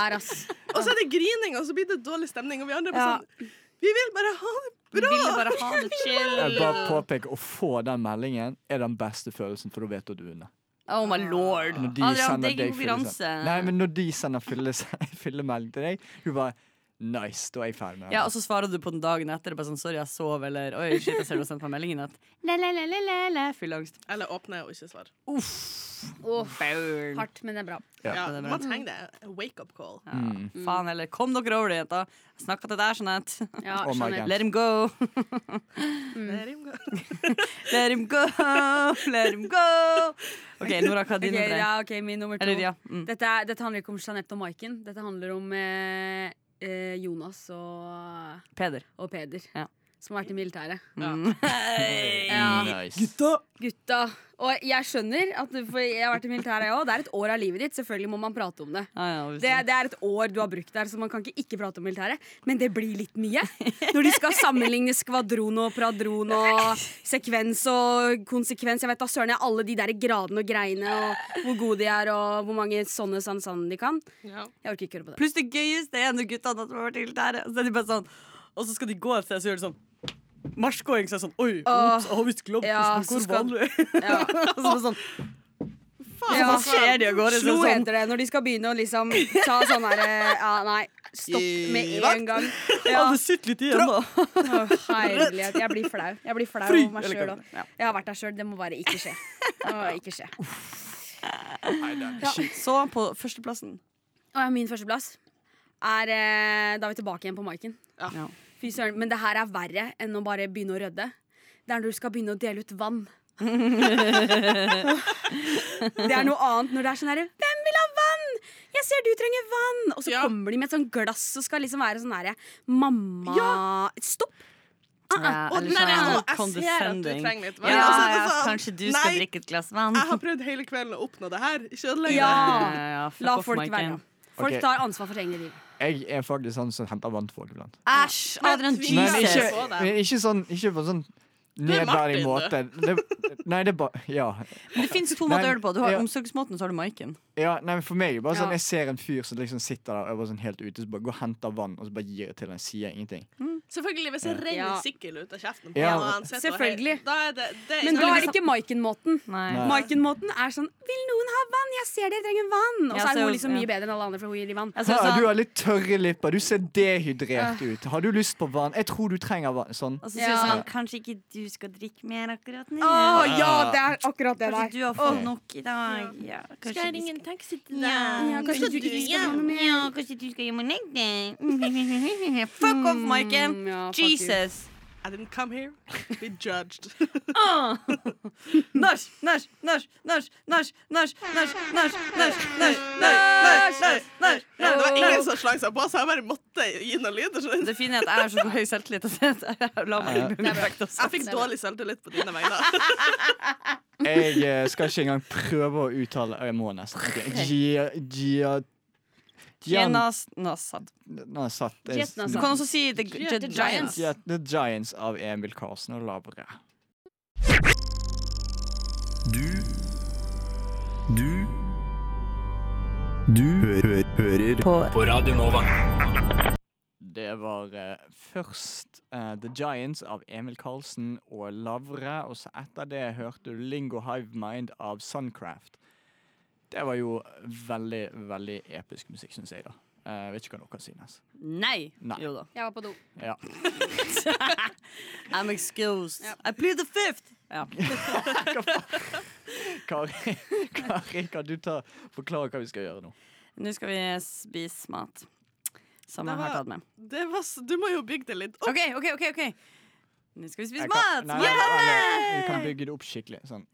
Speaker 8: Og så er det grining, og så blir det dårlig stemning, og vi andre
Speaker 5: Ja.
Speaker 8: bare sånn Vi vil bare ha det bra!
Speaker 5: Vi vil bare ha det chill.
Speaker 4: altså, Jeg bare påpeker, Å få den meldingen er den beste følelsen, for da vet du at du er under.
Speaker 5: Oh my lord.
Speaker 4: Når de
Speaker 5: Adrian,
Speaker 4: sender
Speaker 5: det er ikke
Speaker 4: deg
Speaker 5: konkurranse.
Speaker 4: fyllese- Nei, men når de sender fyllese- (laughs) fyllemelding til deg, du bare Nice, da er jeg ferdig med det.
Speaker 5: Ja, Og så svarer du på den dagen etter. Bare sånn, sorry, jeg sov, eller Oi, shit, jeg ser du har sendt meg meldingen i natt.
Speaker 6: Le-le-le-le-le.
Speaker 5: Fylleangst.
Speaker 8: Eller åpne og ikke svare.
Speaker 5: Burn.
Speaker 6: Hardt, men det er bra.
Speaker 5: Ja,
Speaker 8: Ja,
Speaker 5: det er bra.
Speaker 8: man trenger det. Wake up call.
Speaker 5: Ja.
Speaker 4: Mm.
Speaker 5: Faen heller. Kom dere over det, jenta. Snakka til deg, Jeanette.
Speaker 8: Ja, Oh my Jeanette. God.
Speaker 5: Let him go. Mm.
Speaker 8: Let him go.
Speaker 5: (laughs) Let him go. Let him go. OK, Nora, hva er din
Speaker 6: Ok,
Speaker 5: nummer én?
Speaker 6: ja, ok, min nummer to.
Speaker 5: Eller, ja, mm.
Speaker 6: dette, er, dette handler ikke om Jeanette og Maiken. Dette handler om eh, eh, Jonas og,
Speaker 5: Peder.
Speaker 6: og Peder,
Speaker 5: Ja.
Speaker 6: som har vært i militæret.
Speaker 5: Mm.
Speaker 6: Gutta! Gutta. Og jeg skjønner, at, for jeg har vært i militæret jeg òg. Det er et år av livet ditt. Selvfølgelig må man prate om det. Det, det er et år du har brukt der, så man kan ikke ikke prate om militæret. Men det blir litt mye. Når de skal sammenligne skvadron og pradron og sekvens og konsekvens. Jeg vet da søren jeg alle de der gradene og greiene og hvor gode de er og hvor mange sånne sånn sånn de kan. Jeg orker
Speaker 5: (laughs)
Speaker 6: ikke høre på det.
Speaker 5: Pluss det gøyeste er når guttene som har vært i militæret, og så er de bare sånn Og så skal de gå et sted, så gjør de sånn Marsjgåing, så er det sånn Oi, ops, jeg har visst glemt
Speaker 6: ja,
Speaker 5: hvordan
Speaker 6: så
Speaker 5: man går
Speaker 6: skal-
Speaker 5: vanlig. (laughs) Og så er det sånn Faen,
Speaker 6: Ja.
Speaker 5: hva skjer de av gårde? Så
Speaker 6: Slo
Speaker 5: sånn-
Speaker 6: heter det når de skal begynne å liksom ta sånn her eh, Ja, nei. Stopp med en
Speaker 5: (laughs)
Speaker 6: gang. Ja.
Speaker 5: Alle sitter litt igjen, da.
Speaker 6: Å, Herlighet. Jeg blir flau. Jeg blir flau
Speaker 5: Fry,
Speaker 6: over meg
Speaker 5: eller
Speaker 6: sjøl
Speaker 5: hva
Speaker 6: òg.
Speaker 5: det er.
Speaker 6: Jeg har vært der sjøl. Det må bare ikke skje. Det må ikke skje.
Speaker 5: Ja. Så på førsteplassen.
Speaker 6: Og ja, min førsteplass er eh, Da er vi tilbake igjen på Maiken.
Speaker 5: Ja.
Speaker 6: Fy søren. Men det her er verre enn å bare begynne å rødde. Det er når du skal begynne å dele ut
Speaker 5: (laughs)
Speaker 6: vann. det er noe annet når det er sånn herre Hvem vil ha vann?! Jeg ser du trenger vann! Og så kommer de med et sånt glass og skal liksom være sånn herre Mamma Stopp! Ah, ah.
Speaker 5: Ja,
Speaker 6: Og
Speaker 5: eller sånn
Speaker 6: den derre, «Å, jeg ser at du
Speaker 5: condescending.
Speaker 8: trenger litt vann».
Speaker 5: Ja,
Speaker 8: Og så er det
Speaker 5: ja,
Speaker 8: sånn,
Speaker 5: kanskje du skal
Speaker 8: nei.
Speaker 5: drikke et glass vann.
Speaker 8: Jeg har prøvd hele kvelden å oppnå det her. Ikke ødelegg
Speaker 6: Ja.
Speaker 5: (laughs) Ja, ja, fuck
Speaker 6: La
Speaker 5: off,
Speaker 6: folk
Speaker 5: Maiken.
Speaker 6: være. Folk
Speaker 4: Ok.
Speaker 6: tar ansvar for egne liv.
Speaker 4: Jeg er faktisk han som henter vann til folk iblant.
Speaker 5: Æsj, Adrian
Speaker 4: Men ikke,
Speaker 5: Jesus.
Speaker 4: men ikke sånn Ikke på sånn
Speaker 5: er Martin,
Speaker 4: nedverdig måte. Det, nei, det er bare Ja.
Speaker 5: Men det fins to
Speaker 4: Nei,
Speaker 5: måter å gjøre det på. Du har
Speaker 4: ja.
Speaker 5: omsorgsmåten, og så har du Maiken.
Speaker 4: Ja, nei, men for meg er det bare sånn
Speaker 5: Ja.
Speaker 4: Jeg ser en fyr som liksom sitter der og bare sånn helt ute Så bare går og henter vann og så bare gir jeg til han Sier ingenting
Speaker 8: Selvfølgelig, hvis jeg
Speaker 4: Ja.
Speaker 8: renner
Speaker 6: Ja.
Speaker 8: sikkel ut av kjeften på
Speaker 4: Ja.
Speaker 8: noen annen, sett og
Speaker 6: Selvfølgelig.
Speaker 8: helt- Da er det, det
Speaker 6: Men da er det ikke Maiken-måten.
Speaker 4: Nei.
Speaker 6: Maiken-måten er sånn 'Vil noen ha vann? Jeg ser dere trenger vann!' Og
Speaker 5: Ja,
Speaker 6: så er
Speaker 5: så-
Speaker 6: hun liksom
Speaker 5: ja.
Speaker 6: mye bedre enn alle andre, for hun gir de vann.
Speaker 4: Ha, Du har litt tørre lipper Du ser dehydrert ut Har du lyst på vann? Jeg tror du trenger vann Sånn
Speaker 5: Og så
Speaker 6: Ja.
Speaker 5: sier sånn Kanskje ikke du skal drikke mer akkurat nå.
Speaker 6: Å, ja, det er akkurat det
Speaker 5: Kanskje
Speaker 6: der.
Speaker 5: du har fått
Speaker 6: Åh.
Speaker 5: nok i dag. Ja, kanskje
Speaker 10: jeg
Speaker 5: du
Speaker 10: ringe
Speaker 5: skal-
Speaker 10: en taxi til deg?
Speaker 5: Ja, ja, kanskje du ikke skal ha noe mer.
Speaker 10: Ja, kanskje du skal hjem og legge deg?
Speaker 5: (laughs) Fuck off, Maiken.
Speaker 10: ja, fuck you.
Speaker 5: Jesus.
Speaker 8: I didn't come here
Speaker 6: (laughs)
Speaker 8: to be judged. (laughs)
Speaker 5: Nach, nach, nach, nach, nach, nach, nach, nach, nach, nach, nach, nach, nach,
Speaker 8: Ja, det var
Speaker 5: nach.
Speaker 8: ingen som slang seg på, så jeg bare måtte gi noen lyder. så-
Speaker 5: Det fine er at jeg har så høy selvtillit at jeg la meg ikke bli bevekt også.
Speaker 8: (laughs) Jeg fikk dårlig selvtillit på dine
Speaker 6: (laughs)
Speaker 8: vegne.
Speaker 4: Jeg eh, skal ikke engang prøve å uttale Jeg må nesten Ok, Gia Gia Gian-
Speaker 5: Jenas Nasad.
Speaker 4: Nå satt jeg-
Speaker 5: Du kan også si The, the, the Giants.
Speaker 4: Gia- The Giants av Emil Karsen og Lavre
Speaker 7: Du Du Du hø hø hører på. på Radio Nova.
Speaker 4: Det var eh, først eh, The Giants av Emil Karlsen og Lavre, og så etter det hørte du Lingo Hive Mind av Suncraft. Det var jo veldig, veldig episk musikk, syns jeg, da. Eh, vet ikke hva dere synes.
Speaker 5: Nei.
Speaker 4: Nei.
Speaker 5: Jo da.
Speaker 6: Jeg var på do.
Speaker 4: Ja. (laughs)
Speaker 5: I'm excused. I plead the fifth! Ja.
Speaker 4: Kari, Kari, kan du ta, forklare hva vi skal gjøre nå?
Speaker 5: Nå skal vi spise mat som jeg har tatt med.
Speaker 8: det var, s- du må jo bygge det litt opp.
Speaker 5: OK, OK, OK. Nå skal vi spise
Speaker 4: Jeg kan-
Speaker 5: mat!
Speaker 4: Nei, nei, nei, nei, vi kan bygge det opp skikkelig. Sånn.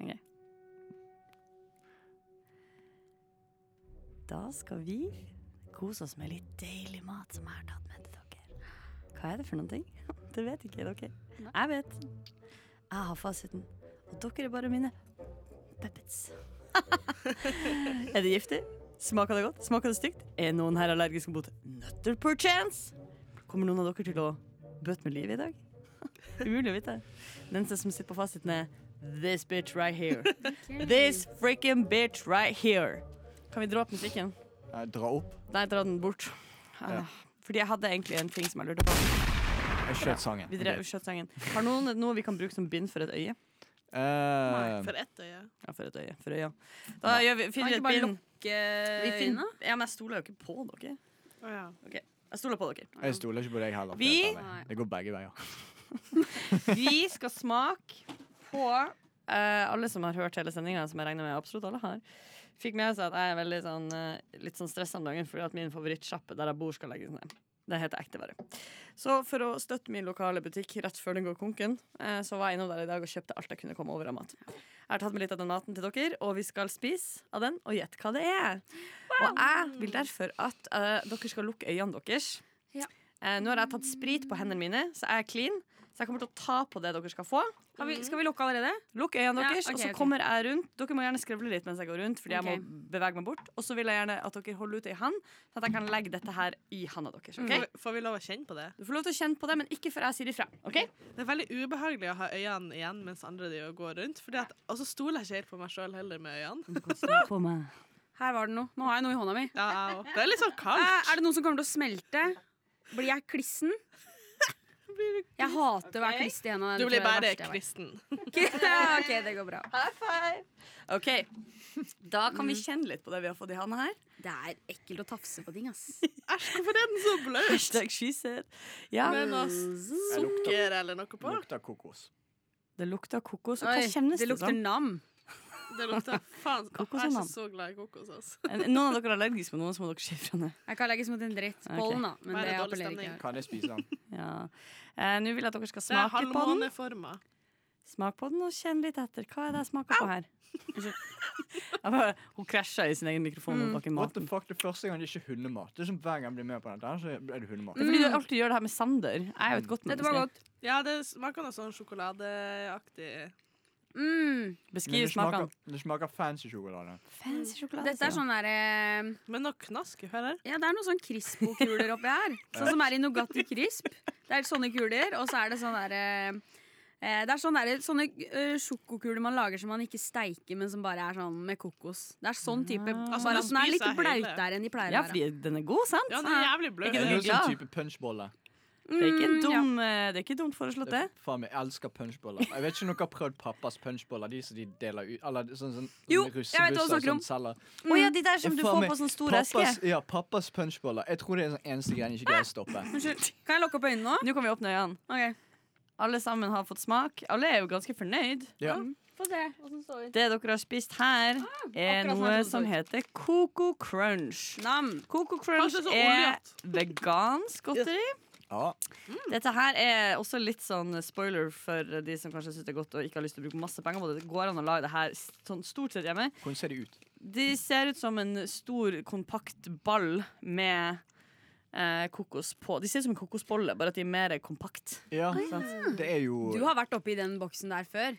Speaker 5: Da skal vi kose oss med litt deilig mat som jeg har tatt med til dere. Hva er det for noen ting? (laughs) Det vet ikke dere. Jeg vet. Jeg har fasiten. Og dere er bare mine puppets. (laughs) er det giftig? Smaker det godt? Smaker det stygt? Er noen her allergisk mot nøtter perchance? Kommer noen av dere til å bøte med livet i dag? (laughs) Umulig å vite. Den som sitter på fasiten, er this bitch right here. This freaking bitch right here. Kan vi dra opp musikken?
Speaker 4: Eh, dra opp.
Speaker 5: Nei, dra den bort.
Speaker 4: Ja.
Speaker 5: Ah, Fordi jeg hadde egentlig en ting som jeg lurte på.
Speaker 4: Jeg skjøt sangen.
Speaker 5: Vi drev
Speaker 4: Ok.
Speaker 5: skjøt sangen. Har noen noe vi kan bruke som bind for et øye?
Speaker 4: Eh,
Speaker 8: For ett øye.
Speaker 5: Ja, for et øye. For øya. Da gjør vi, finner vi et bind. Vi finner, ja, men jeg stoler jo ikke på dere. Ok, Jeg stoler på
Speaker 4: (laughs)
Speaker 5: dere.
Speaker 4: jeg stoler ikke på deg heller. for
Speaker 5: Vi-
Speaker 4: dette her. Det går begge veier.
Speaker 5: Vi skal smake på eh, Alle som har hørt hele sendinga, som jeg regner med absolutt alle har, fikk med seg at jeg er veldig sånn, eh, litt sånn stressa om dagen fordi at min favorittsjappe der jeg bor, skal legges ned. Det heter ektevare. Så for å støtte min lokale butikk rett før den går konken, eh, så var jeg innom der i dag og kjøpte alt jeg kunne komme over av mat. Jeg har tatt med litt av den maten til dere, og vi skal spise av den, og gjett hva det er. Og jeg vil derfor at eh, dere skal lukke øynene deres. Eh, nå har jeg tatt sprit på hendene mine, så jeg er clean. Så jeg kommer til å ta på det dere skal få.
Speaker 6: Har vi- skal vi lukke allerede?
Speaker 5: Lukk øynene
Speaker 6: Ja,
Speaker 5: deres,
Speaker 6: ok,
Speaker 5: og så
Speaker 6: ok.
Speaker 5: kommer jeg rundt. Dere må gjerne skrevle litt mens jeg går rundt, fordi
Speaker 6: Ok.
Speaker 5: jeg må bevege meg bort. Og så vil jeg gjerne at dere holder ut ei hand, så at jeg kan legge dette her i handa deres. ok?
Speaker 8: Får, vi- får vi lov å kjenne på det?
Speaker 5: Du får lov til å kjenne på det, men ikke før jeg sier ifra. ok?
Speaker 8: Det er veldig ubehagelig å ha øynene igjen mens andre driver og går rundt. Fordi at, og så stoler jeg ikke helt på meg sjøl heller med øynene.
Speaker 6: Her var det noe. Nå har jeg noe i hånda mi.
Speaker 8: Det er litt sånn kaldt.
Speaker 6: Eh, Er det noen som kommer til å smelte? Blir jeg klissen? Jeg hater å være kliss i hendene.
Speaker 8: Du blir bare
Speaker 6: kristen. (laughs) ja, ok, det går bra.
Speaker 5: High five! OK. Da kan vi kjenne litt på det vi har fått i handa her.
Speaker 6: Det er ekkelt å tafse på ting, ass.
Speaker 8: Æsj, hvorfor er den så bløt?
Speaker 5: Hashtag she said. Ja.
Speaker 8: Med noe
Speaker 5: Jeg lukter-
Speaker 8: sukker eller noe på?
Speaker 4: Lukter kokos.
Speaker 5: Det lukter kokos. Og
Speaker 6: Oi,
Speaker 5: hva kjennes
Speaker 6: det
Speaker 5: det
Speaker 6: lukter nam.
Speaker 8: Det lukter faen
Speaker 5: Kokos og
Speaker 8: Jeg er ikke
Speaker 5: nam.
Speaker 8: så glad i kokos, altså.
Speaker 5: Noen av dere er allergiske mot noen, så må dere si ifra nå.
Speaker 6: Jeg kan legges mot en dritt. Bollen, da. Men
Speaker 8: Bare
Speaker 6: det
Speaker 8: dårlig
Speaker 6: appellerer
Speaker 8: stemning.
Speaker 6: ikke. her.
Speaker 4: Kan jeg spise
Speaker 5: (laughs)
Speaker 4: den?
Speaker 5: Ja. Eh, Nå vil jeg at dere skal
Speaker 8: Det er
Speaker 5: smake på den.
Speaker 8: halvmåneforma.
Speaker 5: Smak på den og kjenn litt etter. Hva er det jeg smaker på her? Jeg bare, hun krasja i sin egen mikrofon. Mm. Bak i
Speaker 4: What the
Speaker 5: maten.
Speaker 4: fuck, Det er første gang det er ikke hundemat. Det er som Hver gang jeg blir med på dette, her, så er det hundemat.
Speaker 5: Det er fordi du alltid gjør det her med Sander. Jeg er jo et godt menneske.
Speaker 8: Ja, det smaker noe sånn sjokoladeaktig.
Speaker 4: Men
Speaker 6: Mm.
Speaker 5: Beskriv
Speaker 4: det
Speaker 5: smaken.
Speaker 4: smaker- Det smaker fancy sjokolade.
Speaker 6: Dette er sånn derre
Speaker 8: Men noe knask hører
Speaker 6: Ja, det er noen sånn Crispo-kuler
Speaker 5: (laughs)
Speaker 6: oppi her. Sånn som er i Nugatti Crisp. Det er sånne kuler, og så er det sånn derre eh, det er sånne, der, sånne eh, sjokokuler man lager som man ikke steiker, men som bare er sånn med kokos. Det er sånn type
Speaker 5: Altså, du
Speaker 6: Bare at den er
Speaker 5: spiser
Speaker 6: litt
Speaker 5: hele.
Speaker 6: blautere enn de pleier
Speaker 5: Ja,
Speaker 6: å
Speaker 5: fordi
Speaker 6: være.
Speaker 5: den er god, sant?
Speaker 8: Ja, den er jævlig bløt.
Speaker 5: Er
Speaker 4: jo
Speaker 5: ikke dere
Speaker 4: sånn
Speaker 5: glad?
Speaker 4: type punchbolle.
Speaker 5: Det er ikke,
Speaker 6: Mm,
Speaker 5: dum, eh, det er ikke dumt foreslått, det.
Speaker 4: Faen, jeg elsker punchboller. Jeg vet ikke om dere har prøvd pappas punchboller. De som de deler ut Eller sånn, sånn
Speaker 5: Jo, jeg
Speaker 4: russebusser
Speaker 5: vet hva du snakker
Speaker 4: som
Speaker 5: om.
Speaker 4: selger.
Speaker 5: Å ja, de der som
Speaker 4: Jeg
Speaker 5: du
Speaker 4: faen
Speaker 5: Mm. får
Speaker 4: meg-
Speaker 5: på sånn stor
Speaker 4: pappas,
Speaker 5: eske.
Speaker 4: Ja, pappas punchboller. Jeg tror det er den eneste greien jeg ikke greier å stoppe.
Speaker 6: Unnskyld. Kan jeg lukke opp øynene nå?
Speaker 5: Nå kan vi åpne øynene. Alle sammen har fått smak. Alle er jo ganske fornøyd.
Speaker 4: Ja.
Speaker 6: Få se hva som står
Speaker 5: Det dere har spist her, er noe
Speaker 6: akkurat som jeg trodde
Speaker 5: som heter Coco Crunch. Coco Crunch
Speaker 6: Kanskje så
Speaker 5: er
Speaker 6: oljete.
Speaker 5: vegansk godteri.
Speaker 4: Ja.
Speaker 5: Dette her er også litt sånn spoiler for de som kanskje syns det er godt og ikke har lyst til å bruke masse penger på det. Det går an å lage det her s- sånn stort sett hjemme.
Speaker 4: Hvordan ser de ut?
Speaker 5: De ser ut som en stor, kompakt ball med eh, kokos på. De ser ut som en kokosbolle, bare at de er mer kompakt.
Speaker 4: Ja,
Speaker 5: Sant?
Speaker 4: det er jo
Speaker 6: Du har vært oppi den boksen der før.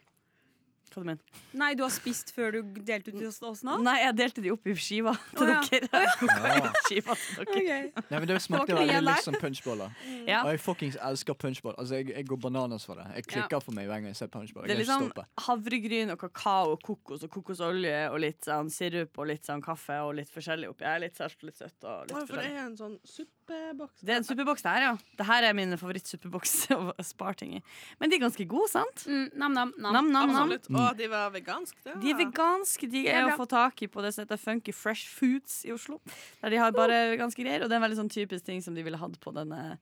Speaker 5: Hva du mener
Speaker 6: Nei, du har spist før du delte ut til oss oss nå?
Speaker 5: Nei, jeg delte de opp i skiva til
Speaker 6: Å, ja.
Speaker 5: dere.
Speaker 4: Ja.
Speaker 5: (laughs) Skiva til dere. (laughs)
Speaker 4: Nei, men Det smakte
Speaker 5: Det var ikke
Speaker 4: veldig
Speaker 5: mye
Speaker 4: litt
Speaker 5: der. Mm.
Speaker 4: som
Speaker 5: (laughs)
Speaker 4: punchboller.
Speaker 5: Ja.
Speaker 4: Og jeg fuckings elsker punchboller. Altså, jeg, jeg går bananas for det. Jeg klikker
Speaker 5: Ja.
Speaker 4: for meg hver gang jeg ser punchboller.
Speaker 5: Det er
Speaker 4: Jeg kan
Speaker 5: liksom
Speaker 4: ikke stoppe.
Speaker 5: havregryn og kakao og kokos og kokosolje og litt sånn sirup og litt sånn kaffe og litt forskjellig oppi. Jeg er litt salt og litt søtt og litt
Speaker 8: For det
Speaker 5: forskjellig.
Speaker 8: er en sånn suppe. suppeboks.
Speaker 5: Det er en suppeboks, det her, ja. Det her er min favorittsuppeboks (laughs) å spare ting i. Men de er ganske gode, sant?
Speaker 6: Nam-nam. Altså,
Speaker 8: Absolutt. Og de var veganske, det.
Speaker 5: Mm. De er veganske. De
Speaker 8: Det er
Speaker 5: er å
Speaker 8: bra.
Speaker 5: få tak i på det som heter Funky Fresh Foods i Oslo. Der de har bare veganske greier. Og det er en veldig sånn typisk ting som de ville hatt på denne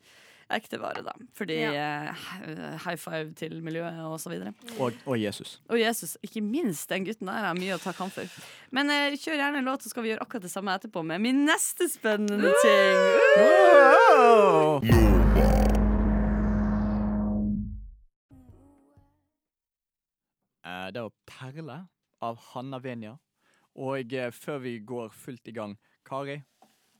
Speaker 5: ekte vare, da. Fordi eh, high five til miljøet og så videre.
Speaker 4: Og, og
Speaker 5: (laughs)
Speaker 4: Jesus.
Speaker 5: Og Jesus, ikke minst den gutten der har mye å takke han for. Men eh, kjør gjerne en låt, så skal vi gjøre akkurat det samme etterpå med min neste spennende ting.
Speaker 4: Eh, Det var Perle av Hanna Venja. Og eh, før vi går fullt i gang, Kari,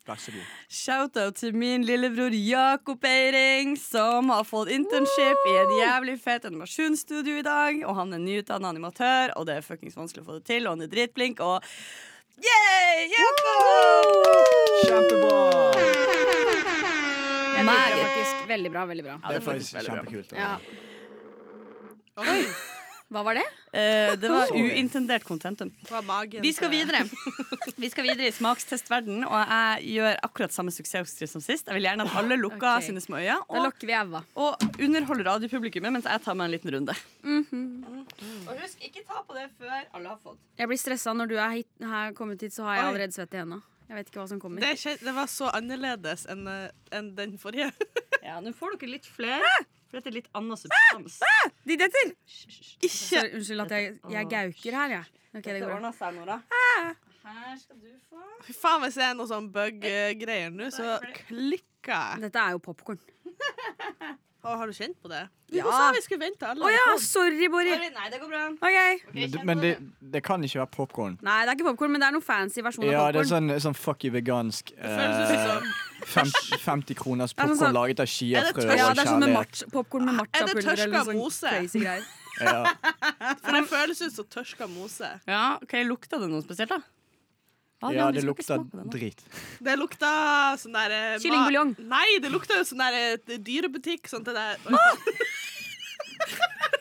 Speaker 4: vær så god.
Speaker 5: Shoutout til min lillebror Jakob Eiring, som har fått internship i et jævlig fett animasjonsstudio i dag. Og han er nyutdannet animatør, og det er fuckings vanskelig å få det til, og han er dritblink, og Yay! Jakob!
Speaker 6: Jeg liker det faktisk. Veldig bra. veldig bra
Speaker 5: Ja, det er faktisk Det er faktisk veldig kjempekult, bra.
Speaker 6: Ja. Oi! Hva var det?
Speaker 5: Eh, det var uintendert contentum. Vi skal videre. Vi skal videre i smakstestverden, og jeg gjør akkurat samme suksessoppskrift som sist. Jeg vil gjerne at alle lukker
Speaker 6: Ok.
Speaker 5: sine små øyne.
Speaker 6: Da
Speaker 5: Og,
Speaker 6: lokker vi Eva.
Speaker 5: og underholder radiopublikummet mens jeg tar meg en liten runde. Og husk, ikke ta på det før alle har fått.
Speaker 6: Jeg blir stressa når du er hit, her kommet hit, så har jeg
Speaker 8: Oi.
Speaker 6: allerede svett i henda. Jeg vet ikke hva som kommer.
Speaker 8: Det, kjen- det var så annerledes enn eh, enn den forrige.
Speaker 5: (laughs) ja, nå får dere litt flere. For dette er litt annen substans.
Speaker 6: De detter!
Speaker 5: Ikke
Speaker 6: Sorry, Unnskyld at jeg, jeg gauker her, jeg. Ok, det går bra.
Speaker 5: seg, Nora. Her skal du få
Speaker 8: Fy faen, hvis det er noe sånn bug-greier nå, så klikka jeg.
Speaker 6: Dette er jo popkorn.
Speaker 8: Å, har du kjent på det?
Speaker 6: Ja.
Speaker 8: Du sa vi skulle vente alle.
Speaker 6: Å ja, sorry, Borri.
Speaker 5: Nei, det går bra.
Speaker 6: Ok.
Speaker 4: Men, du- men det, det kan ikke være popkorn.
Speaker 6: Nei, det er ikke popkorn, men det er noen fancy versjon
Speaker 4: Ja,
Speaker 6: av
Speaker 4: det er
Speaker 6: popkorn.
Speaker 4: sånn, sånn fucky vegansk
Speaker 6: føles
Speaker 4: eh,
Speaker 6: som-
Speaker 4: fem, 50 kroners
Speaker 6: Det er
Speaker 4: popkorn
Speaker 6: sånn-
Speaker 4: laget av chiafrø og
Speaker 6: Ja, det er sånn med
Speaker 4: kjærlighet.
Speaker 6: match, popcorn
Speaker 8: Er
Speaker 6: med
Speaker 8: det
Speaker 6: matcha-pulver eller
Speaker 8: tørska
Speaker 6: noe
Speaker 8: mose?
Speaker 6: sånn crazy (laughs) greier.
Speaker 4: Ja.
Speaker 8: For det føles ut som tørska mose.
Speaker 5: Ja, ok, Lukta det noe spesielt, da?
Speaker 4: ja, det lukter drit.
Speaker 8: Det lukta sånn der eh, ma-
Speaker 6: Kyllingbuljong.
Speaker 8: Nei, det lukta jo sånn der eh, dyrebutikk. Sånn til der.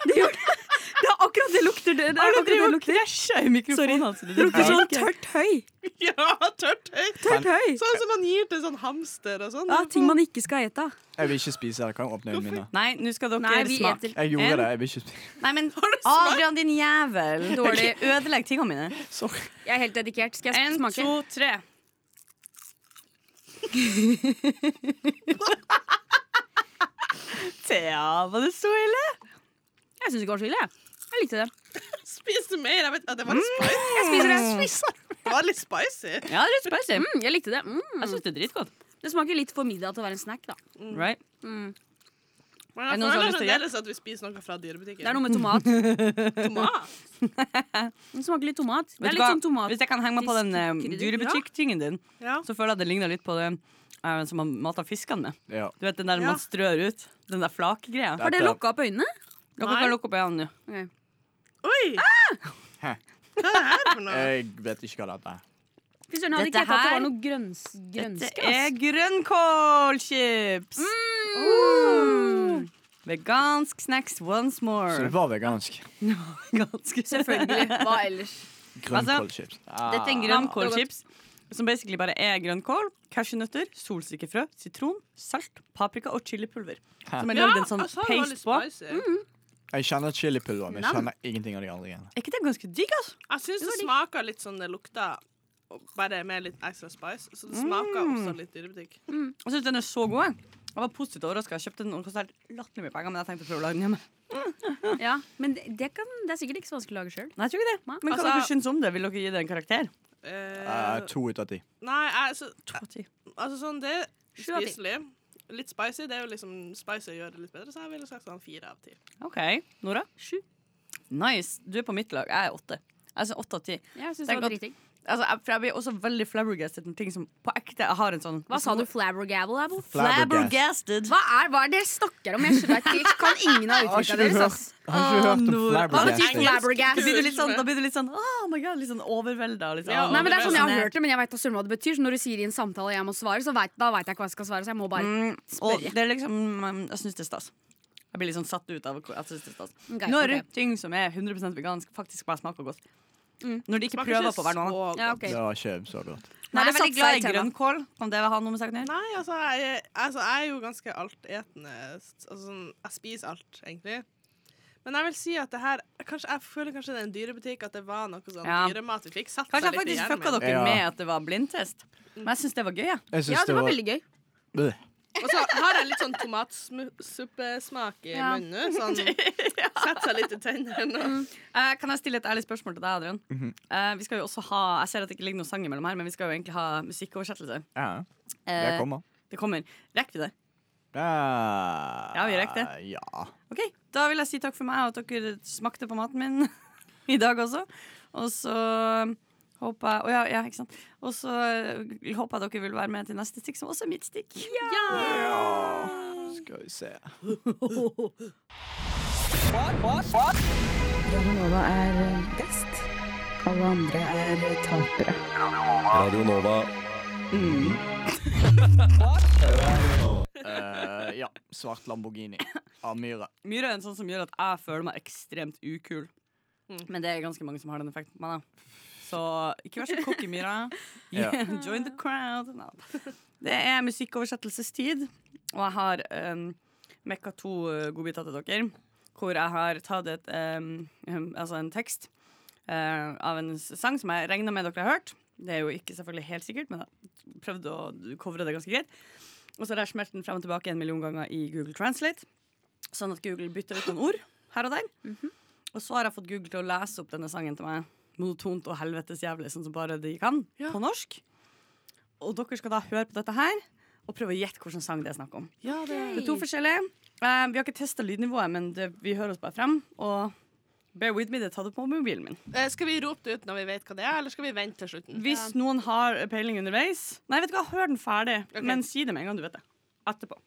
Speaker 6: Det er akkurat det lukter det. det, er akkurat det lukter.
Speaker 5: i mikrofonen hans.
Speaker 6: Det lukter sånn tørt høy.
Speaker 8: (laughs) Ja, tørt høy.
Speaker 6: Tørt høy. Ah,
Speaker 8: Sånn som man gir til sånn hamster og sånn.
Speaker 6: Ja, ting man ikke skal ete.
Speaker 4: Jeg vil ikke spise det. Kan jeg åpne øynene mine?
Speaker 5: Nei, nå skal dere
Speaker 6: Nei, vi
Speaker 5: smake.
Speaker 6: eter-
Speaker 4: Jeg
Speaker 5: En-
Speaker 4: gjorde det. Jeg vil ikke spise
Speaker 5: Nei, men Adrian, din jævel.
Speaker 6: Dårlig.
Speaker 5: Ikke Ødelegg tingene mine.
Speaker 6: Jeg er helt dedikert. Skal jeg
Speaker 5: En,
Speaker 6: smake?
Speaker 5: to, tre. Thea, var det så ille?
Speaker 6: Jeg syns ikke det var så ille. jeg. Jeg likte det.
Speaker 8: Spis du mer? Jeg vet, ja, det var litt spicy.
Speaker 6: Jeg spiser det.
Speaker 8: (laughs) Det var litt spicy.
Speaker 5: Ja, det er litt spicy.
Speaker 6: Mm, jeg likte det. Mm.
Speaker 5: Jeg syns det er dritgodt.
Speaker 6: Det smaker litt for middag til å være en snack, da.
Speaker 5: Right?
Speaker 6: Mm.
Speaker 8: Men
Speaker 5: Er det
Speaker 8: jeg
Speaker 5: noen som har lyst til
Speaker 8: føler
Speaker 5: å
Speaker 8: fremdeles at vi spiser noe fra dyrebutikken.
Speaker 6: Det er noe med tomat.
Speaker 8: tomat.
Speaker 6: Den smaker litt tomat. Det
Speaker 5: Vet
Speaker 6: er
Speaker 5: du
Speaker 6: litt
Speaker 5: hva?
Speaker 6: sånn tomat.
Speaker 5: Hvis jeg kan henge meg på den eh,
Speaker 6: Fiskekrydder.
Speaker 5: dyrebutikkingen din,
Speaker 8: Ja.
Speaker 5: så føler jeg at det ligner litt på det eh, som man mater fiskene med.
Speaker 4: det. Ja.
Speaker 5: Du vet den der
Speaker 6: Ja.
Speaker 5: man strør ut? Den der flakegreia.
Speaker 6: Har dere lukka opp øynene?
Speaker 5: Dere kan lukke opp øynene nå.
Speaker 6: Ok.
Speaker 8: Oi!
Speaker 4: Hæ.
Speaker 8: Hva er det her for noe?
Speaker 4: Jeg vet ikke hva dette er.
Speaker 6: Fy søren, jeg hadde
Speaker 5: Dette
Speaker 6: ikke gjettet at det
Speaker 5: her-
Speaker 6: var noe grønns, grønske.
Speaker 5: Dette
Speaker 6: ass.
Speaker 5: er grønnkålchips!
Speaker 8: Mm.
Speaker 5: Oh. Vegansk snacks once
Speaker 4: Så det
Speaker 8: (laughs)
Speaker 5: more.
Speaker 4: var vegansk.
Speaker 5: Ganske
Speaker 6: Selvfølgelig. Hva ellers?
Speaker 4: Grønnkålchips.
Speaker 5: Dette er en
Speaker 6: Varmt og
Speaker 5: grønnkålchips som basically bare er grønnkål, cashewnøtter, solsikkefrø, sitron, salt, paprika og chilipulver.
Speaker 4: Hæ.
Speaker 5: Som er
Speaker 8: Ja,
Speaker 5: lagd en sånn
Speaker 8: jeg sa det var litt
Speaker 5: paste på.
Speaker 8: spicy.
Speaker 4: Jeg kjenner chilipulver, men jeg
Speaker 5: Nam.
Speaker 4: kjenner ingenting av de andre igjen.
Speaker 5: Er ikke det ganske digg, altså?
Speaker 8: Jeg syns det smaker litt sånn det lukter, og bare med litt ekstra spice. Så det smaker også litt dyrebutikk.
Speaker 5: Jeg syns den er så god. jeg. Jeg var positivt overraska. Jeg kjøpte den og den kostet helt latterlig mye penger, men jeg tenkte å prøve å lage den hjemme.
Speaker 6: Ja, men det, det, kan, det er sikkert ikke så vanskelig å lage sjøl.
Speaker 5: Nei, jeg tror ikke det. Men hva
Speaker 8: Altså-
Speaker 5: dere syns om det? Vil dere gi det en karakter?
Speaker 8: Eh,
Speaker 4: Eh, to ut av ti.
Speaker 8: nei, altså,
Speaker 5: To av ti.
Speaker 8: altså sånn det er
Speaker 6: Sju av ti.
Speaker 8: spiselig. Litt spicy. Det er jo liksom spicy gjør det litt bedre, så jeg ville sagt sånn fire av ti.
Speaker 5: OK. Nora?
Speaker 6: Sju.
Speaker 5: Nice. Du er på mitt lag. Jeg er åtte. Jeg syns åtte av ti.
Speaker 6: Jeg synes
Speaker 5: Det
Speaker 6: det
Speaker 5: er
Speaker 6: var
Speaker 5: godt.
Speaker 6: dritdigg.
Speaker 5: Altså, jeg, for jeg blir også veldig flabbergasted med ting som på ekte jeg har en sånn
Speaker 6: Hva sa du? Flabbergabble, Abo?
Speaker 5: Flabbergasted.
Speaker 6: Hva er hva er det dere snakker om? Jeg skjønner ikke. Kan ingen av
Speaker 4: Har ikke
Speaker 6: uttrykkene
Speaker 4: du
Speaker 6: deres,
Speaker 4: hørt,
Speaker 6: altså. ass.
Speaker 4: har ikke du hørt om
Speaker 5: Hva betyr
Speaker 4: flabbergasting?
Speaker 5: flabbergasted? Da blir du litt sånn,
Speaker 8: Kurs,
Speaker 5: da blir du litt sånn oh my god, litt sånn overvelda. Liksom.
Speaker 8: Ja,
Speaker 6: Nei, men det er sånn Jeg har hørt det, men jeg vet da søren hva det betyr. Så når du sier i en samtale jeg må svare, så vet, da vet jeg ikke hva jeg skal svare. Så jeg må bare
Speaker 5: Mm, og
Speaker 6: spørre.
Speaker 5: det er liksom mm, Jeg syns det er stas. Jeg blir litt sånn satt ut av hvor- jeg synes det er stas.
Speaker 6: Ok,
Speaker 5: Når
Speaker 6: ok.
Speaker 5: ting som er 100 vegansk, faktisk bare smaker godt. Når de ikke
Speaker 8: Smaker
Speaker 5: prøver
Speaker 8: ikke
Speaker 5: på å være noe
Speaker 8: så
Speaker 5: annet.
Speaker 8: Ja,
Speaker 4: Det var ikke så godt.
Speaker 5: Nei, jeg er
Speaker 8: Nei,
Speaker 5: veldig
Speaker 8: satser
Speaker 5: glad
Speaker 8: i
Speaker 5: i
Speaker 8: tema.
Speaker 5: grønnkål. Kan det ha noe med saken å gjøre?
Speaker 8: Nei, altså jeg, altså, jeg er jo ganske altetende. Altså, sånn, jeg spiser alt, egentlig. Men jeg vil si at det her kanskje, Jeg føler kanskje det er en dyrebutikk, at det var noe sånn
Speaker 5: Ja.
Speaker 8: dyremat vi fikk satt
Speaker 5: Kanskje jeg faktisk fucka dere
Speaker 4: Ja.
Speaker 5: med at det var blindtest. Men jeg syns det var gøy, jeg.
Speaker 4: Jeg syns Ja, det det var var- veldig
Speaker 5: gøy.
Speaker 4: Bøh.
Speaker 8: Og så har jeg litt sånn tomatsuppesmak i
Speaker 5: Ja. Mm.
Speaker 8: munnen nå. Sånn
Speaker 5: (laughs)
Speaker 8: setter seg litt i tennene. og-
Speaker 5: Eh, kan jeg stille et ærlig spørsmål til deg, Adrian?
Speaker 4: Mhm.
Speaker 5: Eh, vi skal jo også ha Jeg ser at det ikke ligger noen sang imellom her, men vi skal jo egentlig ha musikkoversettelse.
Speaker 4: Ja.
Speaker 5: Eh,
Speaker 4: Det kommer.
Speaker 5: Det kommer. Rekker vi det?
Speaker 4: Ja,
Speaker 5: Ja, vi rekker det.
Speaker 4: Ja.
Speaker 5: OK. Da vil jeg si takk for meg, og at dere smakte på maten min (laughs) i dag også. Og så håper jeg Å ja, ja, ikke sant. Og så eh, håper jeg dere vil være med til neste stikk, som også er mitt stikk.
Speaker 4: Skal vi se.
Speaker 11: Radionova er best. Alle andre er tapere.
Speaker 7: Radio Nova.
Speaker 4: Eh, ja. Svart Lamborghini av Myhre.
Speaker 5: Myra er en sånn som gjør at jeg føler meg ekstremt ukul. Men det er ganske mange som har den effekten på meg, da. Så ikke vær så cocky, Myra.
Speaker 11: Ja.
Speaker 5: (laughs) Join the crowd. No. Det er musikkoversettelsestid, og jeg har um, mekka to eh, godbiter til dere. Hvor jeg har tatt et, em, em, altså en tekst eh, av en s- sang som jeg regner med dere har hørt. Det er jo ikke selvfølgelig helt sikkert, men jeg prøvde å covre det ganske greit. Og så har jeg smelt den frem og tilbake en million ganger i Google Translate. Sånn at Google bytter ut noen ord her og der. Og så har jeg fått Google til å lese opp denne sangen til meg monotont og helvetes jævlig, sånn som bare de kan, på norsk. Og dere skal da høre på dette her og prøve å gjette hvilken sang det er snakk om.
Speaker 8: Ja,
Speaker 5: Det er to forskjellige. Eh, vi har ikke testa lydnivået, men det, vi hører oss bare frem. Og bear with me, det er tatt opp på mobilen min.
Speaker 8: Eh, Skal vi rope det ut når vi vet hva det er, eller skal vi vente til slutten?
Speaker 5: Hvis noen har peiling underveis Nei, vet du hva, hør den ferdig, men si det med en gang du vet det. Etterpå.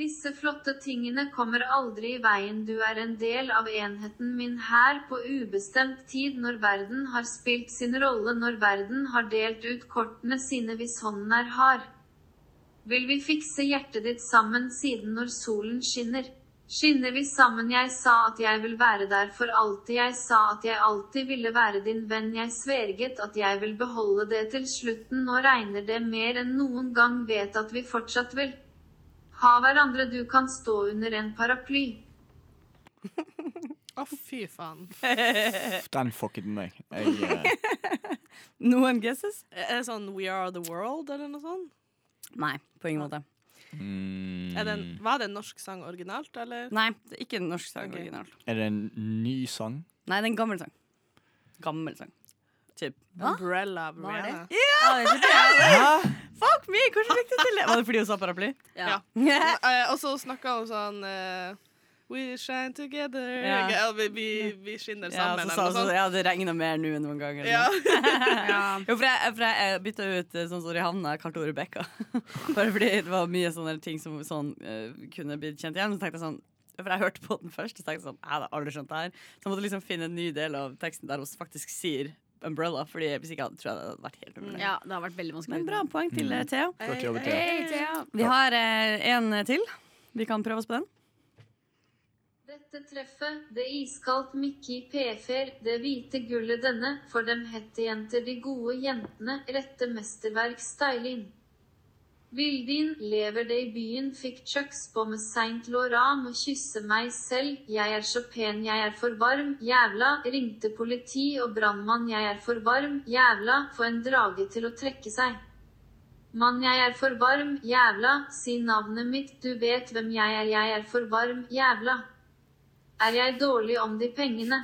Speaker 14: Disse flotte tingene kommer aldri i veien. Du er en del av enheten min her på ubestemt tid når verden har spilt sin rolle, når verden har delt ut kortene sine hvis hånden er hard. Vil vi fikse hjertet ditt sammen siden når solen skinner? Skinner vi sammen, jeg sa at jeg vil være der for alltid, jeg sa at jeg alltid ville være din venn, jeg sverget at jeg vil beholde det til slutten, nå regner det mer enn noen gang, vet at vi fortsatt vil. Ha hverandre du kan stå under en paraply.
Speaker 8: Å, fy faen.
Speaker 4: Pff, Den fucket med meg. Jeg, eh,
Speaker 5: Noen guesses?
Speaker 8: Er det sånn We Are The World, eller noe sånt?
Speaker 5: Nei, på ingen måte.
Speaker 4: mm,
Speaker 8: Er det en, var det en norsk sang originalt, eller?
Speaker 5: Nei, det er ikke en norsk sang originalt.
Speaker 4: er det en ny sang?
Speaker 5: Nei, det er en gammel sang. Gammel sang. Typ.
Speaker 8: Umbrella av
Speaker 5: Var det?
Speaker 8: Rihanna.
Speaker 5: (laughs) Ja, det trodde jeg. Fuck me, hvordan fikk du til det? Var det fordi hun sa paraply?
Speaker 8: Ja. Eh, Og så snakka hun sånn eh, We shine together
Speaker 5: Ja.
Speaker 8: Eller vi, vi, vi skinner
Speaker 5: Ja,
Speaker 8: sammen,
Speaker 5: så sa hun
Speaker 8: eller noe sånt.
Speaker 5: sånn, ja, det regner mer nå enn noen gang. eller
Speaker 8: Ja. (laughs)
Speaker 5: noe. Jo, for jeg, for jeg bytta ut eh, sånn som Rihanna kalte henne Rebekka. (laughs) Bare fordi det var mye sånne ting som sånn, eh, kunne blitt kjent igjen. Så tenkte jeg sånn for jeg hørte på den først, og så tenkte jeg sånn, jeg hadde aldri skjønt det her. Så jeg måtte liksom finne en ny del av teksten der hun faktisk sier 'umbrella', Fordi hvis ikke hadde, tror jeg det hadde vært helt umulig.
Speaker 6: Ja, det har vært veldig vanskelig.
Speaker 5: Men bra poeng til eh, Thea.
Speaker 4: Flott jobbet, Thea.
Speaker 5: Hei, Thea. Vi har eh, en til. Vi kan prøve oss på den.
Speaker 14: Dette treffet, det iskaldt Mickey P-fer, det hvite gullet denne, for dem hette jenter, de gode jentene, rette mesterverk styling. Vildin, lever det i byen, fikk chucks på med Saint Laurent, må kysse meg selv, jeg er så pen, jeg er for varm, jævla, ringte politi og brandmann, jeg er for varm, jævla, få en drage til å trekke seg. Mann, jeg er for varm, jævla, si navnet mitt, du vet hvem jeg er, jeg er for varm, jævla. Er jeg dårlig om de pengene?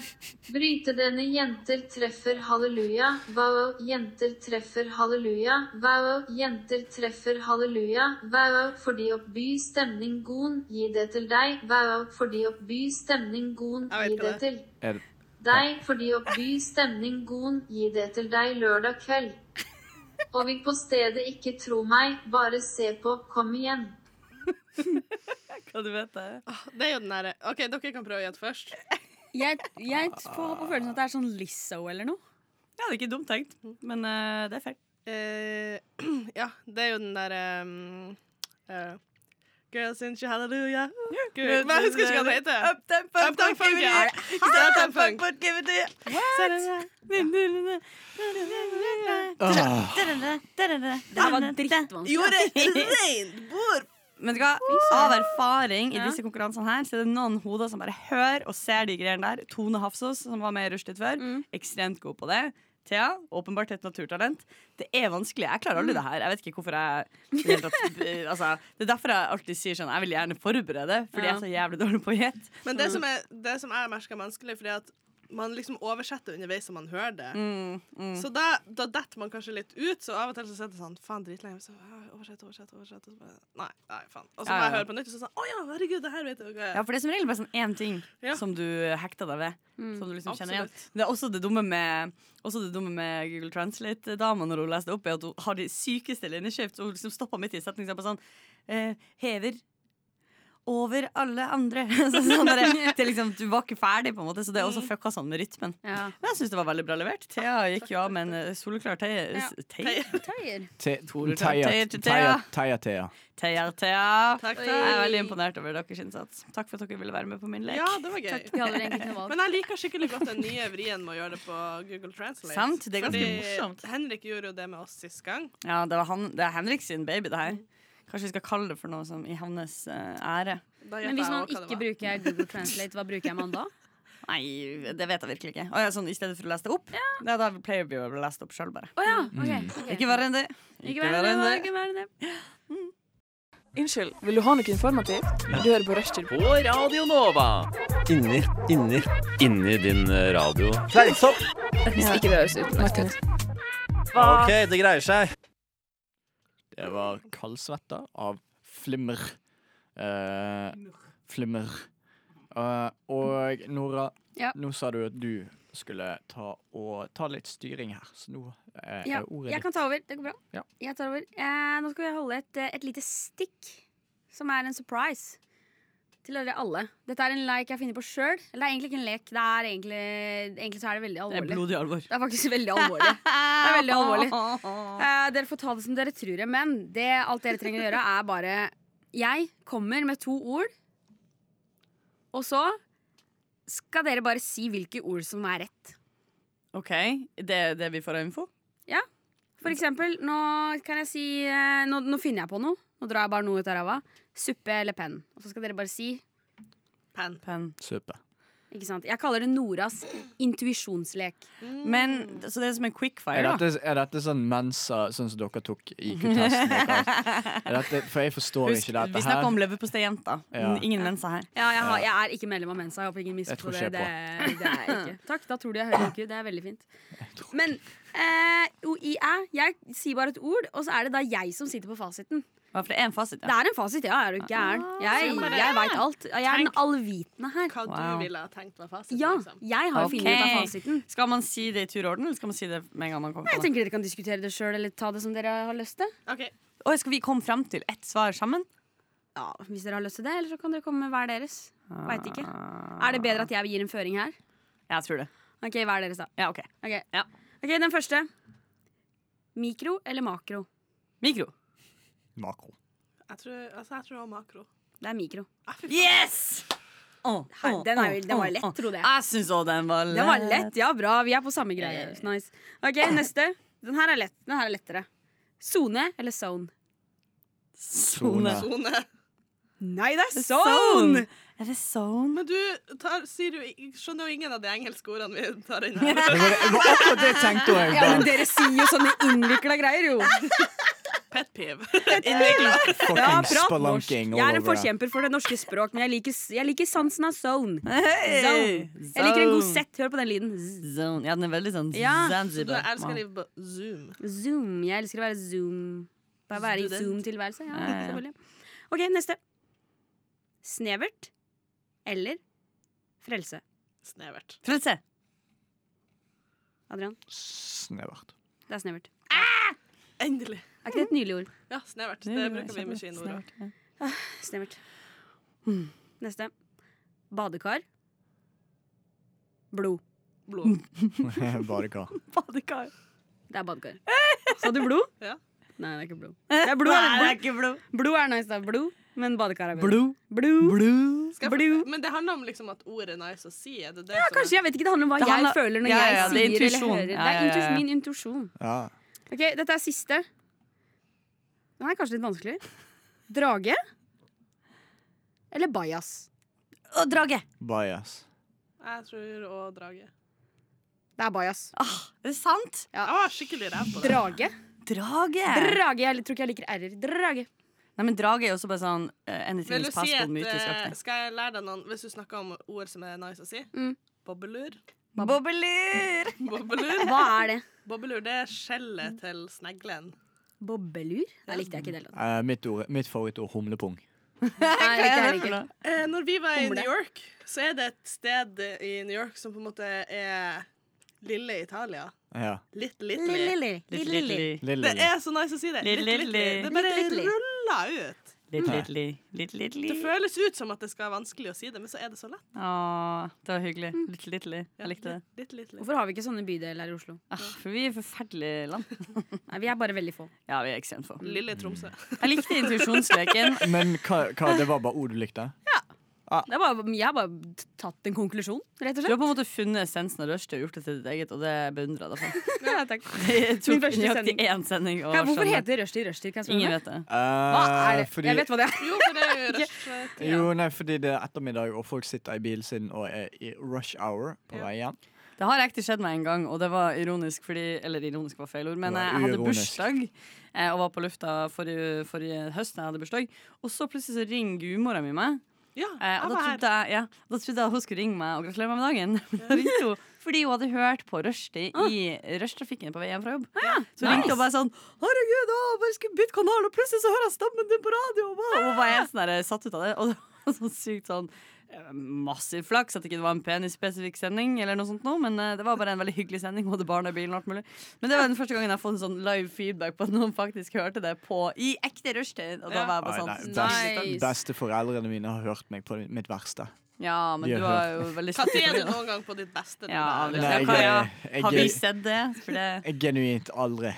Speaker 14: Bryte denne jenter treffer halleluja, wow, jenter treffer halleluja, wow, jenter treffer halleluja, wow, fordi opp by stemning gon, gi det til deg, wow, fordi opp by stemning gon, gi det til
Speaker 4: Er det
Speaker 14: deg, fordi opp by stemning gon, gi det til deg lørdag kveld. Og vil på stedet ikke tro meg, bare se på, kom igjen.
Speaker 5: Hva du vet det?
Speaker 8: Det er jo den derre OK, dere kan prøve å gjette først.
Speaker 6: Jeg, jeg får ha på følelsen at det er sånn Lizzo eller noe.
Speaker 5: Ja, det er ikke dumt tenkt,
Speaker 8: Mm.
Speaker 5: men eh,
Speaker 8: (clears throat)
Speaker 5: det er feil.
Speaker 8: ehm, Eh, ja, det er jo den derre um, eh, Girl, since you hallelujah. Gud, men jeg husker ikke hva den heter.
Speaker 5: Uptempo,
Speaker 8: Uptown Funk,
Speaker 5: give it
Speaker 8: ja.
Speaker 5: it.
Speaker 8: Ikke sant? Uptown Funk.
Speaker 5: But give it to you.
Speaker 4: Eh,
Speaker 10: Ah.
Speaker 5: Det var drittvanskelig. Gjorde rent bord. Men vet du hva? Av erfaring i disse konkurransene her Så er det noen hoder som bare hører og ser de greiene der. Tone Hafsås, som var med i Rushtid før, ekstremt god på det. Thea, åpenbart et naturtalent. Det er vanskelig. Jeg klarer aldri det her. Jeg vet ikke hvorfor jeg i det hele tatt, eh, altså, Det er derfor jeg alltid sier sånn Jeg vil gjerne forberede, fordi jeg er så jævlig dårlig på å gjette.
Speaker 8: Men det som, er, det som jeg merker er vanskelig, fordi at man liksom oversetter underveis som man hører det.
Speaker 5: Mm, mm.
Speaker 8: Så da, da detter man kanskje litt ut, så av og til så sitter jeg sånn Faen, dritlenge. Så, «Åh, oversett, oversett, oversett. Og så bare, nei, nei, faen. Og så må
Speaker 5: Ja, ja.
Speaker 8: jeg høre på nytt, og så sånn Å ja, herregud, det her vet jeg jo hva
Speaker 5: Ja, for det er som regel bare sånn én ting som du hekter deg ved.
Speaker 8: Mm,
Speaker 5: Som du liksom kjenner igjen.
Speaker 8: absolutt.
Speaker 5: Det er også det dumme med, også det dumme med Google Translate-dama når hun leste opp, er at hun har de sykeste linjeskjeft. så Hun liksom stopper midt i setningen og bare sånn eh, Hever over alle andre. (laughs) så sånn der, det er liksom, du var ikke ferdig, på en måte, så det er
Speaker 8: Mm.
Speaker 5: også fucka sånn med rytmen. Men jeg syns det var veldig bra levert. Thea gikk jo av med en eh, soleklar teier. Teier? Tore Teier. Teier til Thea.
Speaker 4: Teia-Thea.
Speaker 5: Teier, Thea.
Speaker 8: Takk,
Speaker 5: Jeg er veldig
Speaker 8: takk.
Speaker 5: imponert over deres innsats. Takk for at dere ville være med på min lek.
Speaker 8: Ja, det var gøy.
Speaker 5: Takk. Vi hadde egentlig ikke noe valg.
Speaker 8: Men jeg liker skikkelig godt den nye vrien med å gjøre det på Google Translate.
Speaker 5: Sant, det er ganske
Speaker 8: Fordi
Speaker 5: morsomt.
Speaker 8: Henrik gjorde jo det med oss sist gang.
Speaker 5: Ja, det, var han, det er Henrik sin baby, det her. Kanskje vi skal kalle det for noe som i hans eh, ære.
Speaker 6: Men hvis man ikke bruker Google Translate, hva bruker man da?
Speaker 5: Nei, det vet jeg virkelig ikke. Å, ja, sånn, I stedet for å lese det opp? Ja, da pleier vi å lese det opp sjøl, bare.
Speaker 6: Å ja,
Speaker 5: Mm.
Speaker 6: ok. ok.
Speaker 5: Ikke verre enn det.
Speaker 6: Ikke verre enn det. Ikke verre enn det.
Speaker 15: Unnskyld, vil du ha noe informativt? Du hører på Rushtid. På
Speaker 9: Radio Nova.
Speaker 12: Inni, inni
Speaker 9: Inni din eh, radio.
Speaker 15: Fleinsopp! Hvis ikke det høres utenlandsk ut.
Speaker 13: OK, det greier seg.
Speaker 4: Det var kaldsvetta av flimmer. Eh, flimmer. Eh, og Nora,
Speaker 6: Ja.
Speaker 4: nå sa du at du skulle ta, og, ta litt styring her, så nå eh,
Speaker 6: Ja,
Speaker 4: er ordet
Speaker 6: jeg kan ta over. Det går bra.
Speaker 4: Ja.
Speaker 6: Jeg tar over. Eh, nå skal vi holde et, eh, et lite stikk, som er en surprise til dere alle. Dette er en lek jeg finner på sjøl. Eller det er egentlig ikke en lek. Det er egentlig, egentlig så er det veldig
Speaker 5: Det
Speaker 6: alvorlig.
Speaker 5: er blodig alvor.
Speaker 6: Det er faktisk veldig alvorlig. Det er veldig alvorlig. Eh, dere får ta det som dere tror, men det alt dere trenger å gjøre, er bare Jeg kommer med to ord, og så skal dere bare si hvilke ord som er rett.
Speaker 5: OK, det er det vi får av info?
Speaker 6: Ja. For eksempel, nå kan jeg si eh, Nå, nå finner jeg på noe. Nå drar jeg bare noe ut av ræva. Suppe eller penn. Og så skal dere bare si
Speaker 8: Penn.
Speaker 4: Suppe.
Speaker 6: Ikke sant? Jeg kaller det Noras intuisjonslek.
Speaker 5: Men, så det er som en quickfire,
Speaker 4: Er
Speaker 5: da?
Speaker 4: dette, er dette sånn mensa, sånn som dere tok IQ-testen? og
Speaker 6: (laughs)
Speaker 4: alt? Er dette- For jeg forstår
Speaker 5: Husk,
Speaker 4: ikke dette her.
Speaker 5: vi snakker om leverpostei-jenta.
Speaker 4: Ja.
Speaker 5: Ingen mensa her.
Speaker 6: Ja, jeg, har, jeg er ikke medlem av Mensa. Jeg håper ingen
Speaker 4: Jeg tror
Speaker 6: misforstår det.
Speaker 4: ikke
Speaker 6: Det,
Speaker 4: jeg
Speaker 6: det er jeg ikke. Takk, da tror de jeg hører ikke. Det er veldig fint. Men eh, OIæ, jeg sier bare et ord, og så er det da jeg som sitter på fasiten.
Speaker 5: Ja, For det er en fasit,
Speaker 6: Det
Speaker 5: ja.
Speaker 6: er en fasit, ja. Er du gæren? Jeg,
Speaker 5: se på det.
Speaker 6: jeg veit alt. Jeg er den allvitende her.
Speaker 8: Hva
Speaker 5: Wow.
Speaker 8: du ville ha tenkt var fasit.
Speaker 6: Ja,
Speaker 8: liksom.
Speaker 6: jeg har jo funnet ut av
Speaker 5: Ok.
Speaker 6: fasiten.
Speaker 5: Skal man si det i tur og orden, eller skal man si det med en gang man kommer
Speaker 6: Jeg
Speaker 5: på det?
Speaker 6: tenker dere kan diskutere det sjøl, eller ta det som dere har lyst til.
Speaker 5: Oi, skal vi komme fram til ett svar sammen?
Speaker 6: Ja, Hvis dere har lyst til det, eller så kan dere komme med hver deres. Vet ikke. Er det bedre at jeg gir en føring her?
Speaker 5: Jeg tror det.
Speaker 6: Ok, hver deres, da.
Speaker 5: Ja, ok.
Speaker 6: Ok, Ok, Den første. Mikro eller makro?
Speaker 5: Mikro.
Speaker 4: Makro.
Speaker 8: Jeg tror, altså, jeg tror det var makro.
Speaker 6: Det er mikro.
Speaker 5: Yes! Å, å,
Speaker 6: Den, er, jo-
Speaker 5: å,
Speaker 6: den var
Speaker 5: å,
Speaker 6: jo lett,
Speaker 5: å.
Speaker 6: tro det.
Speaker 5: Jeg syns òg den var lett.
Speaker 6: Den var lett, ja bra. Vi er på samme greie.
Speaker 5: Eh.
Speaker 6: Nice. Ok, neste. Den her er lett. Den her er lettere. Sone eller zone?
Speaker 5: Sone.
Speaker 8: Sone.
Speaker 6: Nei, det er
Speaker 5: Zone.
Speaker 6: zone!
Speaker 5: Er det zone?
Speaker 8: Men du tar, sier jo, i- skjønner jo ingen av de engelske ordene vi tar inn
Speaker 6: (laughs)
Speaker 8: her.
Speaker 4: Det var, det var akkurat det jeg tenkte òg.
Speaker 6: Ja, men dere sier jo sånne innvikla greier, jo.
Speaker 8: Pet peeve.
Speaker 4: Fucking
Speaker 6: Ja, prat
Speaker 4: spelunking
Speaker 6: Jeg
Speaker 4: all
Speaker 6: er en
Speaker 4: over her.
Speaker 6: forkjemper for det norske språk, men jeg liker, jeg liker sansen av zone.
Speaker 5: Hey!
Speaker 6: zone. Jeg liker en god
Speaker 5: Zone.
Speaker 6: sett. Hør på den lyden. Z-
Speaker 5: Zone. Ja, den er veldig sånn
Speaker 6: Ja.
Speaker 8: Så du
Speaker 5: Zanzibar.
Speaker 8: elsker å
Speaker 5: Wow.
Speaker 8: leve på Zoom.
Speaker 6: Zoom. Jeg elsker å være zoom. Bare være i
Speaker 8: Student.
Speaker 6: zoom-tilværelse. Ja,
Speaker 5: Ja, ja, ja.
Speaker 6: selvfølgelig. OK, neste. Snevert eller frelse?
Speaker 8: Snevert.
Speaker 5: Frelse.
Speaker 6: Adrian,
Speaker 4: Snevert. (laughs)
Speaker 6: det er snevert.
Speaker 8: Endelig.
Speaker 6: Er ikke det et nylig ord?
Speaker 8: Ja, snevert. Det bruker vi mye i Nora.
Speaker 6: Ah, Snevert. Neste. Badekar. Blod.
Speaker 8: Blod.
Speaker 4: Badekar.
Speaker 5: Badekar.
Speaker 6: Det er badekar. Sa du blod?
Speaker 8: Ja.
Speaker 6: Nei, det er ikke blod.
Speaker 5: Det
Speaker 6: er blod,
Speaker 5: Nei, det er
Speaker 6: blod. blod er nice, da. Blod. men badekaret er
Speaker 11: Blue.
Speaker 6: Blue.
Speaker 8: Skal jeg for- Men det handler om liksom at ordet er nice å si. Er det det
Speaker 6: Ja,
Speaker 8: som er-
Speaker 6: kanskje. Jeg vet ikke. Det handler om hva
Speaker 8: Det handler-
Speaker 6: jeg føler når
Speaker 8: Ja, ja,
Speaker 6: jeg
Speaker 8: det er
Speaker 6: sier eller
Speaker 8: intuisjon.
Speaker 6: hører. Det
Speaker 8: Ja,
Speaker 6: er
Speaker 8: ja, ja, ja.
Speaker 6: intu- min intuisjon.
Speaker 4: Ja.
Speaker 6: Ok, Dette er siste. Den er kanskje litt vanskeligere. Drage eller bajas? drage.
Speaker 4: Bias.
Speaker 8: Jeg tror å drage.
Speaker 6: Det er bajas.
Speaker 5: er det sant?
Speaker 6: Ja.
Speaker 8: Jeg var skikkelig ræv på det.
Speaker 6: Drage.
Speaker 5: Drage.
Speaker 6: Drage. Jeg tror ikke jeg liker r-er. Drage.
Speaker 5: Nei, men drage er jo også bare sånn uh, anything
Speaker 8: Vil du
Speaker 5: is
Speaker 8: si
Speaker 5: possible
Speaker 8: at,
Speaker 5: med
Speaker 8: eh,
Speaker 5: uttrykksaktig.
Speaker 8: skal jeg lære deg noen Hvis du snakker om ord som er nice å si Bobbelur.
Speaker 5: Bobbelur!
Speaker 8: Bobbelur.
Speaker 6: Hva er det?
Speaker 8: Bobbelur, det er skjellet til sneglen.
Speaker 6: Bobbelur? Jeg likte jeg ikke i det hele tatt.
Speaker 4: Eh, mitt ord- mitt favorittord humlepung.
Speaker 6: Nei,
Speaker 8: Hva er
Speaker 6: jeg
Speaker 8: det
Speaker 6: liker
Speaker 8: for noe?
Speaker 6: det
Speaker 8: Eh, når vi var i
Speaker 6: Humle.
Speaker 8: New York, så er det et sted i New York som på en måte er lille Italia.
Speaker 4: Ja.
Speaker 8: (laughs) Litt Little.
Speaker 4: Little,
Speaker 6: Lille,
Speaker 4: little. Little, little.
Speaker 8: Det er så nice å si det.
Speaker 5: Little,
Speaker 8: Little,
Speaker 5: little.
Speaker 8: little. Det bare
Speaker 5: Little, little.
Speaker 8: ruller ut.
Speaker 5: Litt, litt, litt, litt, litt,
Speaker 8: Det
Speaker 5: litt.
Speaker 8: føles ut som at det skal være vanskelig å si det, men så er det så lett.
Speaker 5: Åh, det var hyggelig. Litt, litt, litt. Jeg likte det.
Speaker 8: Litt, litt, litt.
Speaker 6: Hvorfor har vi ikke sånne bydeler her i Oslo?
Speaker 5: Ah, for vi er forferdelig land.
Speaker 6: Nei, Vi er bare veldig få.
Speaker 5: Ja, vi er ekstremt få.
Speaker 8: Lille Tromsø.
Speaker 5: Jeg likte intuisjonsleken.
Speaker 4: (laughs) Men hva, hva, det var bare ord du likte?
Speaker 6: Det er bare, jeg har bare tatt en konklusjon, rett
Speaker 5: Du har
Speaker 6: og slett.
Speaker 5: på en måte funnet essensen av rushtid og gjort det til ditt eget, og det beundrer jeg deg for.
Speaker 6: Ja, takk.
Speaker 5: Det
Speaker 6: Min
Speaker 5: tok
Speaker 6: første
Speaker 5: nøyaktig
Speaker 6: sending.
Speaker 5: én sending. å
Speaker 6: (laughs) Ja, hvorfor
Speaker 5: skjønne.
Speaker 6: heter det rushtid rushtid? Kan jeg spørre om
Speaker 5: Ingen
Speaker 6: det?
Speaker 5: vet det.
Speaker 4: Hva
Speaker 6: er det? Jeg vet hva det er.
Speaker 8: Jo, for det (laughs) er jo rushtid.
Speaker 4: Eh, Jo, nei, fordi det er ettermiddag, og folk sitter i bilen sin og er i rush hour på vei hjem.
Speaker 5: Det har ekte skjedd meg en gang, og det var ironisk fordi Eller ironisk var feil ord, men
Speaker 4: Det var
Speaker 5: jeg hadde
Speaker 4: uironisk.
Speaker 5: bursdag eh, og var på lufta forrige, forrige høst. da Jeg hadde bursdag Og så plutselig så ringer gudmora mi meg.
Speaker 8: Ja,
Speaker 5: Eh, og da
Speaker 8: jeg var
Speaker 5: trodde jeg, ja, da trodde jeg hun skulle ringe meg og gratulere meg med dagen. (laughs) Men da ringte hun fordi hun hadde hørt på rushtid
Speaker 8: Ah.
Speaker 5: i rushtrafikken på vei hjem fra jobb. Så
Speaker 11: nice.
Speaker 5: ringte hun bare sånn 'Herregud, å, jeg bare skulle bytte kanal, og plutselig så hører jeg stemmen din på radioen!' hva?» Og hun
Speaker 8: Ah.
Speaker 5: var helt sånn der, satt ut av det. (laughs) Og det var sånn sykt sånn eh, Massiv flaks at ikke det var en penisspesifikk sending, eller noe sånt nå, men eh, det var bare en veldig hyggelig sending. Hun hadde barn i bilen og alt mulig. Men det var den første gangen jeg har fått en sånn live feedback på at noen faktisk hørte det på i ekte rushtid. Og da var jeg bare
Speaker 4: Ai,
Speaker 5: sånn
Speaker 4: nei, best,
Speaker 5: «Nice».
Speaker 4: Besteforeldrene mine har hørt meg på mitt verste.
Speaker 5: Ja, men
Speaker 4: De
Speaker 5: du
Speaker 4: har
Speaker 5: var
Speaker 4: hørt.
Speaker 5: jo veldig
Speaker 8: Når er du noen gang på ditt beste?
Speaker 5: Ja,
Speaker 8: Nina?
Speaker 5: men
Speaker 4: Nei,
Speaker 5: det kan, ja.
Speaker 4: jeg-
Speaker 5: Har vi
Speaker 4: jeg-
Speaker 5: sett det?
Speaker 4: (laughs)
Speaker 5: For det
Speaker 4: Genuint aldri.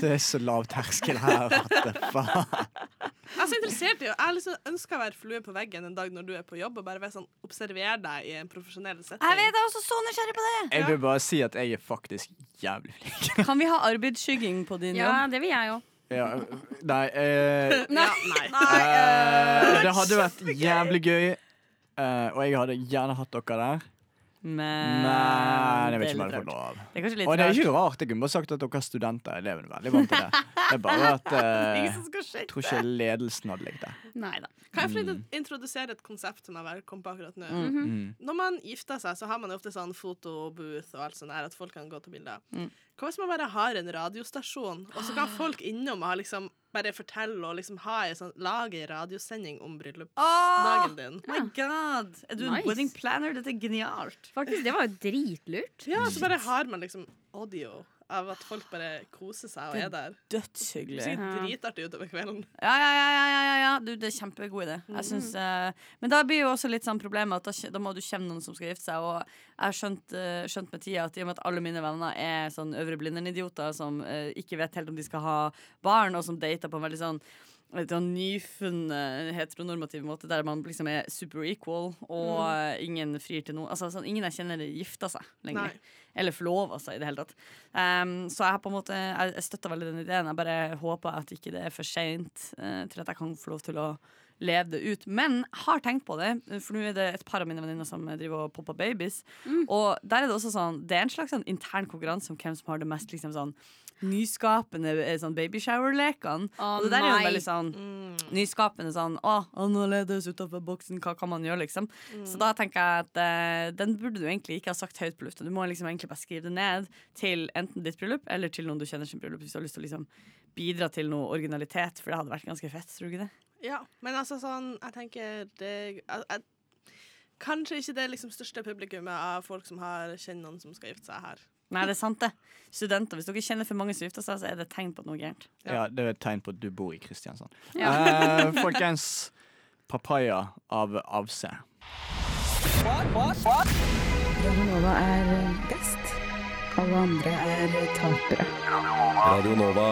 Speaker 4: Det er så lav terskel her at det faen.
Speaker 8: Jeg er så interessert i å- Jeg liksom ønsker å være flue på veggen en dag når du er på jobb, og bare være sånn, observere deg i en profesjonell setting.
Speaker 5: Jeg vet, jeg er også så nysgjerrig på det!
Speaker 4: Jeg vil bare si at jeg er faktisk jævlig flink. (laughs)
Speaker 5: Kan vi ha arbeidsskygging på din
Speaker 6: Ja,
Speaker 5: jobb?
Speaker 6: det vil jeg òg.
Speaker 4: Ja, nei, eh,
Speaker 6: Nei.
Speaker 4: eh, Det hadde vært jævlig gøy, eh, og jeg hadde gjerne hatt dere der.
Speaker 5: Men,
Speaker 4: Men jeg vet
Speaker 5: Eh,
Speaker 4: ikke om jeg
Speaker 5: det er litt
Speaker 4: hadde fått
Speaker 5: rart.
Speaker 4: lov.
Speaker 5: Det er kanskje litt
Speaker 4: og det er
Speaker 5: rart.
Speaker 4: ikke rart. Jeg kunne bare sagt at dere er studenter. Elevene er veldig vant til det. Det er bare at eh,
Speaker 8: Ingen som skal sjekke
Speaker 4: jeg tror ikke ledelsen hadde likt det.
Speaker 6: Nei da.
Speaker 8: Kan jeg få lov til
Speaker 4: Mm.
Speaker 8: å introdusere et konsept som jeg bare kom på akkurat nå?
Speaker 4: Mhm. Mhm.
Speaker 8: Når man gifter seg, så har man jo ofte sånn fotobooth og alt sånt der, at folk kan gå til bilder.
Speaker 5: Mm.
Speaker 8: Hva hvis man bare har en radiostasjon, og så kan folk innom og ha liksom bare fortelle og liksom ha en sånn, lage en radiosending om bryllupsdagen din?
Speaker 5: Oh My god! Er du en
Speaker 8: Nice.
Speaker 5: wedding planner? Dette er genialt.
Speaker 6: Faktisk, det var jo dritlurt.
Speaker 8: Ja, så bare har man liksom audio av at folk bare koser seg og
Speaker 5: Det er
Speaker 8: er der.
Speaker 5: dødshyggelig.
Speaker 8: Det ser
Speaker 5: Ja.
Speaker 8: dritartig ut over kvelden.
Speaker 5: Ja, ja, ja, ja, ja, ja, ja. Du, det er kjempegod idé. Jeg syns, eh, men da blir jo også litt sånn problemet at da, kje- da må du kjenne noen som skal gifte seg. Og jeg har skjønt, eh, skjønt med tida at i og med at alle mine venner er sånn øvre blinderen-idioter som eh, ikke vet helt om de skal ha barn, og som dater på en veldig sånn litt sånn nyfunnet heteronormativ måte, der man liksom er super equal, og
Speaker 11: Mm.
Speaker 5: eh, ingen frir til noen. Altså, sånn, ingen jeg kjenner gifter seg lenger.
Speaker 11: Nei.
Speaker 5: Eller forlova seg i det hele tatt. Ehm, så jeg har på en måte Jeg, jeg støtter veldig den ideen. Jeg bare håper at ikke det er for seint eh, til at jeg kan få lov til å leve det ut. Men jeg har tenkt på det, for nå er det et par av mine venninner som driver og popper babies. Og der er det også sånn Det er en slags sånn intern konkurranse om hvem som har det mest liksom sånn nyskapende eh, sånn babyshower-lekene. og det der er jo
Speaker 11: nei.
Speaker 5: veldig sånn nyskapende sånn Å, annerledes utenfor boksen, hva kan man gjøre, liksom? Så da tenker jeg at eh, den burde du egentlig ikke ha sagt høyt på lufta. Du må liksom egentlig bare skrive det ned til enten ditt bryllup eller til noen du kjenner sin bryllup, hvis du har lyst til å liksom bidra til noe originalitet, for det hadde vært ganske fett, tror du ikke det?
Speaker 8: Ja, men altså sånn Jeg tenker det jeg, jeg, Kanskje ikke det liksom største publikummet av folk som har kjenner noen som skal gifte seg her.
Speaker 5: Nei, det er sant, det. Studenter. Hvis dere kjenner for mange som gifter seg, så er det et tegn på at noe er gærent.
Speaker 4: Ja, Det er et tegn på at du bor i Kristiansand.
Speaker 5: Ja.
Speaker 4: Eh, folkens, papaya av avse.
Speaker 11: Radio Nova er best. Alle andre er tapere.
Speaker 7: Radio Nova.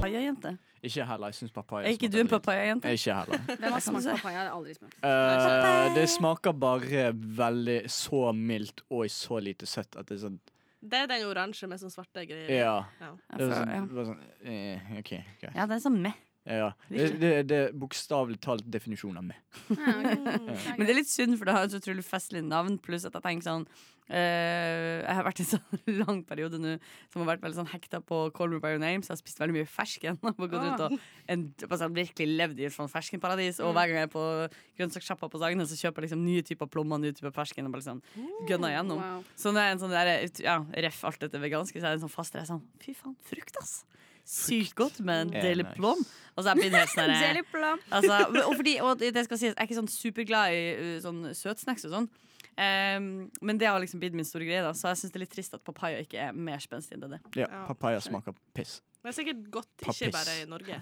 Speaker 5: Papaya-jente.
Speaker 4: Ikke heller. Jeg syns papaya
Speaker 5: Er ikke du en papaya-jente?
Speaker 4: Ikke heller.
Speaker 6: (laughs) Hvem har smakt papaya? Jeg har aldri smakt.
Speaker 4: Eh, det smaker bare veldig så mildt og så lite søtt at det er sånn
Speaker 8: Det er den oransje med sånn svarte greier.
Speaker 4: Ja.
Speaker 8: Ja.
Speaker 4: Det var sånn, det var sånn eh, OK. greit.
Speaker 5: Ja, det er sånn meh.
Speaker 4: Ja. Det, det, det er bokstavelig talt definisjonen av meg.
Speaker 8: Mm.
Speaker 5: Men det er litt synd, for det har et så utrolig festlig navn. Pluss at jeg tenker sånn eh, Jeg har vært i en sånn (laughs) lang periode nå som har vært veldig sånn hekta på Call Me By Your Name, så jeg har spist veldig mye fersken. (laughs) Og gått ut og en, altså, virkelig levd i et sånn ferskenparadis. Og hver gang jeg er på grønnsakssjappa på Sagene, så kjøper jeg liksom nye typer plommer, nye typer fersken, og bare liksom gønner gjennom.
Speaker 6: Wow.
Speaker 5: Så når jeg er en sånn der, ja, ref alt dette veganske, så er jeg en sånn fast jeg er sånn Fy faen, frukt, ass! Sykt godt med en
Speaker 6: Ja,
Speaker 4: Eh,
Speaker 5: deilig
Speaker 6: nice.
Speaker 5: plom. Og så er jeg blitt helt
Speaker 6: (laughs)
Speaker 5: sånn der-
Speaker 6: Deilig plom.
Speaker 5: altså, og fordi, og det skal sies, jeg er ikke sånn superglad i uh, sånn søtsnacks og sånn. Ehm, men det har liksom blitt min store greie, da så jeg syns det er litt trist at papaya ikke er mer spenstig enn det.
Speaker 4: Ja, papaya smaker piss.
Speaker 8: Men det er sikkert godt ikke
Speaker 4: Pappis.
Speaker 8: bare i Norge.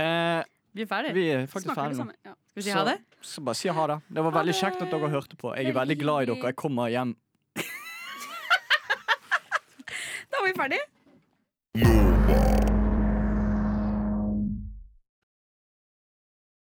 Speaker 4: Eh,
Speaker 5: vi er ferdig.
Speaker 4: Vi er faktisk
Speaker 8: Smaker det
Speaker 4: ferdig nå.
Speaker 8: samme, ja.
Speaker 5: Skal vi si ha det?
Speaker 4: Så, så bare si ha det. Det var veldig kjekt at dere hørte på. Jeg er veldig glad i dere. Jeg kommer hjem
Speaker 6: Da var vi ferdig.
Speaker 7: Nova.